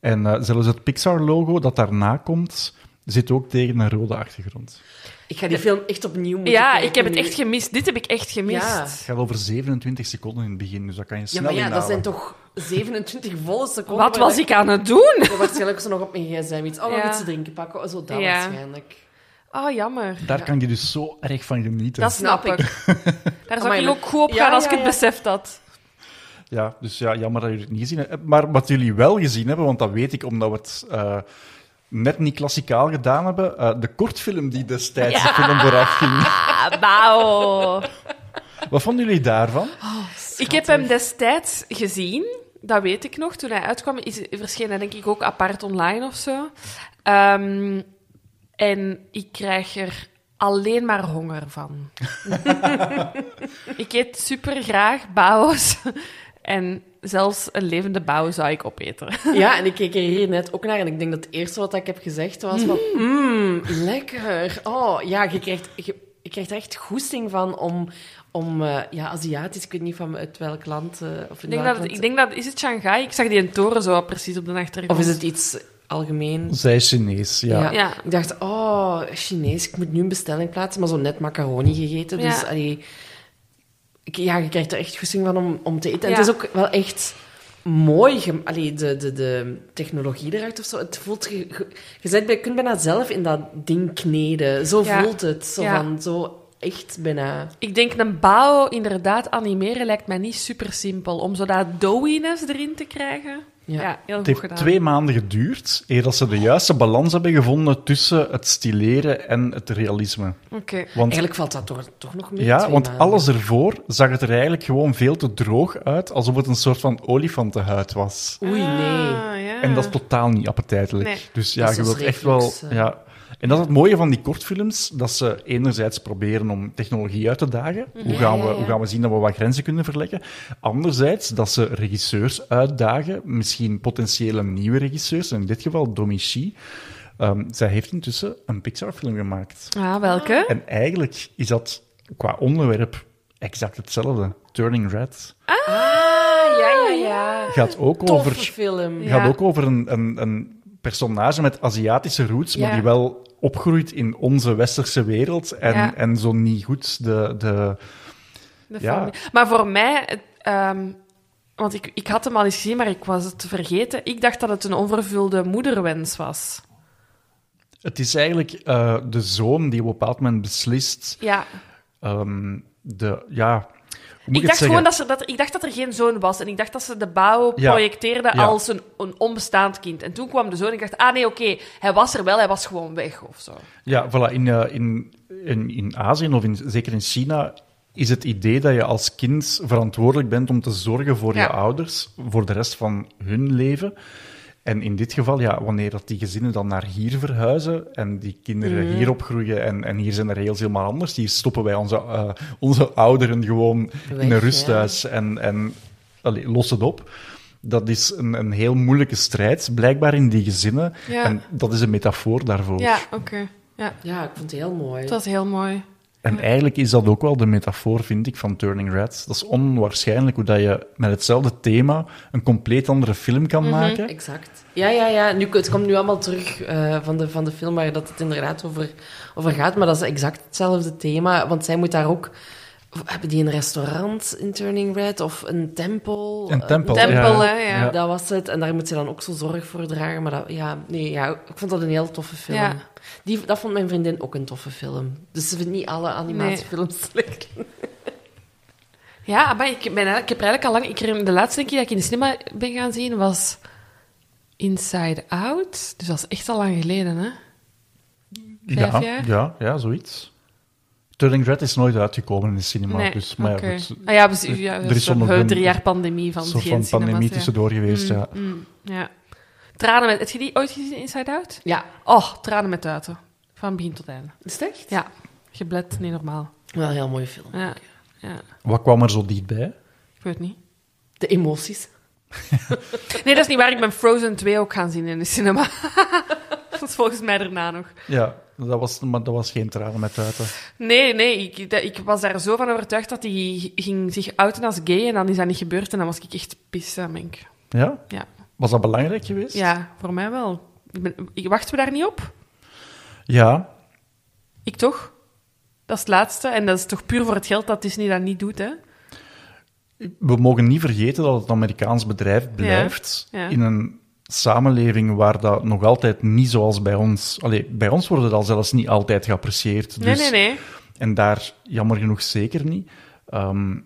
S2: En eh, zelfs het Pixar-logo dat daarna komt, zit ook tegen een rode achtergrond.
S4: Ik ga die film echt opnieuw moeten
S3: Ja,
S4: kijken
S3: ik heb het
S4: nu.
S3: echt gemist. Dit heb ik echt
S4: Ja.
S3: gemist.
S2: Het gaat over 27 seconden in het begin, dus dat kan je
S4: Ja,
S2: snel
S4: maar ja, dat
S2: inhalen.
S4: zijn toch 27 volle seconden.
S3: Wat
S4: waar
S3: was ik aan het doen?
S4: Ja, waarschijnlijk ze nog op mijn gsm iets. Oh, nog
S3: Ja.
S4: iets te drinken pakken. Zo dat
S3: Ja.
S4: waarschijnlijk.
S3: Ah, jammer.
S2: Daar kan je dus zo erg van genieten.
S3: Dat snap ik.
S4: Snap
S3: Daar zou
S4: Amai,
S3: ik
S4: maar-
S3: ook goed op
S4: Ja,
S3: gaan als
S4: ja,
S3: ik het
S4: ja.
S3: beseft had.
S2: Ja, dus ja, jammer dat jullie het niet gezien hebben. Maar wat jullie wel gezien hebben, want dat weet ik omdat we het eh, net niet klassikaal gedaan hebben, eh, de kortfilm die destijds de film vooraf ging.
S3: Ah, wauw.
S2: Wat vonden jullie daarvan?
S3: Ik heb hem destijds gezien, dat weet ik nog. Toen hij uitkwam, is, verscheen hij denk ik ook apart online of zo. Ehm, en ik krijg er alleen maar honger van. ik eet super graag bao's. En zelfs een levende bao zou ik opeten.
S4: Ja, en ik keek er hier net ook naar en ik denk dat het eerste wat ik heb gezegd was van...
S3: Mm-hmm.
S4: Mmm, lekker. Oh, ja, je krijgt, je, je krijgt er echt goesting van om... om eh, ja, Aziatisch, ik weet niet van uit welk land... eh, of in
S3: Ik denk
S4: welk
S3: dat,
S4: land-
S3: ik denk dat is het Shanghai? Ik zag die een toren zo precies op de achtergrond.
S4: Of is het iets algemeen?
S2: Zij is Chinees, ja.
S4: Ja.
S3: Ja.
S4: Ik dacht, oh, Chinees, ik moet nu een bestelling plaatsen, maar zo net macaroni gegeten. Dus
S3: Ja.
S4: allee, ik- ja, je krijgt er echt goesting van om, om te eten.
S3: Ja.
S4: En het is ook wel echt mooi, gem- allee, de, de, de technologie eruit of zo. Het voelt, ge- ge- je bent bij- kunt bijna zelf in dat ding kneden. Zo
S3: Ja.
S4: voelt het, zo
S3: Ja.
S4: van, zo echt bijna.
S3: Ik denk een bao inderdaad animeren lijkt mij niet super simpel. Om zo dat doughiness erin te krijgen. Ja,
S4: Ja.
S3: heel
S2: Het
S3: goed
S2: heeft
S3: gedaan.
S2: twee maanden geduurd eer dat ze de juiste balans hebben gevonden tussen het stileren en het realisme.
S3: Oké.
S2: Want
S4: Eigenlijk valt dat toch, toch nog meer
S2: Ja,
S4: twee
S2: want
S4: maanden.
S2: alles ervoor zag het er eigenlijk gewoon veel te droog uit, alsof het een soort van olifantenhuid was.
S4: Oei, nee.
S3: Ah, ja.
S2: En dat is totaal niet appetijtelijk.
S3: Nee.
S2: Dus ja,
S4: Dat is
S2: je
S4: als
S2: wilt echt wel.
S4: reflex, eh.
S2: Ja. En dat is het mooie van die kortfilms, dat ze enerzijds proberen om technologie uit te dagen. Hoe, gaan we,
S4: ja, ja.
S2: hoe gaan we zien dat we wat grenzen kunnen verleggen? Anderzijds dat ze regisseurs uitdagen, misschien potentiële nieuwe regisseurs, in dit geval Domichi. Ehm, zij heeft intussen een Pixar-film gemaakt.
S3: Ah, welke?
S2: En eigenlijk is dat qua onderwerp exact hetzelfde. Turning Red
S4: Ah, ja, ja, ja.
S2: gaat ook
S4: Toffe
S2: over
S4: film.
S3: Ja.
S2: gaat ook over een, een, een personage met Aziatische roots, maar
S4: Ja.
S2: die wel opgroeit in onze westerse wereld en,
S3: Ja.
S2: en zo niet goed de, de,
S3: De
S2: Ja.
S3: familie. Maar voor mij, het, ehm, want ik, ik had hem al eens gezien, maar ik was het vergeten. Ik dacht dat het een onvervulde moederwens was.
S2: Het is eigenlijk eh, de zoon die op een bepaald moment beslist.
S3: Ja.
S2: ehm, de, ja, hoe moet
S3: Ik
S2: ik,
S3: dacht,
S2: het
S3: gewoon
S2: zeggen?
S3: dat, ze, dat, ik dacht dat er geen zoon was. En ik dacht dat ze de bouw
S2: Ja.
S3: projecteerde
S2: Ja.
S3: als een, een onbestaand kind. En toen kwam de zoon en ik dacht, ah nee, oké, hij was er wel, hij was gewoon weg of zo.
S2: Ja, voilà, in, eh, in, in, in Azië of in, zeker in China is het idee dat je als kind verantwoordelijk bent om te zorgen voor
S3: Ja.
S2: je ouders, voor de rest van hun leven. En in dit geval, ja, wanneer dat die gezinnen dan naar hier verhuizen en die kinderen
S3: Mhm.
S2: hier opgroeien en, en hier zijn er regels helemaal anders, hier stoppen wij onze, eh, onze ouderen gewoon in een
S4: Weg,
S2: rusthuis en, en allee, los het op. Dat is een, een heel moeilijke strijd, blijkbaar in die gezinnen.
S3: Ja.
S2: En dat is een metafoor daarvoor.
S3: Ja, oké. Ja,
S4: Ja, ik vond het heel mooi.
S3: het was heel mooi.
S2: En eigenlijk is dat ook wel de metafoor, vind ik, van Turning Red. Dat is onwaarschijnlijk hoe dat je met hetzelfde thema een compleet andere film
S3: Mhm.
S2: kan maken.
S4: Exact. Ja, ja, ja. Nu, het komt nu allemaal terug eh, van, de, van de film waar dat het inderdaad over, over gaat. Maar dat is exact hetzelfde thema. Want zij moet daar ook... Hebben die een restaurant in Turning Red? Of een tempel?
S2: Een
S4: Eh,
S2: tempel,
S3: Tempel,
S2: ja.
S3: hè, ja.
S2: Ja.
S4: Dat was het. En daar moet ze dan ook zo zorg voor dragen. Maar dat, ja, nee, ja, ik vond dat een heel toffe film.
S3: Ja.
S4: Die, dat vond mijn vriendin ook een toffe film. Dus ze vindt niet alle animatiefilms slecht.
S3: Ja, maar ik, ben, eigenlijk- ik heb er eigenlijk al lang... Ik, herinner- de laatste keer dat ik in de cinema ben gaan zien was Inside Out. Dus dat is echt al lang geleden, hè? Vijf
S2: ja,
S3: jaar?
S2: ja, ja, zoiets. Turning Red is nooit uitgekomen in de cinema. dus, maar
S3: oké.
S2: ja, goed,
S3: Ah ja, precies, ja,
S2: er
S3: er
S2: is
S3: is
S2: zonder
S3: een
S2: een-
S3: drie jaar pandemie van
S2: een soort
S3: geen
S2: van
S3: cinemas,
S2: pandemie
S3: ja.
S2: tussendoor geweest. Ja.
S3: Mm, ja. Tranen met... Heb je die ooit gezien, Inside Out?
S4: Ja,
S3: Oh, tranen met tuiten. Van begin tot einde.
S4: is het echt?
S3: Ja, geblet, niet normaal.
S4: Wel een heel mooie film.
S3: Ja, ja.
S2: Wat kwam er zo dichtbij?
S3: Ik weet het niet.
S4: De emoties.
S3: Nee, dat is niet waar. Ik ben Frozen 2 ook gaan zien in de cinema. dat is volgens mij daarna nog.
S2: Ja, dat was, maar dat was geen tranen met tuiten.
S3: Nee, nee, ik, dat- ik was daar zo van overtuigd dat hij ging zich uiten als gay en dan is dat niet gebeurd en dan was ik echt pissed, denk ik.
S2: Ja?
S3: Ja.
S2: Was dat belangrijk geweest?
S3: ja, voor mij wel. Ik ben, ik- wachten we daar niet op?
S2: Ja,
S3: Ik toch? Dat is het laatste en dat is toch puur voor het geld dat Disney dat niet doet, hè?
S2: we mogen niet vergeten dat het een Amerikaans bedrijf blijft
S3: ja.
S2: in een samenleving waar dat nog altijd niet zoals bij ons... Allee, bij ons wordt het al zelfs niet altijd geapprecieerd.
S3: Nee,
S2: dus-
S3: nee, nee.
S2: En daar jammer genoeg zeker niet. Ehm,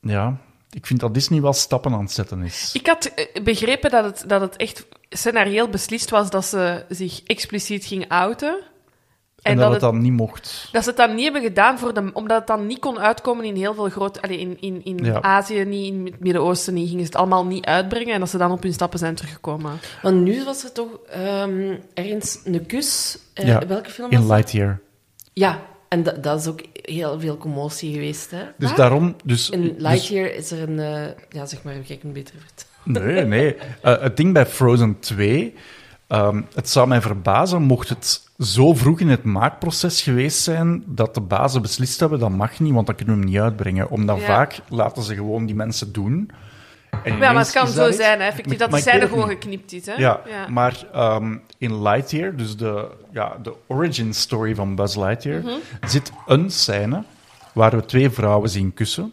S2: ja, ik vind dat Disney wel stappen aan het zetten is.
S3: Ik had eh, begrepen dat het, dat het echt scenarioel beslist was dat ze zich expliciet ging outen.
S2: en, dat, het dan niet mocht.
S3: Dat ze het dan niet hebben gedaan, voor de, omdat het dan niet kon uitkomen in heel veel grote... Allee, in in, in
S2: Ja.
S3: Azië niet, in het Midden-Oosten niet, gingen ze het allemaal niet uitbrengen. En dat ze dan op hun stappen zijn teruggekomen.
S4: Want nu was er toch ehm, ergens een kus. Eh,
S2: Ja,
S4: Welke film was
S2: In
S4: dat?
S2: Lightyear.
S4: Ja, en da- dat is ook heel veel commotie geweest. Hè?
S2: Dus
S3: Wat?
S2: daarom... Dus,
S4: In
S2: dus-
S4: Lightyear is er een... eh, ja, zeg maar, kijk een beter verteld.
S2: Nee, nee. Eh, het ding bij Frozen 2, ehm, het zou mij verbazen mocht het zo vroeg in het maakproces geweest zijn dat de bazen beslist hebben dat mag niet, want dan kunnen we hem niet uitbrengen. Omdat
S3: Ja.
S2: vaak laten ze gewoon die mensen doen. En
S3: Ja, maar
S2: ineens
S3: het kan
S2: is
S3: zo
S2: iets.
S3: zijn, hè, effectief,
S2: Maar-
S3: dat de
S2: maar ik weet
S3: scène
S2: het
S3: gewoon
S2: niet.
S3: geknipt is. Hè?
S2: Ja, maar ehm, in Lightyear, dus de, ja, de origin story van Buzz Lightyear, zit een scène waar we twee vrouwen zien kussen.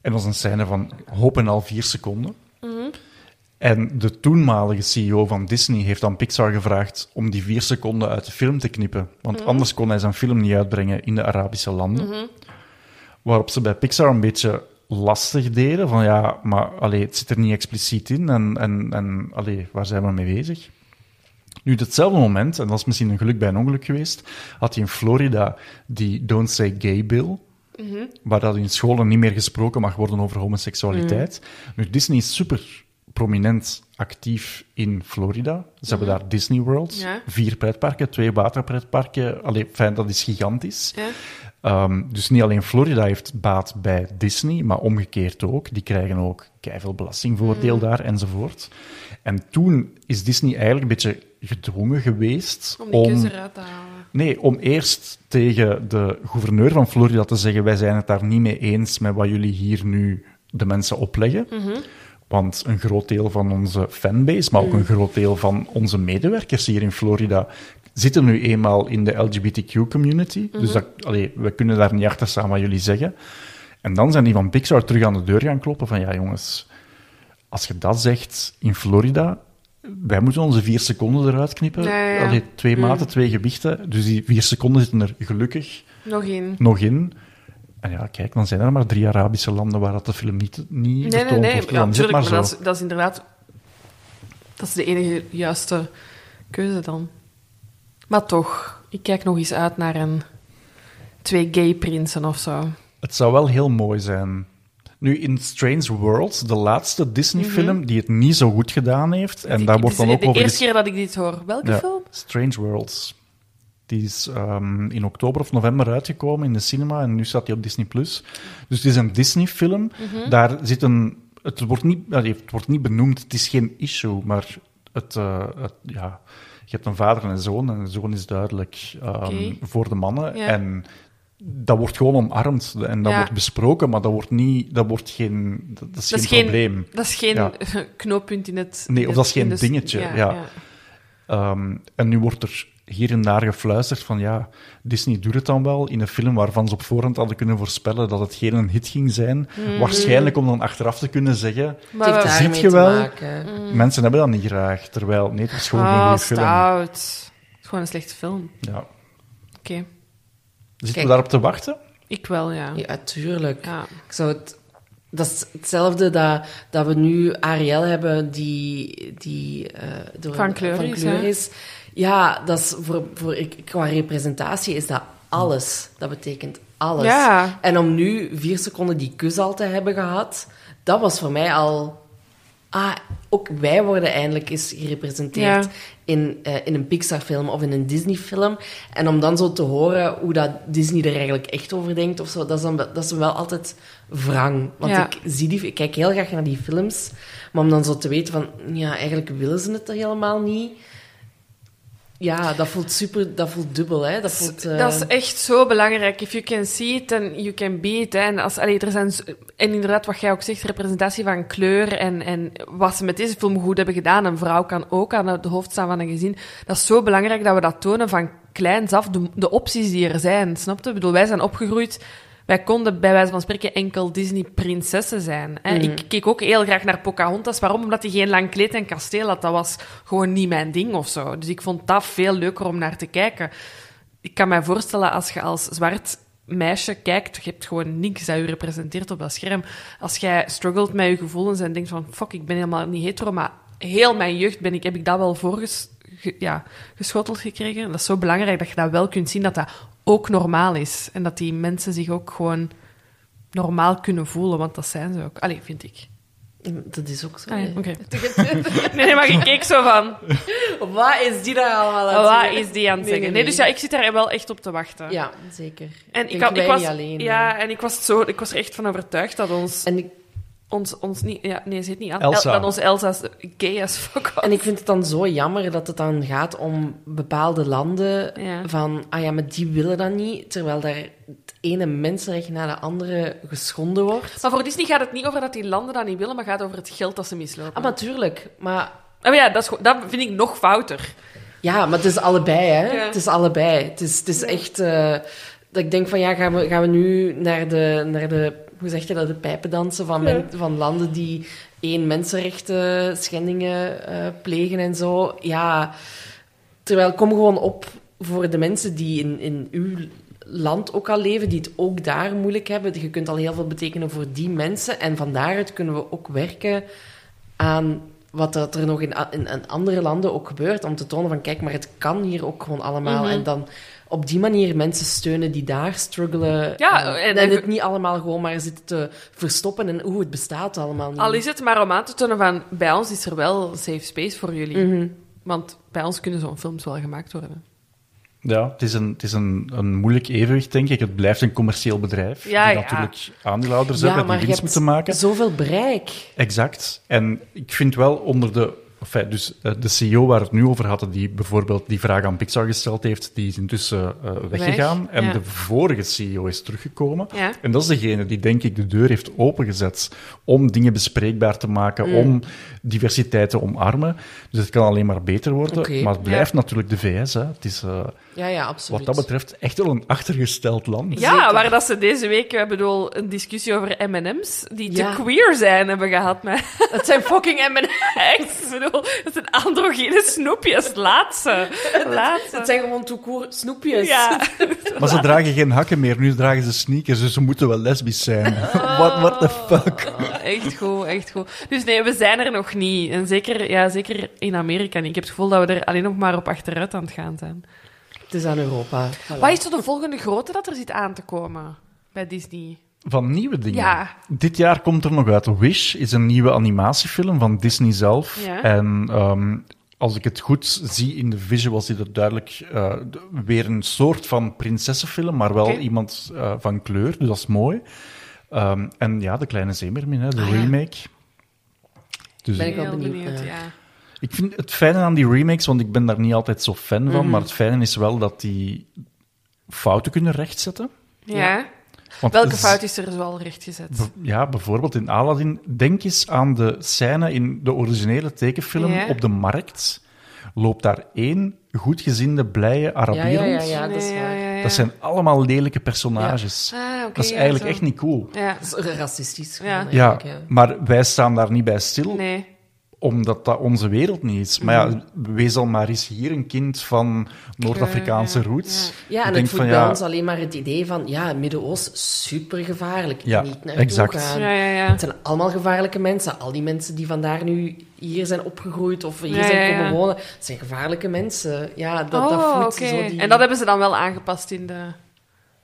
S2: En dat is een scène van hoop en al vier seconden. En de toenmalige CEO van Disney heeft aan Pixar gevraagd om die vier seconden uit de film te knippen. Want anders kon hij zijn film niet uitbrengen in de Arabische landen. Waarop ze bij Pixar een beetje lastig deden. Van ja, maar allee, het zit er niet expliciet in. En, en, en allee, waar zijn we mee bezig? Nu, op hetzelfde moment, en dat is misschien een geluk bij een ongeluk geweest, had hij in Florida die Don't Say Gay Bill. Waar dat in scholen niet meer gesproken mag worden over homoseksualiteit. Nu, Disney is super prominent actief in Florida. Ze hebben daar Disney World,
S3: Ja.
S2: vier pretparken, twee waterpretparken. Allee, fijn, dat is gigantisch.
S3: Ja.
S2: Ehm, dus niet alleen Florida heeft baat bij Disney, maar omgekeerd ook. Die krijgen ook veel belastingvoordeel
S3: Mm.
S2: daar enzovoort. En toen is Disney eigenlijk een beetje gedwongen geweest
S3: Om die kus eruit te halen.
S2: nee, om eerst tegen de gouverneur van Florida te zeggen: wij zijn het daar niet mee eens met wat jullie hier nu de mensen opleggen. Want een groot deel van onze fanbase, maar ook een groot deel van onze medewerkers hier in Florida, zitten nu eenmaal in de LGBTQ community. Dus dat, allee, we kunnen daar niet achter staan wat jullie zeggen. En dan zijn die van Pixar terug aan de deur gaan kloppen van ja jongens, als je dat zegt in Florida, wij moeten onze vier seconden eruit knippen.
S3: Ja, ja, Mm. ja.
S2: Allee, twee maten, twee gewichten. Dus die vier seconden zitten er gelukkig
S3: Nog één.
S2: nog in. En ja, kijk, dan zijn er maar drie Arabische landen waar dat de film niet, niet
S3: Nee,
S2: vertoond
S3: nee, nee.
S2: wordt. Dus
S3: Ja,
S2: dan is het
S3: natuurlijk. Maar,
S2: maar
S3: dat,
S2: zo.
S3: is, dat is inderdaad... Dat is de enige juiste keuze dan. Maar toch, ik kijk nog eens uit naar een... Twee gay prinsen of zo.
S2: Het zou wel heel mooi zijn. Nu, in Strange Worlds, de laatste Disney-film die het niet zo goed gedaan heeft. En
S3: Ik-
S2: daar
S3: dit
S2: wordt
S3: is
S2: dan ook
S3: Mhm. de
S2: over
S3: eerste
S2: ges-
S3: keer dat ik dit hoor. Welke
S2: Ja,
S3: film?
S2: Strange Worlds. Die is ehm, in oktober of november uitgekomen in de cinema en nu staat die op Disney+. Plus. Dus het is een Disney-film.
S3: Mhm.
S2: Daar zit een... Het wordt, niet, allee, het wordt niet benoemd, het is geen issue, maar het, eh, het- ja, je hebt een vader en een zoon en de zoon is duidelijk ehm,
S3: Oké.
S2: voor de mannen.
S3: Ja.
S2: En dat wordt gewoon omarmd en dat
S3: Ja.
S2: wordt besproken, maar dat wordt, niet, dat wordt geen, dat, dat is
S3: Dat
S2: geen, probleem.
S3: Dat is geen
S2: Ja.
S3: knooppunt in het...
S2: Nee,
S3: in
S2: of
S3: het-
S2: dat is geen
S3: in de-
S2: dingetje, ja. Ehm, en nu wordt er hier en daar gefluisterd van ja, Disney doet het dan wel in een film waarvan ze op voorhand hadden kunnen voorspellen dat het geen een hit ging zijn.
S4: Mm.
S2: Waarschijnlijk om dan achteraf te kunnen zeggen,
S4: Het heeft
S3: Maar we-
S2: daar-
S4: daarmee
S2: Ziet je
S4: te
S2: wel?
S4: maken.
S2: mensen hebben dat niet graag. Terwijl, nee, het is gewoon een
S3: Ah,
S2: goede film. Ja.
S3: stout. Het is gewoon een slechte film. Oké.
S2: Zitten
S4: Kijk.
S2: we daarop te wachten?
S3: Ik wel, ja. Mm. ja.
S4: Ja, tuurlijk. Ik zou het... Dat is hetzelfde dat, dat we nu Ariel hebben, die, die eh, door,
S3: Van kleur is, hè?
S4: is. Ja, dat is voor, voor, qua representatie is dat alles. Dat betekent alles.
S3: Ja.
S4: En om nu vier seconden die kus al te hebben gehad, dat was voor mij al... Ah, ook wij worden eindelijk eens gerepresenteerd
S3: Ja.
S4: in, eh, in een Pixar-film of in een Disney-film. En om dan zo te horen hoe dat Disney er eigenlijk echt over denkt of zo, dat is, dan, wel- dat is wel altijd wrang. Want
S3: Ja.
S4: ik, zie die, ik kijk heel graag naar die films, maar om dan zo te weten van, ja, eigenlijk willen ze het helemaal niet. Ja, dat voelt super, dat voelt dubbel, hè. Dat voelt... eh,
S3: Dat is echt zo belangrijk. If you can see it, then you can be it. hè. En, als, allee, er zijn, z- en inderdaad, wat jij ook zegt, representatie van kleur en, en wat ze met deze film goed hebben gedaan. Een vrouw kan ook aan het hoofd staan van een gezin. Dat is zo belangrijk dat we dat tonen van kleins af, de, de opties die er zijn. Snap je? Ik bedoel, wij zijn opgegroeid... Wij konden bij wijze van spreken enkel Disney-prinsessen zijn. Hè? Ik keek ook heel graag naar Pocahontas. Waarom? Omdat die geen lang kleed en kasteel had. Dat was gewoon niet mijn ding of zo. Dus ik vond dat veel leuker om naar te kijken ik kan mij voorstellen als je als zwart meisje kijkt, je hebt gewoon niks dat je representeert op dat scherm. Als jij struggelt met je gevoelens en denkt van fuck, ik ben helemaal niet hetero, maar heel mijn jeugd ben ik, heb ik dat wel voorges, ge- ja, geschoteld gekregen. Dat is zo belangrijk dat je dat wel kunt zien, dat dat ook normaal is. En dat die mensen zich ook gewoon normaal kunnen voelen, want dat zijn ze ook. Allee, vind ik.
S4: Dat is ook zo.
S3: Ah ja,
S4: hè.
S3: oké. Nee, nee, maar ik keek zo van,
S4: Wat is die daar allemaal aan het
S3: wat
S4: zeggen?
S3: is die aan het zeggen? Nee, dus ja, ik zit daar wel echt op te wachten.
S4: Ja, zeker.
S3: En ik,
S4: Denk
S3: had, ik
S4: wij
S3: was,
S4: niet alleen. hè.
S3: ja, en ik was, zo, ik was er echt van overtuigd dat ons,
S4: En ik,
S3: ons, ons niet, ja, nee, zit niet aan,
S2: Elsa.
S3: El- dat ons Elsa gay as fuck was.
S4: en ik vind het dan zo jammer dat het dan gaat om bepaalde landen
S3: Ja.
S4: van, ah ja, maar die willen dat niet, terwijl daar het ene mensenrecht na de andere geschonden wordt.
S3: Maar voor Disney gaat het niet over dat die landen dat niet willen, maar gaat over het geld dat ze mislopen.
S4: Ah, maar tuurlijk. Maar
S3: Ah, maar ja, dat, is, gewoon- dat vind ik nog fouter.
S4: ja, maar het is allebei, hè.
S3: Ja.
S4: Het is allebei. Het is, het is echt... eh, dat ik denk van, ja, gaan we, gaan we nu naar de, naar de... Hoe zeg je dat? De pijpen dansen van, men- van landen die één mensenrechten schendingen eh, plegen en zo. Ja... Terwijl, kom gewoon op voor de mensen die in, in uw land ook al leven, die het ook daar moeilijk hebben. Je kunt al heel veel betekenen voor die mensen. En van daaruit kunnen we ook werken aan wat dat er nog in, a- in, in andere landen ook gebeurt. Om te tonen van, kijk, maar het kan hier ook gewoon allemaal.
S3: Mhm.
S4: En dan op die manier mensen steunen die daar struggelen.
S3: Ja,
S4: Eh,
S3: en-
S4: en, het niet allemaal gewoon maar zitten te verstoppen en hoe het bestaat allemaal niet.
S3: Al is het maar om aan te tonen van, bij ons is er wel safe space voor jullie.
S4: Mhm.
S3: Want bij ons kunnen zo'n films wel gemaakt worden.
S2: Ja, het is, een, het is een, een moeilijk evenwicht, denk ik. Het blijft een commercieel bedrijf.
S3: Ja,
S2: die
S3: ja.
S2: natuurlijk aandeelhouders
S4: ja,
S2: hebben
S4: maar
S2: die
S4: je
S2: winst
S4: hebt
S2: moeten maken.
S4: zoveel bereik.
S2: Exact. En ik vind wel onder de Enfin, dus eh, de CEO waar we het nu over hadden, die bijvoorbeeld die vraag aan Pixar gesteld heeft, die is intussen eh, weggegaan. en
S3: ja.
S2: de vorige CEO is teruggekomen.
S3: Ja.
S2: En dat is degene die, denk ik, de deur heeft opengezet om dingen bespreekbaar te
S3: Mm.
S2: maken, om diversiteit te omarmen. Dus het kan alleen maar beter worden.
S4: Oké.
S2: Maar het blijft natuurlijk de VS. Hè. Het is eh,
S4: Ja, ja, absoluut.
S2: wat dat betreft echt wel een achtergesteld land.
S3: Ja, waar dat ze deze week, eh, bedoel, een discussie over M&M's die
S4: Ja.
S3: te queer zijn hebben gehad. Maar het zijn fucking M&M's. Ik bedoel, het zijn androgene snoepjes. Laat ze. Laat ze.
S4: Het zijn gewoon toekoor snoepjes.
S3: eh, Ja.
S2: Maar ze dragen geen hakken meer, nu dragen ze sneakers, dus ze moeten wel lesbisch zijn. What, what the
S3: Oh.
S2: fuck?
S3: Echt goed, echt goed. Dus nee, we zijn er nog niet. En zeker, ja, zeker in Amerika niet. Ik heb het gevoel dat we er alleen nog maar op achteruit aan het gaan zijn.
S4: Het is aan Europa. Voilà.
S3: Wat is zo de volgende grote dat er zit aan te komen bij Disney?
S2: Van nieuwe dingen.
S3: Ja.
S2: Dit jaar komt er nog uit. Wish is een nieuwe animatiefilm van Disney zelf.
S3: Ja.
S2: En ehm, als ik het goed zie in de visuals, is het duidelijk eh, d- weer een soort van prinsessenfilm, maar wel
S3: Oké.
S2: iemand eh, van kleur. Dus dat is mooi. Ehm, en ja, De Kleine Zeemermin, hè, de
S3: Ah,
S2: remake. Dus
S4: Ben ik
S2: ik,
S4: wel
S3: Heel
S4: benieuwd,
S3: benieuwd,
S4: ja.
S3: ja.
S2: vind het fijne aan die remakes, want ik ben daar niet altijd zo fan van,
S3: Mhm.
S2: maar het fijne is wel dat die fouten kunnen rechtzetten.
S3: Ja.
S2: Want
S3: Welke
S4: Dus-
S2: z-
S3: fout is er zoal rechtgezet?
S2: Be- Ja, bijvoorbeeld in Aladdin. Denk eens aan de scène in de originele tekenfilm
S3: Ja.
S2: op de markt. Loopt daar één goedgezinde, blije Arabier
S4: Ja, ja, ja,
S2: rond?
S4: ja, dat is
S3: Nee,
S4: waar.
S3: ja, ja, ja.
S2: Dat zijn allemaal lelijke personages.
S3: Ah, oké,
S2: dat is
S3: ja,
S2: eigenlijk
S3: zo.
S2: echt niet cool.
S3: Ja.
S4: Dat is racistisch.
S3: Ja.
S4: gewoon,
S2: Ja,
S4: eigenlijk, ja.
S2: maar wij staan daar niet bij stil,
S3: Nee.
S2: omdat dat onze wereld niet is. Maar ja,
S4: Mm.
S2: wees al maar eens hier een kind van Noord-Afrikaanse roots.
S4: Ja, en
S2: Ik
S4: het
S2: denk
S4: voedt bij ons alleen maar het idee van, ja, het Midden-Oosten, supergevaarlijk,
S2: Ja,
S4: niet naar
S2: exact.
S4: gaan.
S3: Ja, ja, ja.
S4: Het zijn allemaal gevaarlijke mensen. Al die mensen die vandaar nu hier zijn opgegroeid of hier
S3: Ja, ja,
S4: zijn komen
S3: ja.
S4: wonen, het zijn gevaarlijke mensen. Ja, dat, dat
S3: Oh,
S4: voedt
S3: oké.
S4: zo die...
S3: En dat hebben ze dan wel aangepast in de,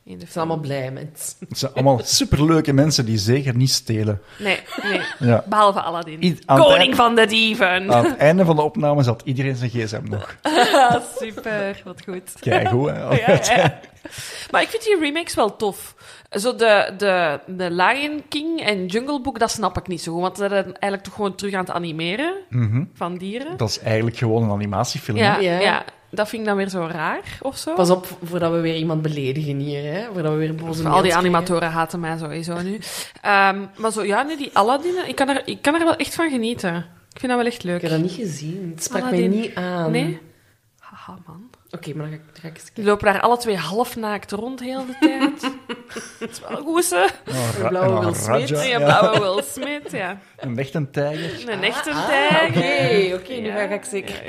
S3: in de
S4: ze zijn allemaal blij mensen.
S3: Oh.
S2: Het zijn allemaal superleuke mensen die zeker niet stelen.
S3: Nee, nee.
S2: Ja.
S3: Behalve Aladdin.
S2: I- aan het
S3: Koning
S2: eind-
S3: van de dieven.
S4: Ah.
S2: Aan het einde van de opname zat iedereen zijn gsm nog.
S3: Ah, super, wat goed.
S2: Kijk hoe. hè.
S3: Ja, ja. Maar ik vind die remakes wel tof. Zo de, de, de Lion King en Jungle Book, dat snap ik niet zo goed. Want ze zijn eigenlijk toch gewoon terug aan het animeren
S2: Mhm.
S3: van dieren.
S2: Dat is eigenlijk gewoon een animatiefilm. hè?
S3: Ja, ja.
S4: Ja.
S3: dat vind ik dan weer zo raar of zo.
S4: Pas op voordat we weer iemand beledigen hier, hè. Voordat we weer boze
S3: Al die
S4: mails krijgen.
S3: animatoren haten mij sowieso nu. Ehm, maar zo, ja, nu die Aladdin, ik kan, er, ik kan er wel echt van genieten. Ik vind dat wel echt leuk.
S4: Ik heb dat niet gezien. Het sprak
S3: Aladdin.
S4: mij niet aan.
S3: Nee? Haha, man.
S4: Oké, maar dan ga ik, dan ga ik eens
S3: Die lopen daar alle twee halfnaakt rond heel de tijd. Het is wel goed, hè?
S2: Oh, ra-
S4: blauwe
S2: oh,
S4: Will Smith,
S2: Raja,
S3: En
S2: ja.
S3: je blauwe Will Smith, ja.
S2: Een echt een tijger.
S3: Een echte
S4: Ah,
S3: tijger.
S4: Oké, oké, nu
S3: Ja.
S4: ga ik zeker.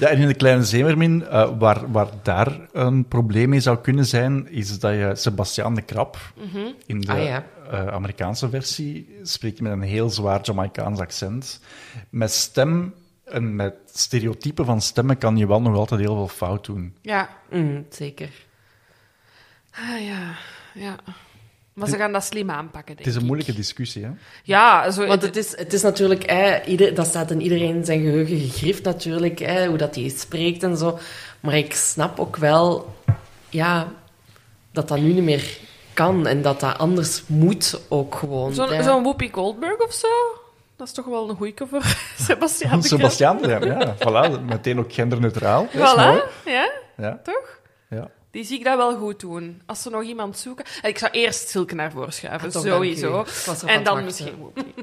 S2: Ja, en in de kleine zeemermin, eh, waar, waar daar een probleem mee zou kunnen zijn, is dat je Sebastiaan de Krab
S3: Mhm.
S2: in de
S4: Ah, ja.
S2: eh, Amerikaanse versie spreekt met een heel zwaar Jamaicaans accent. Met stem en met stereotypen van stemmen kan je wel nog altijd heel veel fout doen.
S3: Ja.
S4: Mm, zeker.
S3: Ah, ja. Ja. Maar ze gaan dat slim aanpakken, denk
S2: Het is een
S3: ik.
S2: moeilijke discussie, hè?
S3: Ja, zo...
S4: Want het is, het is natuurlijk, hè, ieder, dat staat in iedereen zijn geheugen gegrift natuurlijk, hè, hoe dat hij spreekt en zo. Maar ik snap ook wel, ja, dat dat nu niet meer kan en dat dat anders moet ook gewoon.
S3: Zo'n
S4: hè.
S3: zo'n Whoopi Goldberg of zo? Dat is toch wel een goeieke voor Sebastian de Krul.
S2: Sebastiaan, ja, ja, voilà, meteen ook genderneutraal. Dat is mooi.
S3: Voilà, ja,
S2: Ja,
S3: toch?
S2: ja.
S3: Die zie ik dat wel goed doen. Als ze nog iemand zoeken... En Ik zou eerst Silke naar voren schuiven,
S4: Ah, toch,
S3: sowieso.
S4: dank u. Ik was erop aan
S3: En
S4: het
S3: dan
S4: wachten.
S3: misschien Whoopi.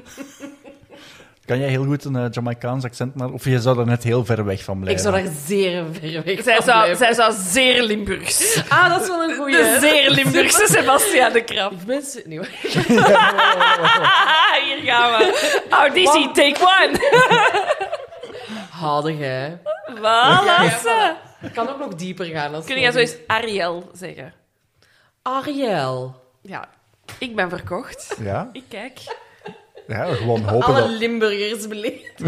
S2: Kan jij heel goed een eh, Jamaicaans accent maken? Of je zou er net heel ver weg van
S4: Ik
S2: blijven?
S4: zou daar zeer ver weg
S3: Zij
S4: van
S3: zou,
S4: blijven.
S3: zij zou zeer Limburgs.
S4: Ah, dat is wel een goeie.
S3: De zeer Limburgse Sebastian de Krab.
S4: Ik ben... ze- Nee, hoor.
S3: Hier gaan we. Auditie, take one.
S4: Haadig, hè.
S3: Voilà.
S4: Het kan ook nog dieper gaan. Als
S3: Kun jij zo eens Ariel zeggen?
S4: Ariel.
S3: Ja, ik ben verkocht.
S2: Ja,
S3: Ik kijk.
S2: ja, gewoon hopen
S4: Alle
S2: dat...
S4: Limburgers beleefd.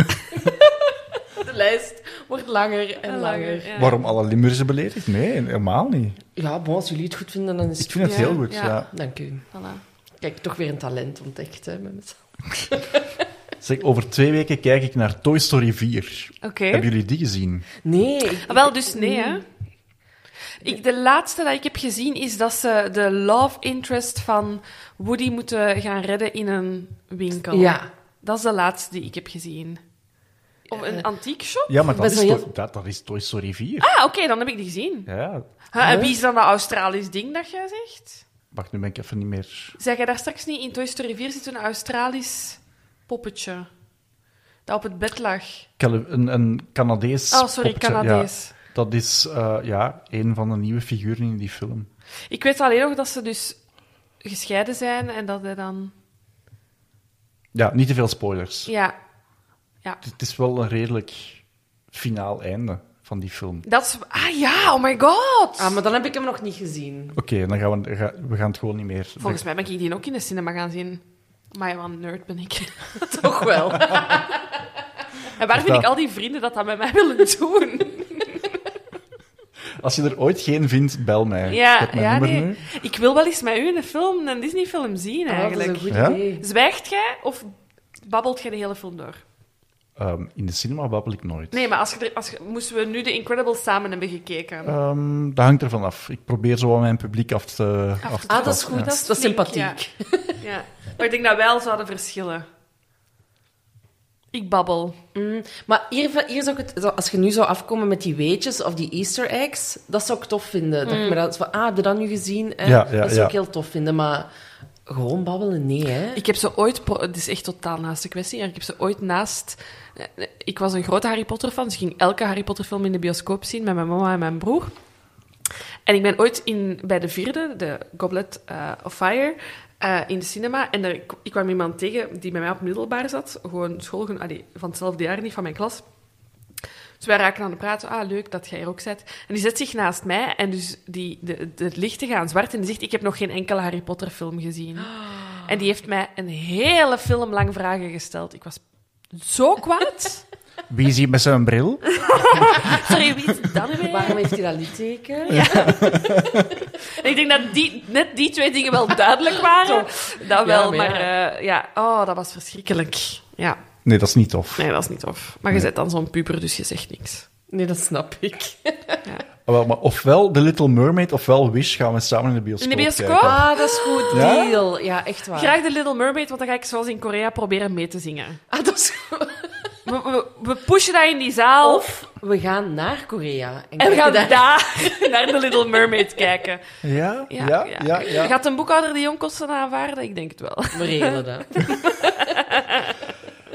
S4: de lijst wordt langer en langer.
S3: ja.
S2: Waarom alle Limburgers beledigd? Nee, helemaal niet.
S4: Ja, bon, als jullie het goed vinden, dan is
S2: Ik
S4: het...
S2: vind het
S3: Ja,
S2: heel goed,
S3: ja.
S2: ja.
S4: Dank u.
S3: Voilà.
S4: Kijk, toch weer een talent ontdekt, hè, met mezelf.
S2: Zeg, over twee weken kijk ik naar Toy Story 4.
S3: Oké.
S2: Hebben jullie die gezien?
S4: Nee, ik-
S3: Ah, Wel, dus nee, hè. Ik, de laatste dat ik heb gezien is dat ze de love interest van Woody moeten gaan redden in een winkel.
S4: ja.
S3: Dat is de laatste die ik heb gezien. Of een antiek shop?
S2: Ja, maar dat
S4: Best
S2: is,
S4: wel
S2: Toy-
S4: heel-
S2: dat, dat is Toy Story 4.
S3: Ah, oké, dan heb ik die gezien.
S2: Ja.
S3: Huh, en wie is dan dat Australisch ding dat jij zegt?
S2: Wacht, nu ben ik even niet meer...
S3: Zeg jij daar straks niet in Toy Story 4 zit een Australisch poppetje dat op het bed lag?
S2: Cali- Een, een Canadees
S3: Oh, sorry,
S2: poppetje,
S3: Canadees.
S2: ja. dat is eh, ja, een van de nieuwe figuren in die film.
S3: Ik weet alleen nog dat ze dus gescheiden zijn en dat hij dan.
S2: Ja, niet te veel spoilers.
S3: Ja,
S2: Het is wel een redelijk finaal einde van die film.
S3: dat is. Ah ja, oh my god!
S4: Ah, maar dan heb ik hem nog niet gezien.
S2: Oké, dan gaan we, ga- we gaan het gewoon niet meer...
S3: Volgens mij ben ik die ook in de cinema gaan zien. Maar wat een nerd ben ik.
S4: Toch wel.
S3: En waar vind
S2: dat?
S3: ik al die vrienden dat dat met mij willen doen?
S2: Als je er ooit geen vindt, bel mij. ik
S3: Ja,
S2: heb mijn
S3: ja
S2: nummer
S3: nee.
S2: nu.
S3: Ik wil wel eens met u een film, een Disney-film zien
S4: Ah, dat is
S3: eigenlijk.
S4: een goed
S2: Ja?
S4: idee.
S3: Zwijgt jij of babbelt jij de hele film door?
S2: Ehm, in de cinema babbel ik nooit.
S3: Nee, maar als je, er- als je- moesten we nu de Incredibles samen hebben gekeken?
S2: Ehm, dat hangt ervan af. Ik probeer zo aan mijn publiek af te...
S3: te
S2: af te
S4: Ah, dat is
S2: tasten,
S4: goed.
S2: ja.
S4: Dat is, dat is
S3: flink,
S4: sympathiek.
S3: Ja. Maar ik denk dat wij al zouden verschillen. Ik babbel.
S4: Maar hier, hier zou ik het, zo- als je nu zou afkomen met die weetjes of die Easter eggs, dat zou ik tof vinden. Dat ik me dat, van, ah, heb je dat nu gezien? Eh,
S2: Ja, ja,
S4: dat zou
S2: ja.
S4: ik heel tof vinden, maar gewoon babbelen, nee, hè?
S3: Ik heb ze ooit... pro- Het is echt totaal naast de kwestie. maar Ik heb ze ooit naast... eh, eh, Ik was een grote Harry Potter-fan, dus ik ging elke Harry Potter-film in de bioscoop zien met mijn mama en mijn broer. En ik ben ooit in, bij de vierde, de Goblet eh, of Fire, eh, in de cinema. En er, ik kwam iemand tegen die bij mij op middelbaar zat. Gewoon school, allee, van hetzelfde jaar, niet van mijn klas. Dus wij raken aan het praten. Ah, leuk dat jij er ook zit. En die zet zich naast mij. En dus die, de, de lichten gaan zwart. En die zegt, ik heb nog geen enkele Harry Potter film gezien. En die heeft mij een hele film lang vragen gesteld. Ik was zo kwaad.
S2: Wie is hier met zijn bril?
S3: Ah, Sorry, wie is dat nu weer?
S4: Waarom heeft hij dat litteken?
S3: En ik denk dat die, net die twee dingen wel duidelijk waren. Dat wel,
S4: maar
S3: maar,
S4: ja.
S3: eh, ja. Oh, dat was verschrikkelijk. Ja,
S2: Nee, dat is niet tof.
S3: nee, dat is niet tof. Maar je zet dan zo'n puber, dus je zegt niks.
S4: Nee, dat snap ik.
S2: Ah, wel, maar ofwel The Little Mermaid, ofwel Wish gaan we samen in de bioscoop
S3: In de bioscoop?
S2: kijken.
S4: Ah, dat is goed.
S2: Ja?
S4: Deal. Ja, echt waar.
S3: Ah, Graag de Little Mermaid, want dan ga ik zoals in Korea proberen mee te zingen.
S4: Ah, dat is goed.
S3: We, we, we pushen dat in die zaal.
S4: Of we gaan naar Korea.
S3: en we
S4: kijken
S3: gaan
S4: daar-
S3: daar. naar de Little Mermaid kijken.
S2: Ja, ja, ja. ja,
S3: Gaat een boekhouder die onkosten aanvaarden? Ik denk het wel.
S4: We regelen dat.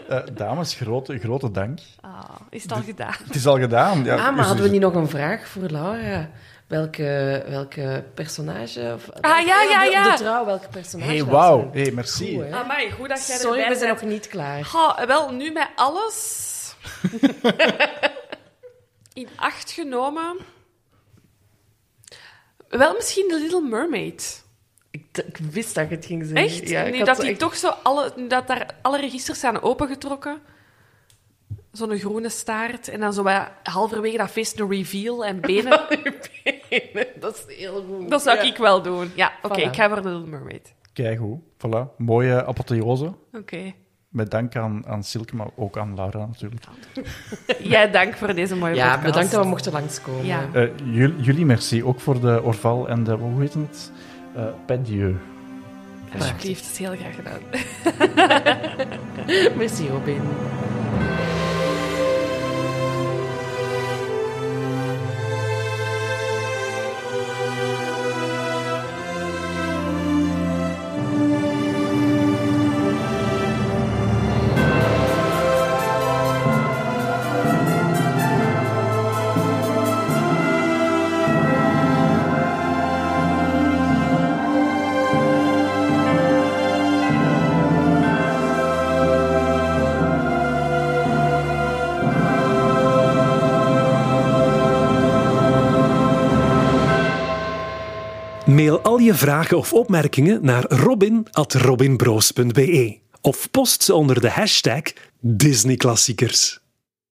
S2: Eh, dames, grote, grote dank.
S3: Ah, is het al gedaan?
S2: Het is al gedaan. Ja,
S4: Ah,
S2: dus-
S4: maar hadden we niet nog een vraag voor Laura? Welke, welke personage? Of,
S3: Ah, ja, ja,
S4: Op de-
S3: ja.
S4: Op de trouw, welke personage?
S2: hey,
S4: dat
S2: wauw.
S4: zijn?
S2: hey, merci.
S4: Goed, hè?
S3: Amai, goed dat jij
S4: Sorry,
S3: erbij
S4: we zijn
S3: bent.
S4: nog niet klaar.
S3: Goh, wel, nu met alles in acht genomen. Wel misschien de Little Mermaid.
S4: Ik, d- ik wist dat je het ging zeggen.
S3: Echt?
S4: Ja, ik
S3: nu
S4: had
S3: dat
S4: zo
S3: die
S4: echt-
S3: toch zo alle, nu dat daar alle registers zijn opengetrokken. Zo'n groene staart. En dan zo bij, halverwege dat feest de reveal en benen.
S4: dat is heel goed.
S3: dat zou
S4: Ja.
S3: ik wel doen. Ja, oké,
S4: Voilà.
S3: ik ga voor de Little Mermaid.
S2: Kijk hoe. Voilà. Mooie apotheose.
S3: Oké.
S2: Met dank aan, aan Silke, maar ook aan Laura natuurlijk.
S3: Jij dank voor deze mooie
S4: Ja,
S3: podcast.
S4: bedankt dat we mochten langskomen.
S3: Ja.
S2: Eh, jul- jullie merci. Ook voor de Orval en de, hoe heet het? Eh Pedieu.
S3: Alsjeblieft, dat is heel graag gedaan.
S4: Merci, Robin.
S1: Mail al je vragen of opmerkingen naar robin.robinbroos.be of post ze onder de hashtag Disneyklassiekers.